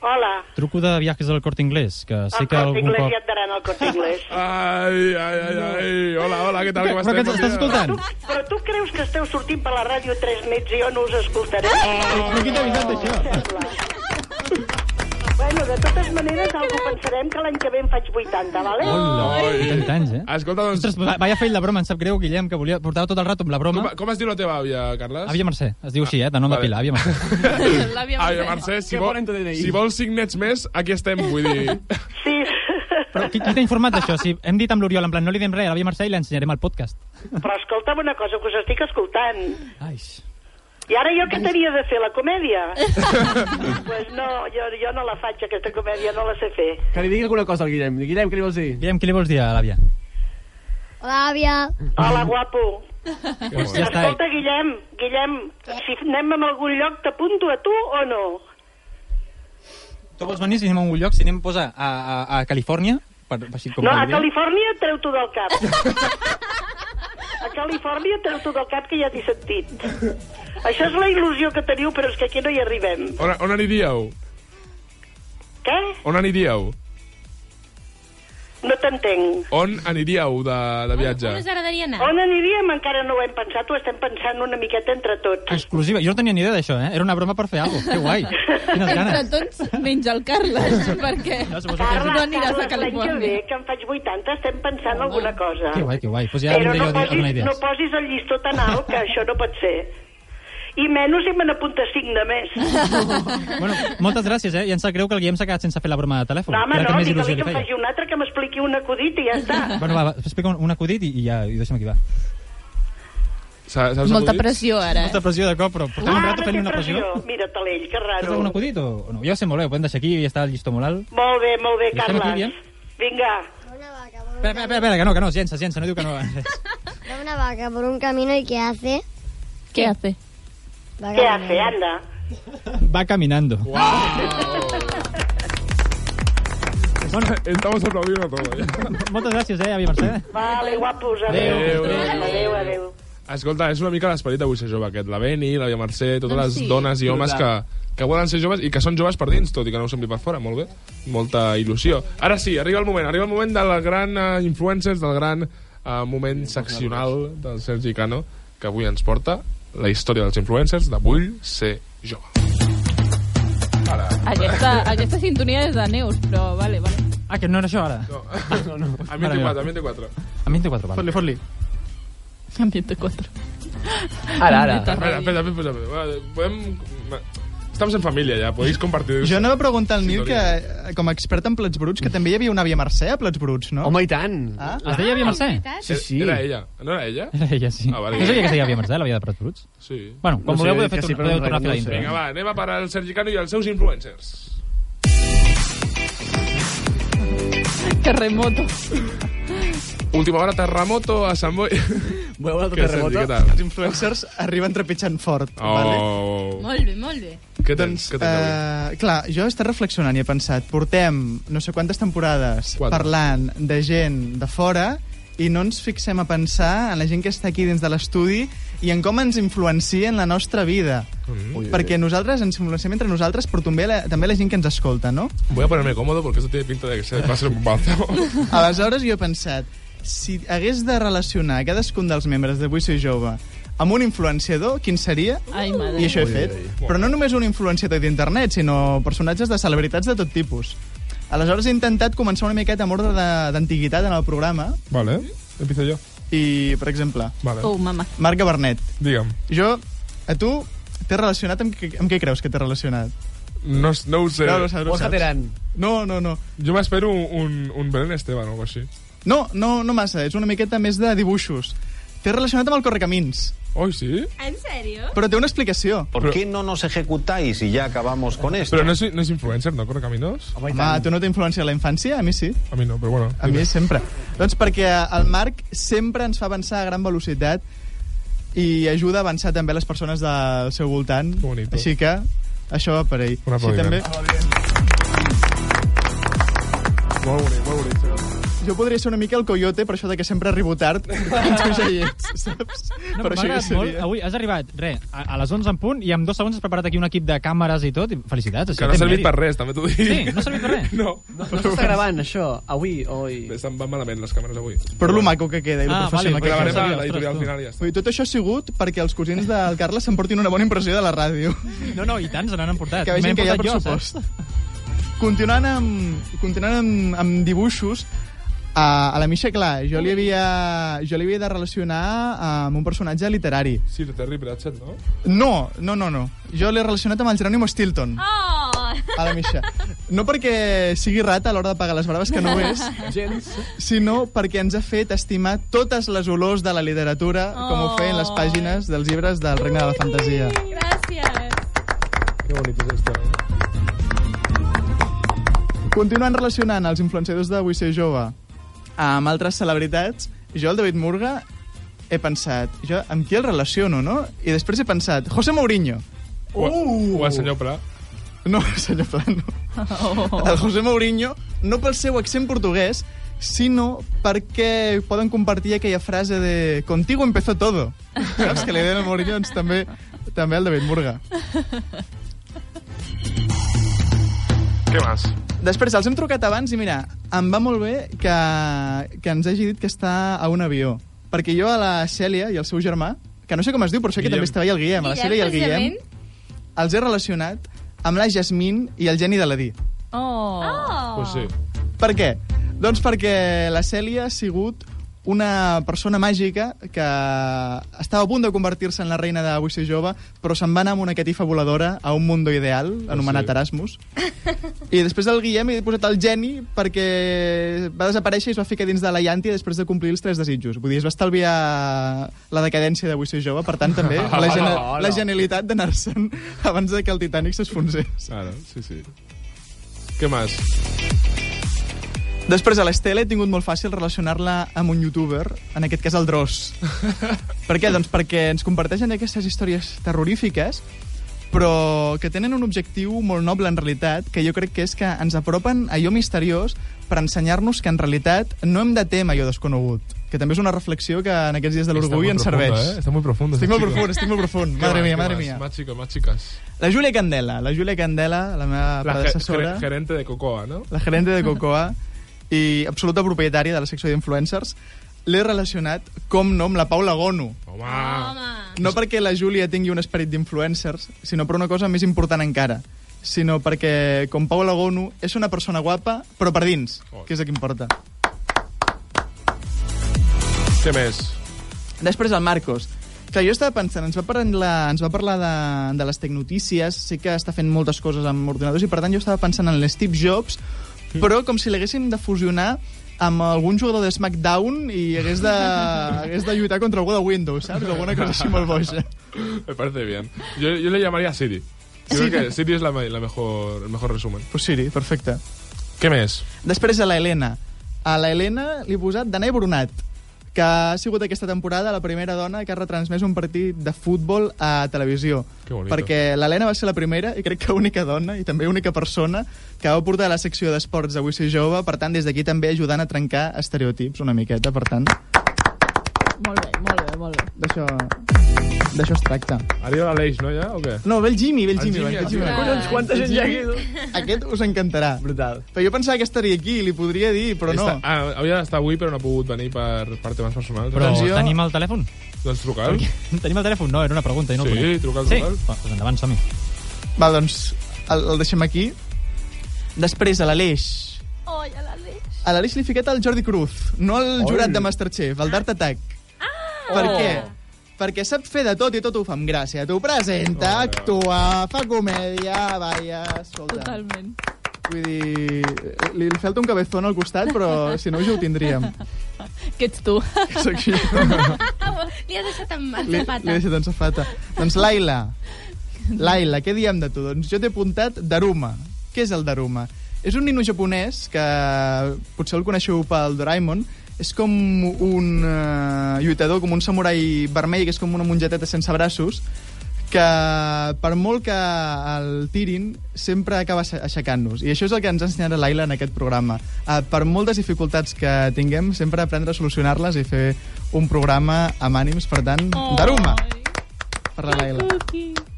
Hola. Truco de viatges del Corte Inglés, que sé el que corte algun inglés cop... ja et daran el corte inglés. Ai, ai, ai, ai. Hola, hola, què tal, com Però estem? que ens estàs escoltant? Però tu creus que esteu sortint per la ràdio tres nets i jo no us escoltaré? Oh, Ah! Però qui t'ha avisat d'això? Bueno, de totes maneres, algú pensarem que l'any que ve em faig 80, vale? Hola, 80 anys, eh? Escolta, doncs... Ostres, va- vaya fail la broma, em sap greu, Guillem, que volia portava tot el rato amb la broma. Com, com es diu la teva àvia, Carles? Àvia Mercè, es diu així, eh? De nom de pila, àvia Mercè. L'àvia Àvia Mercè, si, vol, si vols cinc nets més, aquí estem, vull dir... Però qui, qui t'ha informat d'això? Si hem dit amb l'Oriol, en plan, no li diem res a l'àvia Mercè i l'ensenyarem al podcast. Però escolta'm una cosa, que us estic escoltant. Ai. I ara jo què t'havia de fer, la comèdia? pues no, jo, jo no la faig, aquesta comèdia, no la sé fer. Que li digui alguna cosa al Guillem. Guillem, què li vols dir? Guillem, què li vols dir a l'àvia? Hola, àvia. Hola, guapo. Pues ja està. Escolta, Guillem, Guillem, si anem a algun lloc, t'apunto a tu o no? Tu vols venir si anem a un lloc, si anem posa, a, a, a Califòrnia? Per, així com no, per a dir. Califòrnia treu-t'ho del cap. a Califòrnia treu-t'ho del cap, que ja t'he sentit. Això és la il·lusió que teniu, però és que aquí no hi arribem. On, on aniríeu? Què? On aniríeu? No t'entenc. On aniríeu de, de viatge? agradaria anar? On aniríem encara no ho hem pensat, ho estem pensant una miqueta entre tots. Exclusiva. Jo no tenia ni idea d'això, eh? Era una broma per fer alguna cosa. Que guai. Quines Entre ganes. tots, menys el Carles, perquè no, Carles, aniràs a Carles, l'any que ve, Califòrnia. que em faig 80, estem pensant alguna cosa. Que guai, que guai. Pues ja Ah. Però vindré no jo a dir- a donar posis, idees. no posis el llistó tan alt, que això no pot ser. I menys si me n'apunta 5 de més. Moltes gràcies, eh? I em sap greu que el Guillem s'ha quedat sense fer la broma de telèfon. No, home, Era que no, més digue-li il·lusió li que em feia. faci un altre que m'expliqui un acudit i ja està. Bueno, va, va, explica un, un acudit i, i ja i deixa'm aquí, va. Saps, Molta pressió, ara. eh? Molta pressió de cop, però portem Ah, un rato fent una pressió. Mira, Talell, que Saps raro. algun acudit o, o no? Ja ho sé molt bé, ho podem deixar aquí i ja està el llistó molt alt. Molt bé, molt bé, Estem aquí, Guillem? Carles. Vinga. Espera, espera, espera, que no, que no, gens, gens, no diu que no. Va una vaca por un camino y ¿qué hace? ¿Qué hace? Va ¿Qué caminando. hace? Anda. Va caminando. Bueno, estamos aplaudiendo todo. Eh? Moltes gràcies, eh, Avi Mercè. Vale, guapos, adéu. Adéu, adéu. adéu, adéu. Escolta, és una mica l'esperit de Vull ser jove aquest. La Beni, la Via Mercè, totes Doncs les sí. dones i homes que, Brutal. que volen ser joves i que són joves per dins, tot i que no ho sembli per fora. Molt bé. Molta il·lusió. Ara sí, arriba el moment. Arriba el moment del gran uh, influencers, del gran uh, moment seccional del Sergi Cano, que avui ens porta la història dels influencers de Vull ser jove. Ara. Aquesta, aquesta sintonia és de Neus, però vale, vale. Ah, que no era això, ara? No. No, no. A 24, a 24. A 24, vale. Fot-li, fot-li. Ambiente 4. Ara, ara. Espera, espera, espera. espera. Va, Podem... Estamos en família ja, podéis compartir... Jo anava a preguntar al Nil que, Sintonia. eh, com a expert en plats bruts, que també hi havia una àvia Mercè a plats bruts, no? Home, i tant! Ah? Es deia Via Mercè? Sí, sí. Era ella. No era ella? Era ella, sí. Ah, Ah, vale. vale. No sabia que es deia Via Mercè, la via de Prats Bruts? Sí. Bueno, com No sé, voleu, podeu que fer sí, sí, però podeu no tornar a fer la reconeixo. intro. eh. Vinga, va, anem a parar el Sergi Cano i els seus influencers. Terremoto. Última hora, terremoto a Sant Boi. Veu el Què, terremoto? Sergi, què tal? Els influencers arriben trepitjant fort. Oh. Vale. Molt bé, molt bé. Què tens? Què tens avui? Uh, clar, jo he estat reflexionant i he pensat, portem no sé quantes temporades Quatre. parlant de gent de fora i no ens fixem a pensar en la gent que està aquí dins de l'estudi i en com ens influencia en la nostra vida. Mm. Perquè nosaltres ens influenciem entre nosaltres, però també la, també la gent que ens escolta, no? Voy a ponerme cómodo porque esto tiene pinta de que se va a ser un bombazo. Aleshores jo he pensat, si hagués de relacionar cadascun dels membres de Vull ser jove amb un influenciador, quin seria? Ai, madre. I això he Ui, fet. ui, ui. Però no només un influenciador d'internet, sinó personatges de celebritats de tot tipus. Aleshores he intentat començar una miqueta amb ordre de- d'antiguitat en el programa. Vale, empiezo jo. I, per exemple... Vale. Oh, mama. Marc Gabernet. Digue'm. Jo, a tu, t'he relacionat amb, qui- amb què creus que t'he relacionat? No, no ho sé. No, no, saps, no saps. No, no, no. Jo m'espero un, un Belén Esteban o alguna així. No, no, no massa, és una miqueta més de dibuixos. T'he relacionat amb el Correcamins. Oi, sí? En sèrio? Però té una explicació. ¿Por qué no nos ejecutáis y ya acabamos con esto? Però no és, no és influencer, no? Corre caminos? Home, tu no t'influencia la infància? A mi sí. A mi no, però bueno. A mi sempre. Doncs perquè el Marc sempre ens fa avançar a gran velocitat i ajuda a avançar també les persones del seu voltant. Bonito. Així que això va per ell. Un Així també, aplaudiment. Molt bonic, molt bonic. jo podria ser una mica el coyote per això de que sempre arribo tard doncs en teus oients, saps? No, Per però això jo m'agrada seria. molt. Avui has arribat, re, a, a les 11 en punt i en dos segons has preparat aquí un equip de càmeres i tot. I felicitats. Que no ha servit per res, també t'ho dic. Sí, no ha servit per res. No. No s'està gravant, això, avui, oi? Se'n van malament les càmeres avui. Però lo maco que queda i lo Ah, professional vale, que gravarem queda. a l'editorial Ostres, tu. final i ja està. Vull dir, tot això ha sigut perquè els cosins del Carles s'emportin una bona impressió de la ràdio. No, no, i tant, se n'han emportat. Que vegin M'he que hi ha emportat jo, pressupost. Continuant amb, continuant amb, amb dibuixos, a, a la Misha, clar, jo li, havia, jo li havia de relacionar amb un personatge literari. Sí, el Terry Pratchett, no? No, no, no, no. Jo l'he relacionat amb el Geronimo Stilton, Oh! a la Misha. No perquè sigui rata a l'hora de pagar les braves, que no ho és, Gens. sinó perquè ens ha fet estimar totes les olors de la literatura, com ho feien les pàgines dels llibres del Regne de la Fantasia. Gràcies. Que bonic és esto, eh? Continuant relacionant els influenciadors de Vull ser jove amb altres celebritats, jo, el David Murga, he pensat, jo amb qui el relaciono, no? I després he pensat, José Mourinho. Uh! O, o el senyor Pla. No, senyor Plano. El José Mourinho, no pel seu accent portuguès, sinó perquè poden compartir aquella frase de contigo empezó todo. Saps? Que li deien al Mourinho, doncs també, també al David Murga. Què més? Després els hem trucat abans i mira, em va molt bé que, que ens hagi dit que està a un avió. Perquè jo a la Cèlia i al seu germà, que no sé com es diu, però sé que Guillem. també estava el Guillem, a la Guillem, Cèlia i el Guillem, precisament. els he relacionat amb la Jasmine i el Geni de l'Adí. Oh. oh. Per què? Doncs perquè la Cèlia ha sigut una persona màgica que estava a punt de convertir-se en la reina de Vull ser jove, però se'n va anar amb una catifa voladora a un mundo ideal, anomenat Erasmus. I després el Guillem hi he posat el geni perquè va desaparèixer i es va ficar dins de la llàntia després de complir els tres desitjos. Vull dir, es va estalviar la decadència de Vull ser jove, per tant, també, la, gene Hola, hola. la genialitat d'anar-se'n abans de que el Titanic s'esfonsés. Ara, sí, sí. Què més? Després, a l'Estela he tingut molt fàcil relacionar-la amb un youtuber, en aquest cas el Dross. per què? Doncs perquè ens comparteixen aquestes històries terrorífiques, però que tenen un objectiu molt noble en realitat, que jo crec que és que ens apropen a allò misteriós per ensenyar-nos que en realitat no hem de temer allò desconegut, que també és una reflexió que en aquests dies de l'orgull ens serveix. Eh? Està molt profund. Estic molt chica. profund, estic molt profund. Què Madre més, mía, què madre més? mía. Más chicos, más chicas. La Júlia Candela, la Júlia Candela, la meva La ge- predecessora ger- gerente de Cocoa, no? la gerente de Cocoa i absoluta propietària de la secció d'influencers, l'he relacionat, com no, amb la Paula Gono. Home! No perquè la Júlia tingui un esperit d'influencers, sinó per una cosa més important encara, sinó perquè, com Paula Gono, és una persona guapa, però per dins, que és el que importa. Què més? Després el Marcos. Que jo estava pensant, ens va parlar, ens va parlar de, de les tecnotícies, sé que està fent moltes coses amb ordinadors i per tant jo estava pensant en l'Steve Jobs, però com si l'haguéssim de fusionar amb algun jugador de SmackDown i hagués de, hagués de lluitar contra algú de Windows, saps? Alguna cosa així molt boja. Me parece bien. Yo, yo le llamaría Siri. Yo Siri. creo que Siri es la, me- la mejor, el mejor resumen. Pues Siri, perfecte. Què més? Després a la Helena. A la Helena li he posat Danae Brunat, que ha sigut aquesta temporada la primera dona que ha retransmès un partit de futbol a televisió. Que bonito. Perquè l'Helena va ser la primera, i crec que única dona, i també única persona, que va portar a la secció d'esports d'Avui ser jove, per tant, des d'aquí també ajudant a trencar estereotips una miqueta, per tant, Molt bé, molt bé, molt bé. d'això d'això es tracta. Arriba l'Aleix, no, ja, o què? No, ve el Jimmy, ve el El Jimmy. Jimmy, va, el Jimmy. va. Collons, quanta El gent hi ha Jimmy, Aquest us encantarà. Brutal. Però jo pensava que estaria aquí i li podria dir, però no. Està, ah, havia d'estar avui, però no ha pogut venir per, per temes personals. Però Doncs jo- tenim el telèfon? Doncs truca'l. Tenim el telèfon? No, era una pregunta. Jo no Sí, el conec. truca'l, sí. truca'l. Va, doncs endavant, som-hi. Va, doncs el, el deixem aquí. Després, a l'Aleix. Oh, ja l'Aleix. A l'Aleix li he ficat el Jordi Cruz, no el Oi. jurat de Masterchef, el d'Art Attack. Ah! Per Oh. què? Perquè sap fer de tot i tot ho fa amb gràcia. T'ho presenta, actua, fa comèdia, balla, escolta. Totalment. Vull dir, li, li falta un cabezón al costat, però si no ja ho tindríem. Que ets tu. Soc jo. Li has deixat amb amb Li, zapata. li he deixat en safata. Doncs Laila, Laila, què diem de tu? Doncs jo t'he apuntat Daruma. Què és el Daruma? És un nino japonès que potser el coneixeu pel Doraemon. És com un uh, lluitador, com un samurai vermell, que és com una mongeteta sense braços, que per molt que el tirin, sempre acaba aix- aixecant-nos. I això és el que ens ensenyarà Laila en aquest programa. Uh, per moltes dificultats que tinguem, sempre aprendre a solucionar-les i fer un programa amb ànims. Per tant, Daruma! Per la Laila.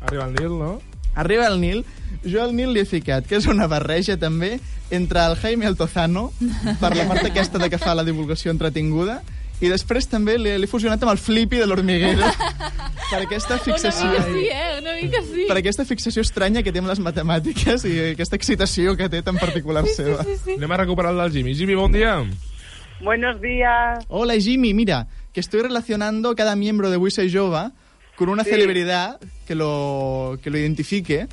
Arriba el Nil, no? Arriba el Nil. Jo al Nil li he ficat, que és una barreja també entre el Jaime Altozano, per la part aquesta de que fa la divulgació entretinguda, i després també l'he l'he fusionat amb el Flippy de l'Hormiguero, per aquesta fixació... Una mica sí, eh? Una mica sí. Per aquesta fixació estranya que té amb les matemàtiques i aquesta excitació que té tan particular seva. Anem a recuperar el del Jimmy. Jimmy, bon dia. Buenos días. Hola, Jimmy. Mira, que estoy relacionando cada miembro de We Say Jova con una Sí. celebridad que lo, que lo identifique.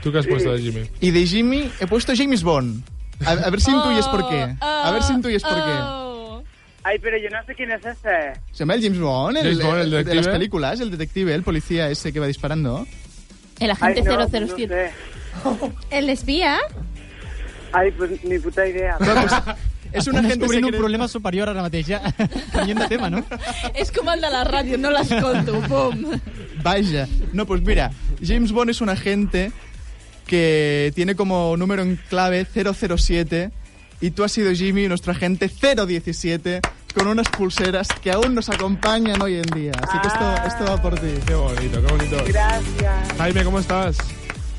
Tu què has Sí. puesto de Jimmy? Y de Jimmy he puesto James Bond. A, a Oh, ver si intuyes por qué. A ver si intuyes por qué. Ay, pero yo no sé quién es ese. Se llama el James Bond, el, James Bond, el el- el de las detective. películas, el detective, el policía ese que va disparando. El agente Ay, no, 007. El espía? Ay, pues ni puta idea. És un agent descobrint un problema superior ara mateix, ja. Canviem de tema, no? És com el de la ràdio, no l'escolto. Pum. Vaya. No, pues mira, James Bond es un agente que tiene como número en clave 007 y tú has sido Jimmy, nuestro agente 017, con unas pulseras que aún nos acompañan hoy en día. Así que esto, esto va por ti. Qué bonito, qué bonito. Gracias. Jaime, ¿cómo estás?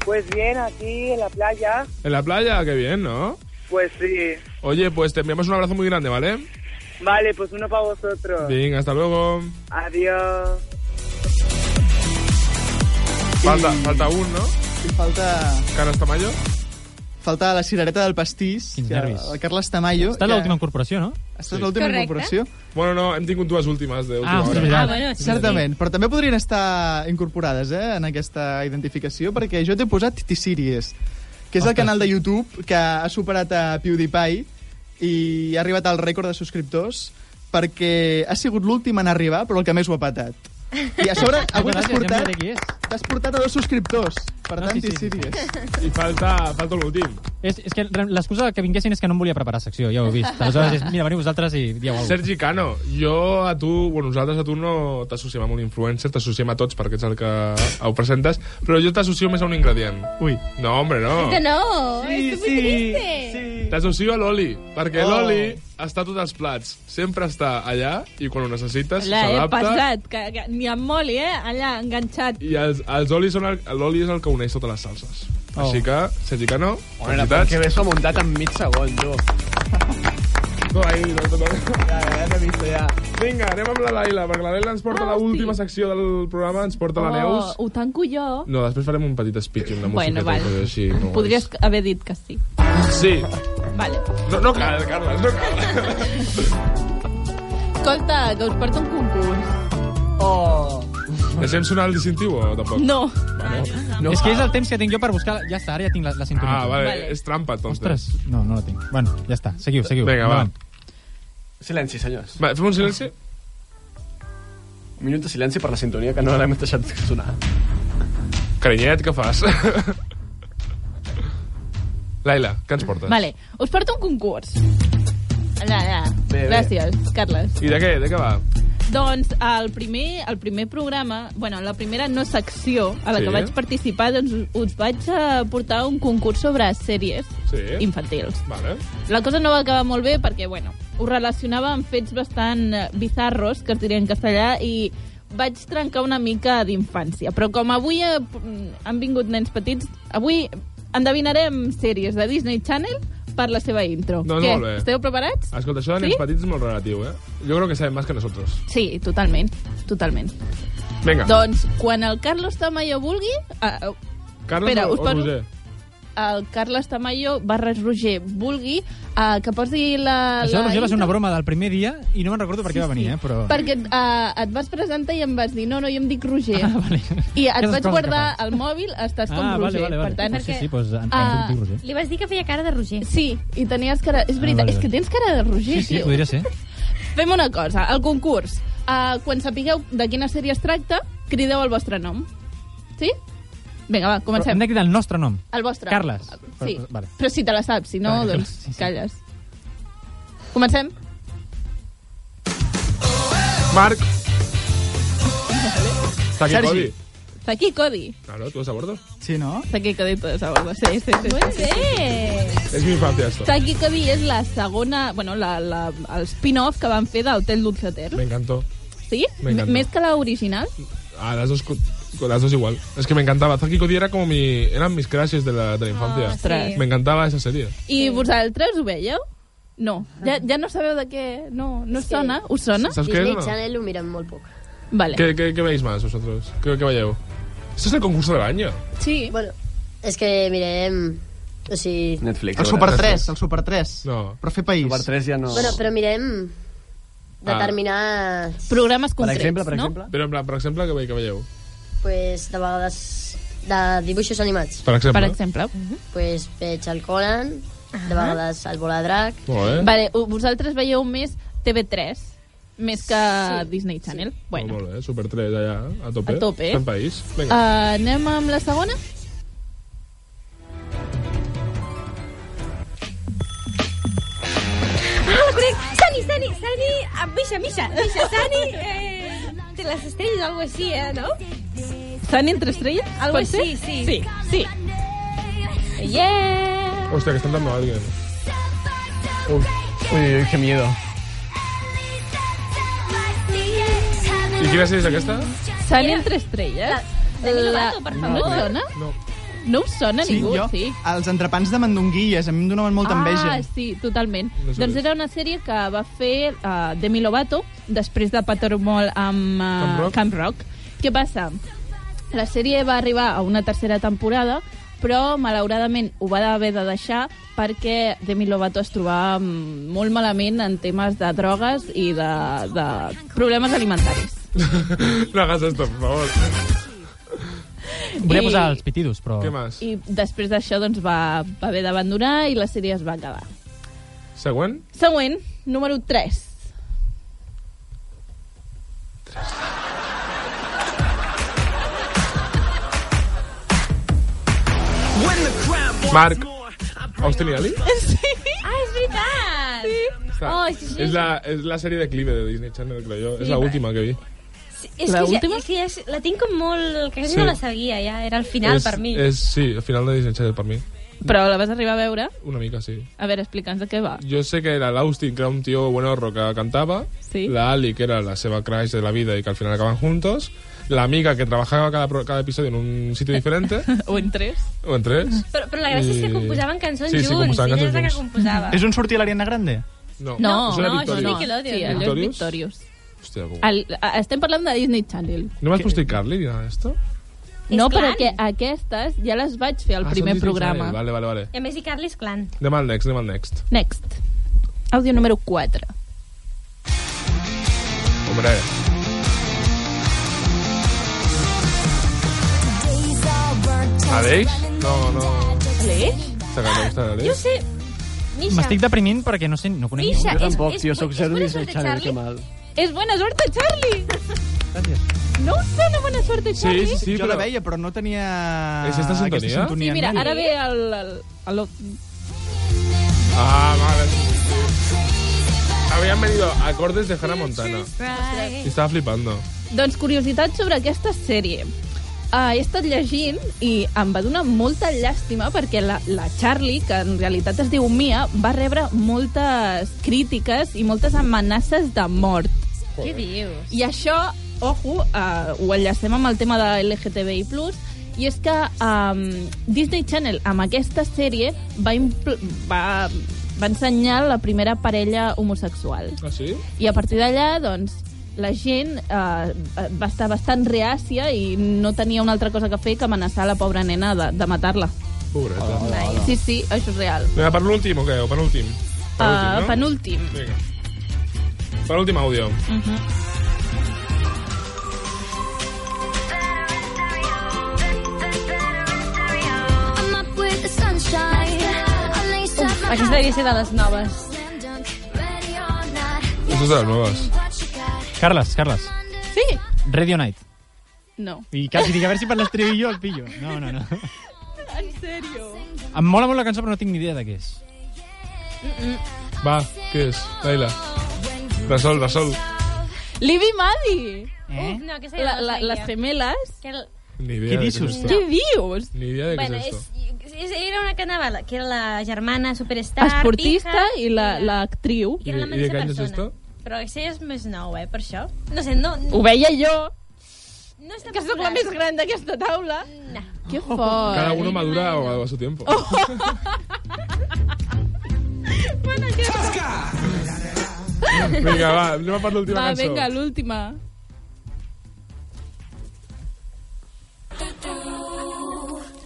Pues bien, aquí en la playa. En la playa, qué bien, ¿no? Pues sí. Oye, pues te enviamos un abrazo muy grande, ¿vale? Vale, pues uno para vosotros. Venga, hasta luego. Adiós. Falta, falta un, ¿no? I falta... Carles Tamayo. Falta la cirereta del pastís. Quins que nervis. El Carles Tamayo... Està en l'última incorporació, no? Està en l'última Correcte. incorporació. Bueno, no, hem tingut dues últimes d'última Ah, hora. ah, bueno, sí, Certament, però també podrien estar incorporades eh, en aquesta identificació, perquè jo t'he posat T-Series, que és el canal de YouTube que ha superat a PewDiePie i ha arribat al rècord de subscriptors perquè ha sigut l'últim en arribar, però el que més ho ha patat. I a sobre, avui t'has Ah, Gràcies, ja em portat, diré qui és. t'has portat a dos subscriptors. Per tant, sí, sí, sí, T-Series. I falta, falta l'últim. És, és que re- l'excusa que vinguessin és que no em volia preparar secció, ja ho he vist. Aleshores, és, mira, veniu vosaltres i dieu alguna Sergi Cano, jo a tu, bueno, nosaltres a tu no t'associem amb un influencer, t'associem a tots perquè ets el que ho presentes, però jo t'associo més a un ingredient. Ui. No, hombre, no. Oh. Que no, sí, esto es muy sí, triste. T'associo a l'oli, perquè Oh. oh. l'oli està a tots els plats. Sempre està allà i quan ho necessites Allà, eh, s'adapta. passat, que, que, ni amb moli, eh? Allà, enganxat. I els, els olis són el- l'oli és el que uneix totes les salses. Oh. Així que, Sergi Cano, Bueno, felicitats. que bé s'ho ha muntat en mig segon, tu. No, ahí, no, no, no. Ja, ja t'he vist, ja. Vinga, anem amb la Laila, perquè la Laila ens porta ah, l'última secció del programa, ens porta oh. la Neus. ho tanco jo. No, després farem un petit speaking de música. Bueno, vale. Així, no Podries haver dit que sí. Sí. Vale. No, no cal, Carles, no cal. Escolta, que us porto un concurs. Oh. Deixem sonar el distintiu o tampoc? No. No. És que és el temps que tinc jo per buscar... Ja està, ara ja tinc la, la sintonia. Ah, vale, vale. és trampa, doncs. Ostres, no, no la tinc. Bueno, ja està, seguiu, seguiu. Vinga, va. Endavant. Silenci, senyors. Va, fem un silenci? Un minut de silenci per la sintonia, que no l'hem deixat sonar. Carinyet, què fas? Laila, què ens portes? Vale, us porto un concurs. Allà, allà. Bé, bé. Gràcies, Carles. I de què, de què va? Doncs el primer, el primer programa, bueno, la primera no secció a la Sí. que vaig participar, doncs us- us vaig eh, portar un concurs sobre sèries Sí. infantils. Vale. La cosa no va acabar molt bé perquè, bueno, ho relacionava amb fets bastant eh, bizarros, que es diria en castellà, i vaig trencar una mica d'infància. Però com avui eh, p- mm, han vingut nens petits, avui endevinarem sèries de Disney Channel per la seva intro. Doncs Què? molt bé. Esteu preparats? eh. Escolta, això de nens Sí? petits és molt relatiu, eh? Jo crec que saben més que nosaltres. Sí, totalment, totalment. Vinga. Doncs quan el Carlos Tamayo vulgui... Uh, Carles espera, o, us o poso- Roger? el Carles Tamayo barra Roger vulgui uh, que posi la... Això, la Roger, va ser intro, una broma del primer dia i no me'n recordo per què Sí, va venir, sí. eh, però... Perquè uh, et vas presentar i em vas dir no, no, jo em dic Roger. Ah, vale. I et Aquestes vaig coses guardar al mòbil, estàs com Ah, vale, Roger. vale, vale. Per tant, Pues sí, sí, pues, em- em ah, dic Roger. li vas dir que feia cara de Roger. Sí, i tenies cara... És vale, veritat, ah, vale, és que vale. tens cara de Roger, Sí, sí, tio. podria ser. Fem una cosa, el concurs. Uh, quan sapigueu de quina sèrie es tracta, crideu el vostre nom. Sí? Vinga, va, Però Hem comencem. de cridar el nostre nom. El vostre. Carles. Sí, Però- vale. però si te la saps, si no, Vale, doncs sí, sí. calles. Comencem? Marc. Està aquí, Sergi. Codi. Zaki Cody. Claro, ¿tú vas a bordo? Sí, ¿no? Zaki Cody, todos a bordo. Sí, sí, sí. Muy sí, sí, sí. bé. Es mi infancia esto. Zaki Cody és la segona... Bueno, la, la, el spin-off que van fer d'Hotel Dulceter. Me encantó. Sí? M'encanta. M- Més que la original? Ah, las dos, co- con las dos igual. Es que me encantaba. Zaki y Cody era como mi... Eran mis crashes de la, de la Ah, infancia. Ostras. Me encantaba esa serie. I vosaltres ho veieu? No. Ja, ja no sabeu de què... No, no us sona? Us sona? Saps què és o no? Channel ho miren molt poc. Vale. ¿Qué, qué, qué veis más vosotros? ¿Qué, qué vayeu? Esto es el concurso del año. Sí. Bueno, és que mirem... O sigui... Netflix. El Super 3, el Super 3. No. Però fer país. Super 3 ja no... Bueno, però mirem Ah. determinats... Programes Però, en plan, per exemple, què, ve- què veieu? Pues, de vegades, de dibuixos animats. Per exemple. Per exemple. Mhm. Pues, veig el Conan, de vegades el Voladrac. Molt bé. Vale, o- vosaltres veieu més TV3, més que sí. Disney Channel. Sí. Bueno. Molt bé, eh, Super 3 allà, a tope. A tope, eh? Fem país. Uh, Vinga. anem amb la segona? Ah, la conec! Sani, Sani, Sani... Ah, Misha, Misha, Misha, Sani... Eh, de les estrelles o algo així, eh, no? Estan entre estrelles? Algo pot ser? així, sí. Sí, sí. Yeah! Hostia, que están dando a alguien. Uf. Uy, uy, qué miedo. I quina sèrie és aquesta? Estan entre estrelles? La- Demi La- Lovato, per no favor. et sona? No. No us sona Sí, ningú, jo, sí. els entrepans de mandonguilles, a mi em donaven molta enveja. Ah, sí, totalment. No No sabia. doncs era una sèrie que va fer uh, Demi Lovato després de Patermol amb uh, Camp Rock. Camp Rock. Què passa? La sèrie va arribar a una tercera temporada, però malauradament ho va haver de deixar perquè Demi Lovato es trobava mm, molt malament en temes de drogues i de, de problemes alimentaris. No hagas esto, por favor. Volia I- posar els pitidos, però... Què més? I després d'això doncs, va, va haver d'abandonar i la sèrie es va acabar. Següent? Següent, número 3. Marc. Austin i Ali? Sí. Ah, és veritat! Sí. Oh, és, que- És la, és la sèrie de Clive de Disney Channel, crec jo. Sí, és l'última que vi. és La que, ja, última? és que ja, és- la tinc com molt... Que quasi Sí. no la sabia, ja. Era el final és, per mi. És, sí, el final de Disney Channel per mi. Però la vas arribar a veure? Una mica, sí. A veure, explica'ns de què va. Jo sé que era l'Austin, que era un tio buenorro que cantava, Sí. la Ali, que era la seva crush de la vida y que al final acaban juntos, la amiga que trabajaba cada, pro- cada episodio en un sitio diferente, o en tres. o en Mm. tres. Però, però la gràcia és Eh, que I- composaven cançons Sí, sí, junts. composaven Ella és la cançons que junts. composava. És on sortia l'Ariana Grande? No, No, això era no, això Victorious. és Nickelodeon. Sí, allò és Victorious? Victorious. Hòstia, com- El, a- estem parlant de Disney Channel. no vas posar Carly ni nada d'esto? No, perquè aquestes ja les vaig fer al Ah, primer són Disney Channel. programa. Vale, vale, vale. I a més hi Carly és clan. Anem al next, anem al next. Next. Àudio número 4. Hombre, Ah, Aleix? No, no. Aleix? Esta cançó, esta de Jo Aleix. sé... Misha. M'estic deprimint perquè no sé, no conec Misha, ningú. Jo és- tampoc, és- tio, sóc zero Disney suerte, Channel, Charlie? que mal. És bona sort, Charlie! No us sona bona sort, Charlie? jo la veia, però no tenia... És esta sintonia? aquesta sintonia Sí, mira, en mi. ara ve el... el, el, Ah, vale. Habían venido acordes de Hannah Montana. el... Y estaba flipando. Doncs curiositat sobre aquesta sèrie. Uh, he estat llegint i em va donar molta llàstima perquè la, la Charlie, que en realitat es diu Mia, va rebre moltes crítiques i moltes amenaces de mort. Què dius? I això, ojo, uh, ho enllacem amb el tema de LGTBI+, i és que um, Disney Channel, amb aquesta sèrie, va, impl- va, va ensenyar la primera parella homosexual. Ah, sí? I a partir d'allà, doncs, la gent eh, va estar bastant reàcia i no tenia una altra cosa que fer que amenaçar la pobra nena de, de matar-la. Pobreta. Sí, sí, això és real. Vinga, per l'últim o què? O per l'últim? Per l'últim, Uh, no? penúltim. Vinga. Per l'últim àudio. Uh -huh. I'm up with the sunshine. I'm laced up Uf, my aquesta devia ser de les noves. slam dunk. Ready or not. Això és de les noves. What you got? Carles, Carles. Sí? Radio Night. No. I quasi dic, a veure si per l'estribillo el pillo. No, no, no. En sèrio? Em mola molt la cançó, però no tinc ni idea de què és. Va, què és? Laila. Resol, resol. Libby Maddy! Eh? Uf, no, aquesta ja La, no la la, sabia. les gemeles? Que el... Ni idea Què de dius? és esto. Què dius? Ni idea de què bueno, és esto. és, és, era una que anava, la- que era la germana superstar, Esportista pija, i la- l'actriu. que era la I de- i de mateixa què any és persona. esto? Però això és més nou, eh, per això. No sé, no... Ho veia jo, No està que sóc la més gran d'aquesta taula. No. Que fort. Cada uno madura a, a su tiempo. Vinga, va, anem a per l'última Va, cançó. vinga, l'última.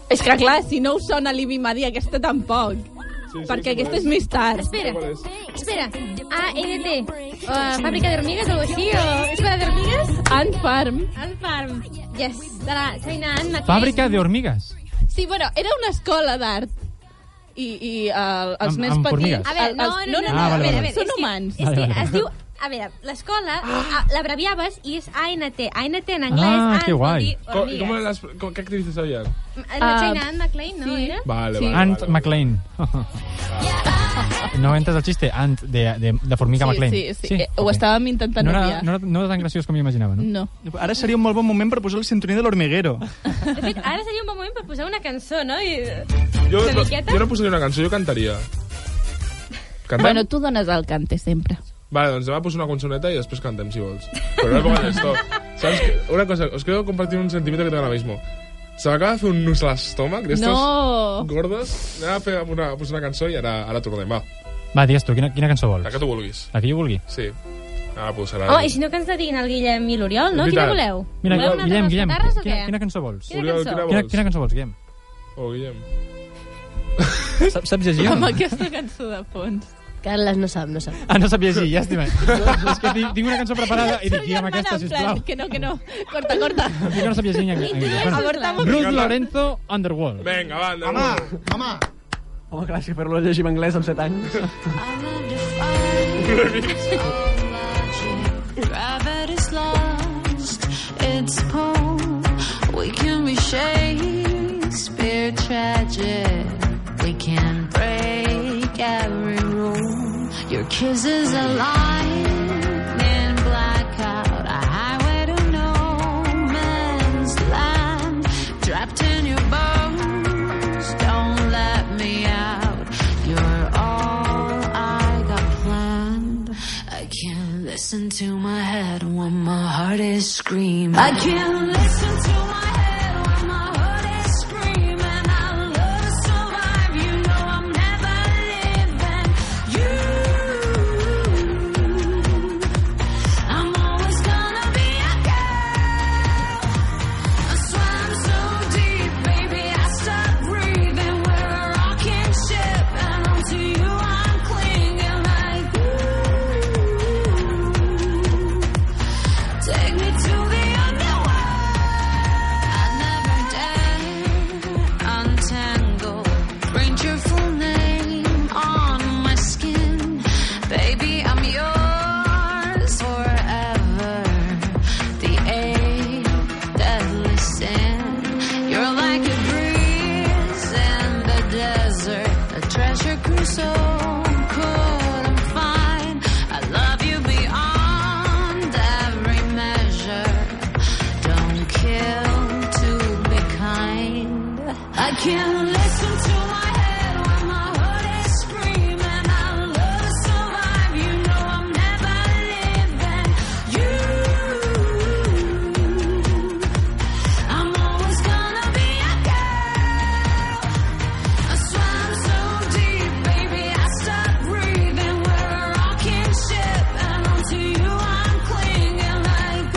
És que clar, si no us sona l'Ibi Madi, aquesta tampoc. Sí, sí, perquè sí, aquesta qual és més tard. Espera, espera. ANT. Uh, fàbrica d'hormigues o alguna així? O... Escola d'hormigues? Ant Farm. Ant Farm. Yes, de la China Ant McKay. Fàbrica de hormigues. Sí, bueno, era una escola d'art. I, i uh, els Amb- nens amb petits... formigues. A veure, no, els- no, no, no, Ah, vale, a veure, a vale. veure, és Són que- humans. És Vale, que Ah. vale. es diu... A veure, l'escola ah. l'abreviaves i és ANT. ANT en anglès, Ah, Ant, que guai. vol Com, com dir eren hormigues. les, com, què actrices havia? La Ah, China Ant McKay, no sí. era? Vale, Sí. vale. Ant vale. McLean. No entes el xiste? Ant de, de, de formiga Sí, McLean. sí, sí. sí. Eh, Ho ok. estàvem intentant No obviar. era, no, era, no era tan graciós com jo imaginava, no? No. Ara seria un molt bon moment per posar la sintonia de l'Hormiguero. De fet, ara seria un bon moment per posar una cançó, no? I... Jo, Una no, miqueta? jo no posaria una cançó, jo cantaria. Cantem? Bueno, tu dones el cante sempre. Vale, doncs demà poso una cançoneta i després cantem, si vols. Pero no pongas esto. ¿Sabes qué? Una cosa, os quiero compartir un sentimiento que tengo ahora mismo. Se m'acaba de fer un nus a l'estómac, d'estes No. gordes. Anem a fer una, a posar una cançó i ara, ara tornem, va. Va, digues tu, quina, quina cançó vols? La que tu vulguis. La que jo vulgui. Sí. Ara posarà... Home, Oh, i si no que ens dediguin el Guillem i l'Oriol, no? És Quina veritat. voleu? Mira, voleu una Guillem, de les Guillem, guitarres o quina, què? quina cançó vols? Quina Oriol, cançó? quina Quina, vols? quina cançó vols, Guillem? Oh, Guillem. Saps, saps llegir? o Amb no? aquesta cançó de fons. Carles no sap, no sap. Ah, no sap llegir, llàstima. No, és que tinc, tinc una cançó preparada i dic, Guillem, aquesta, En plan, sisplau. que no, que no. Corta, corta. Dic que no sap llegir en anglès. Abortamos. Ruth Lorenzo, Underworld. Vinga, va, anem. Home, Home, clar, és que fer-lo llegir en anglès amb 7 anys... Gravity's lost its poem. We can be Shakespeare tragic. We can break every rule. Your kisses are lightning blackout. A highway to no man's land. Trapped in your bones. Don't let me out. You're all I got planned. I can't listen to my head when my heart is screaming. I can't listen to my head when my heart is screaming. I love to survive, you know I'm never living. You, I'm always gonna be a girl. I swam so deep, baby, I stopped breathing. We're a rocking ship, and onto you I'm clinging like. Take me to the underworld. I never dare untangle. Print your full name on my skin, baby. I'm yours forever. The eighth deadly sin. You're like a breeze in the desert, a treasure cruise so couldn't find. I love you beyond every measure. Don't kill to be kind. I can't listen to my head when my heart is screaming. I love to survive, you know I'm never living. You, I'm always gonna be a girl. I swam so deep, baby, I stopped breathing. We're a rocking ship, and onto you I'm clinging like.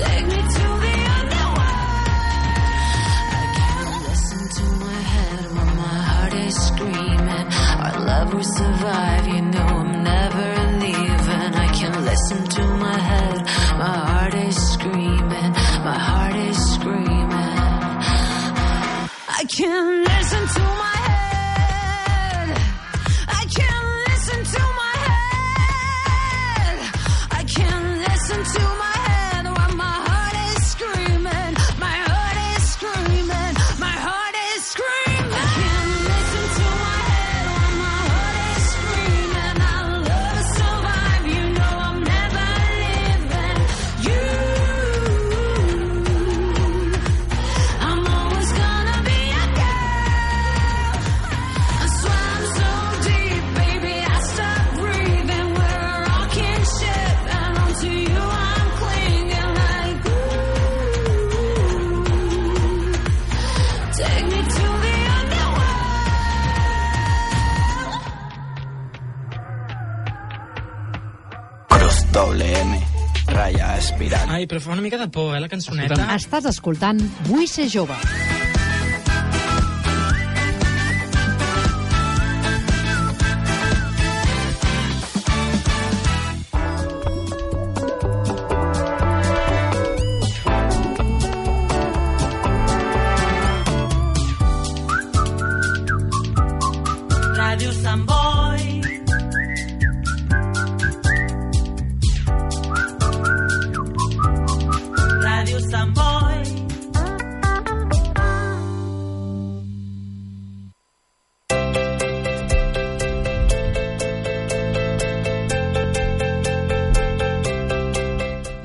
Take me to the underworld. I can't listen to my head when my heart is screaming. Our love will survive, you know I'm never leaving. I can't listen to my head, my heart is screaming. My heart is screaming. I can't listen to my head. I can't listen to my head. I can't listen to my head when my heart is screaming. My heart is screaming. My heart is screaming. I can't listen to my head when my heart is screaming. I love to survive. You know I'm never living. You. I'm always gonna be a girl. I swam so deep, baby, I stopped breathing. We're a rocking ship, and onto you I'm clinging like ooh. Take me to the underworld. Cross doble M, raya espiral. Ai, però fa una mica de por, eh, la cançoneta. Estàs escoltant Vull ser jove. Radio Sant Boi. Radio Sant Boi.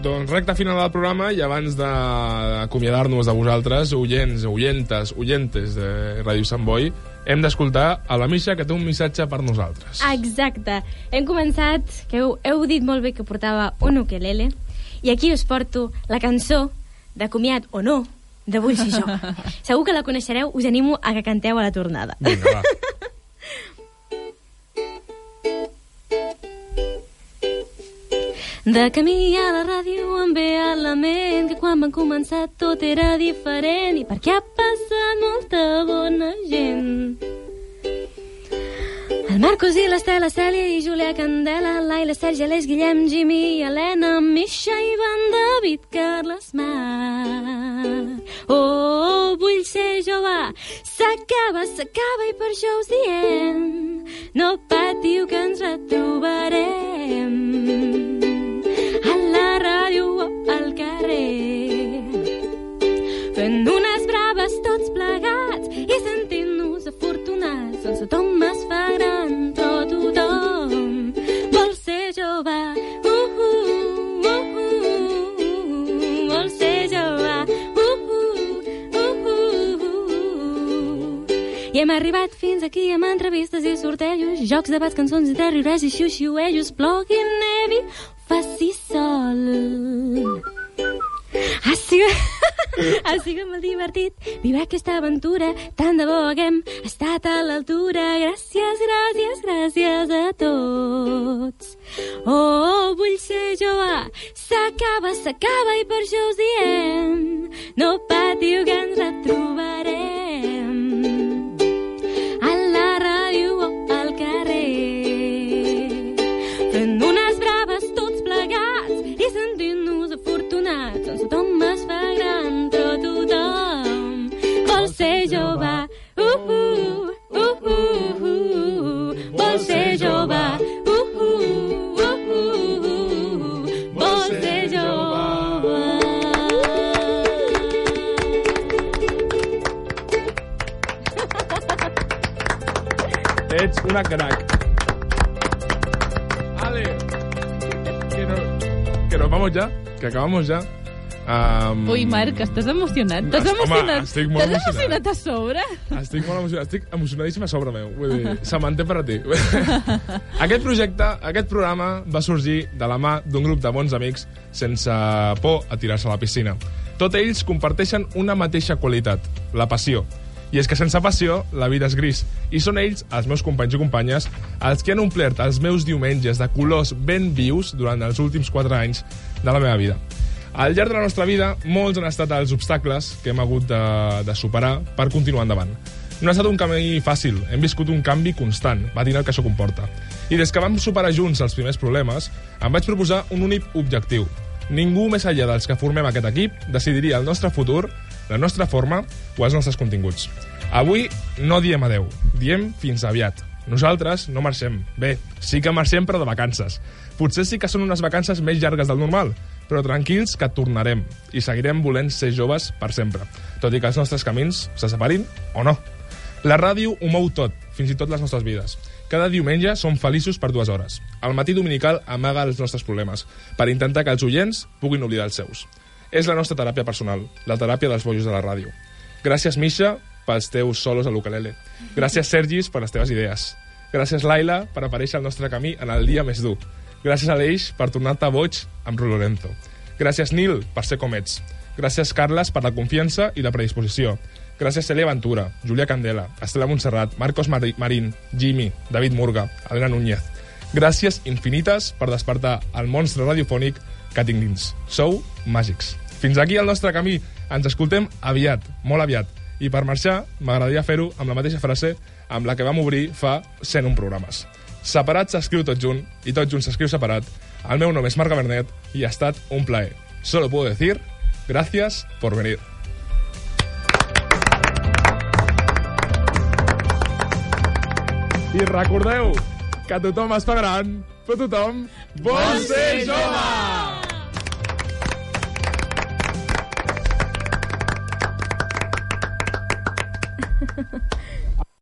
Doncs recta final del programa i abans d'acomiadar-nos de vosaltres, oients, oyentes, oyentes de Ràdio Sant Boi, hem d'escoltar a la Misha que té un missatge per nosaltres. Exacte. Hem començat, que heu, heu dit molt bé que portava un ukelele, I aquí us porto la cançó de comiat o no de Vull ser jo. Segur que la coneixereu, us animo a que canteu a la tornada. Vinga, va. De camí a la ràdio em ve a la ment que quan van començar tot era diferent i perquè ha passat molta bona gent. El Marcos i l'Estela, Cèlia i Julià Candela, Laila, Sergi, Aleix, Guillem, Jimmy, Helena, Misha, Ivan, David, Carles, Mar. Oh, vull ser jove, s'acaba, s'acaba i per això us diem, no patiu que ens retrobarem a la ràdio o al carrer. Fent unes braves tots plegats i sentint-nos afortunats. Doncs tothom es fa gran, però tothom vol ser jove. Uh, uh, uh, uh, uh, vol ser jove. Uh, uh, uh, uh, uh. I hem arribat fins aquí amb entrevistes i sortejos, jocs, debats, cançons i terrorès i xiu-xiuejos, plogui, nevi, faci sol. Ha sigut, ha sigut molt divertit viure aquesta aventura. Tant de bo haguem estat a l'altura. Gràcies, gràcies, gràcies a tots. Oh, vull ser jove. S'acaba, s'acaba i per això us diem. No patiu que ens retrobarem. A la ràdio o al carrer. Fent unes braves tots plegats i sentint-nos afortunats. Doncs tothom es fa gran, però tothom vol ser jove. Uh, uh, uh, uh, uh, uh. Vol ser jove. Uh, uh, uh, uh, uh. Vol ser jove. Ets una crack. Ale. Que no- Que nos vamos ya, que acabamos ya. Um, Ui, Marc, estàs emocionat. T'has Home, emocionat. estic molt T'has emocionat. emocionat a sobre? Estic molt emocionat, estic emocionadíssim a sobre meu. Vull dir, se m'entén per a ti. aquest projecte, aquest programa va sorgir de la mà d'un grup de bons amics sense por a tirar-se a la piscina. Tots ells comparteixen una mateixa qualitat, la passió. I és que sense passió la vida és gris. I són ells, els meus companys i companyes, els que han omplert els meus diumenges de colors ben vius durant els últims 4 anys de la meva vida. Al llarg de la nostra vida, molts han estat els obstacles que hem hagut de, de superar per continuar endavant. No ha estat un camí fàcil, hem viscut un canvi constant, patina el que això comporta. I des que vam superar junts els primers problemes, em vaig proposar un únic objectiu. Ningú més enllà dels que formem aquest equip decidiria el nostre futur, la nostra forma o els nostres continguts. Avui no diem adeu, diem fins aviat. Nosaltres no marxem. Bé, sí que marxem, però de vacances. Potser sí que són unes vacances més llargues del normal, però tranquils que tornarem i seguirem volent ser joves per sempre, tot i que els nostres camins se separin o no. La ràdio ho mou tot, fins i tot les nostres vides. Cada diumenge som feliços per dues hores. El matí dominical amaga els nostres problemes per intentar que els oients puguin oblidar els seus. És la nostra teràpia personal, la teràpia dels bojos de la ràdio. Gràcies, Misha, pels teus solos a l'Ukelele. Gràcies, Sergis, per les teves idees. Gràcies, Laila, per aparèixer al nostre camí en el dia més dur. Gràcies, Aleix, per tornar-te boig amb Ru Lorenzo. Gràcies, Nil, per ser com ets. Gràcies, Carles, per la confiança i la predisposició. Gràcies, Celia Ventura, Julia Candela, Estela Montserrat, Marcos Mari- Marín, Jimmy, David Murga, Elena Núñez. Gràcies infinites per despertar el monstre radiofònic que tinc dins. Sou màgics. Fins aquí el nostre camí. Ens escoltem aviat, molt aviat. I per marxar, m'agradaria fer-ho amb la mateixa frase amb la que vam obrir fa 101 programes. Separat s'escriu tot junt i tot junt s'escriu separat. El meu nom és Marc Bernet i ha estat un plaer. Solo puedo decir gracias por venir. I recordeu que tothom es fa gran, però tothom vol ser jove!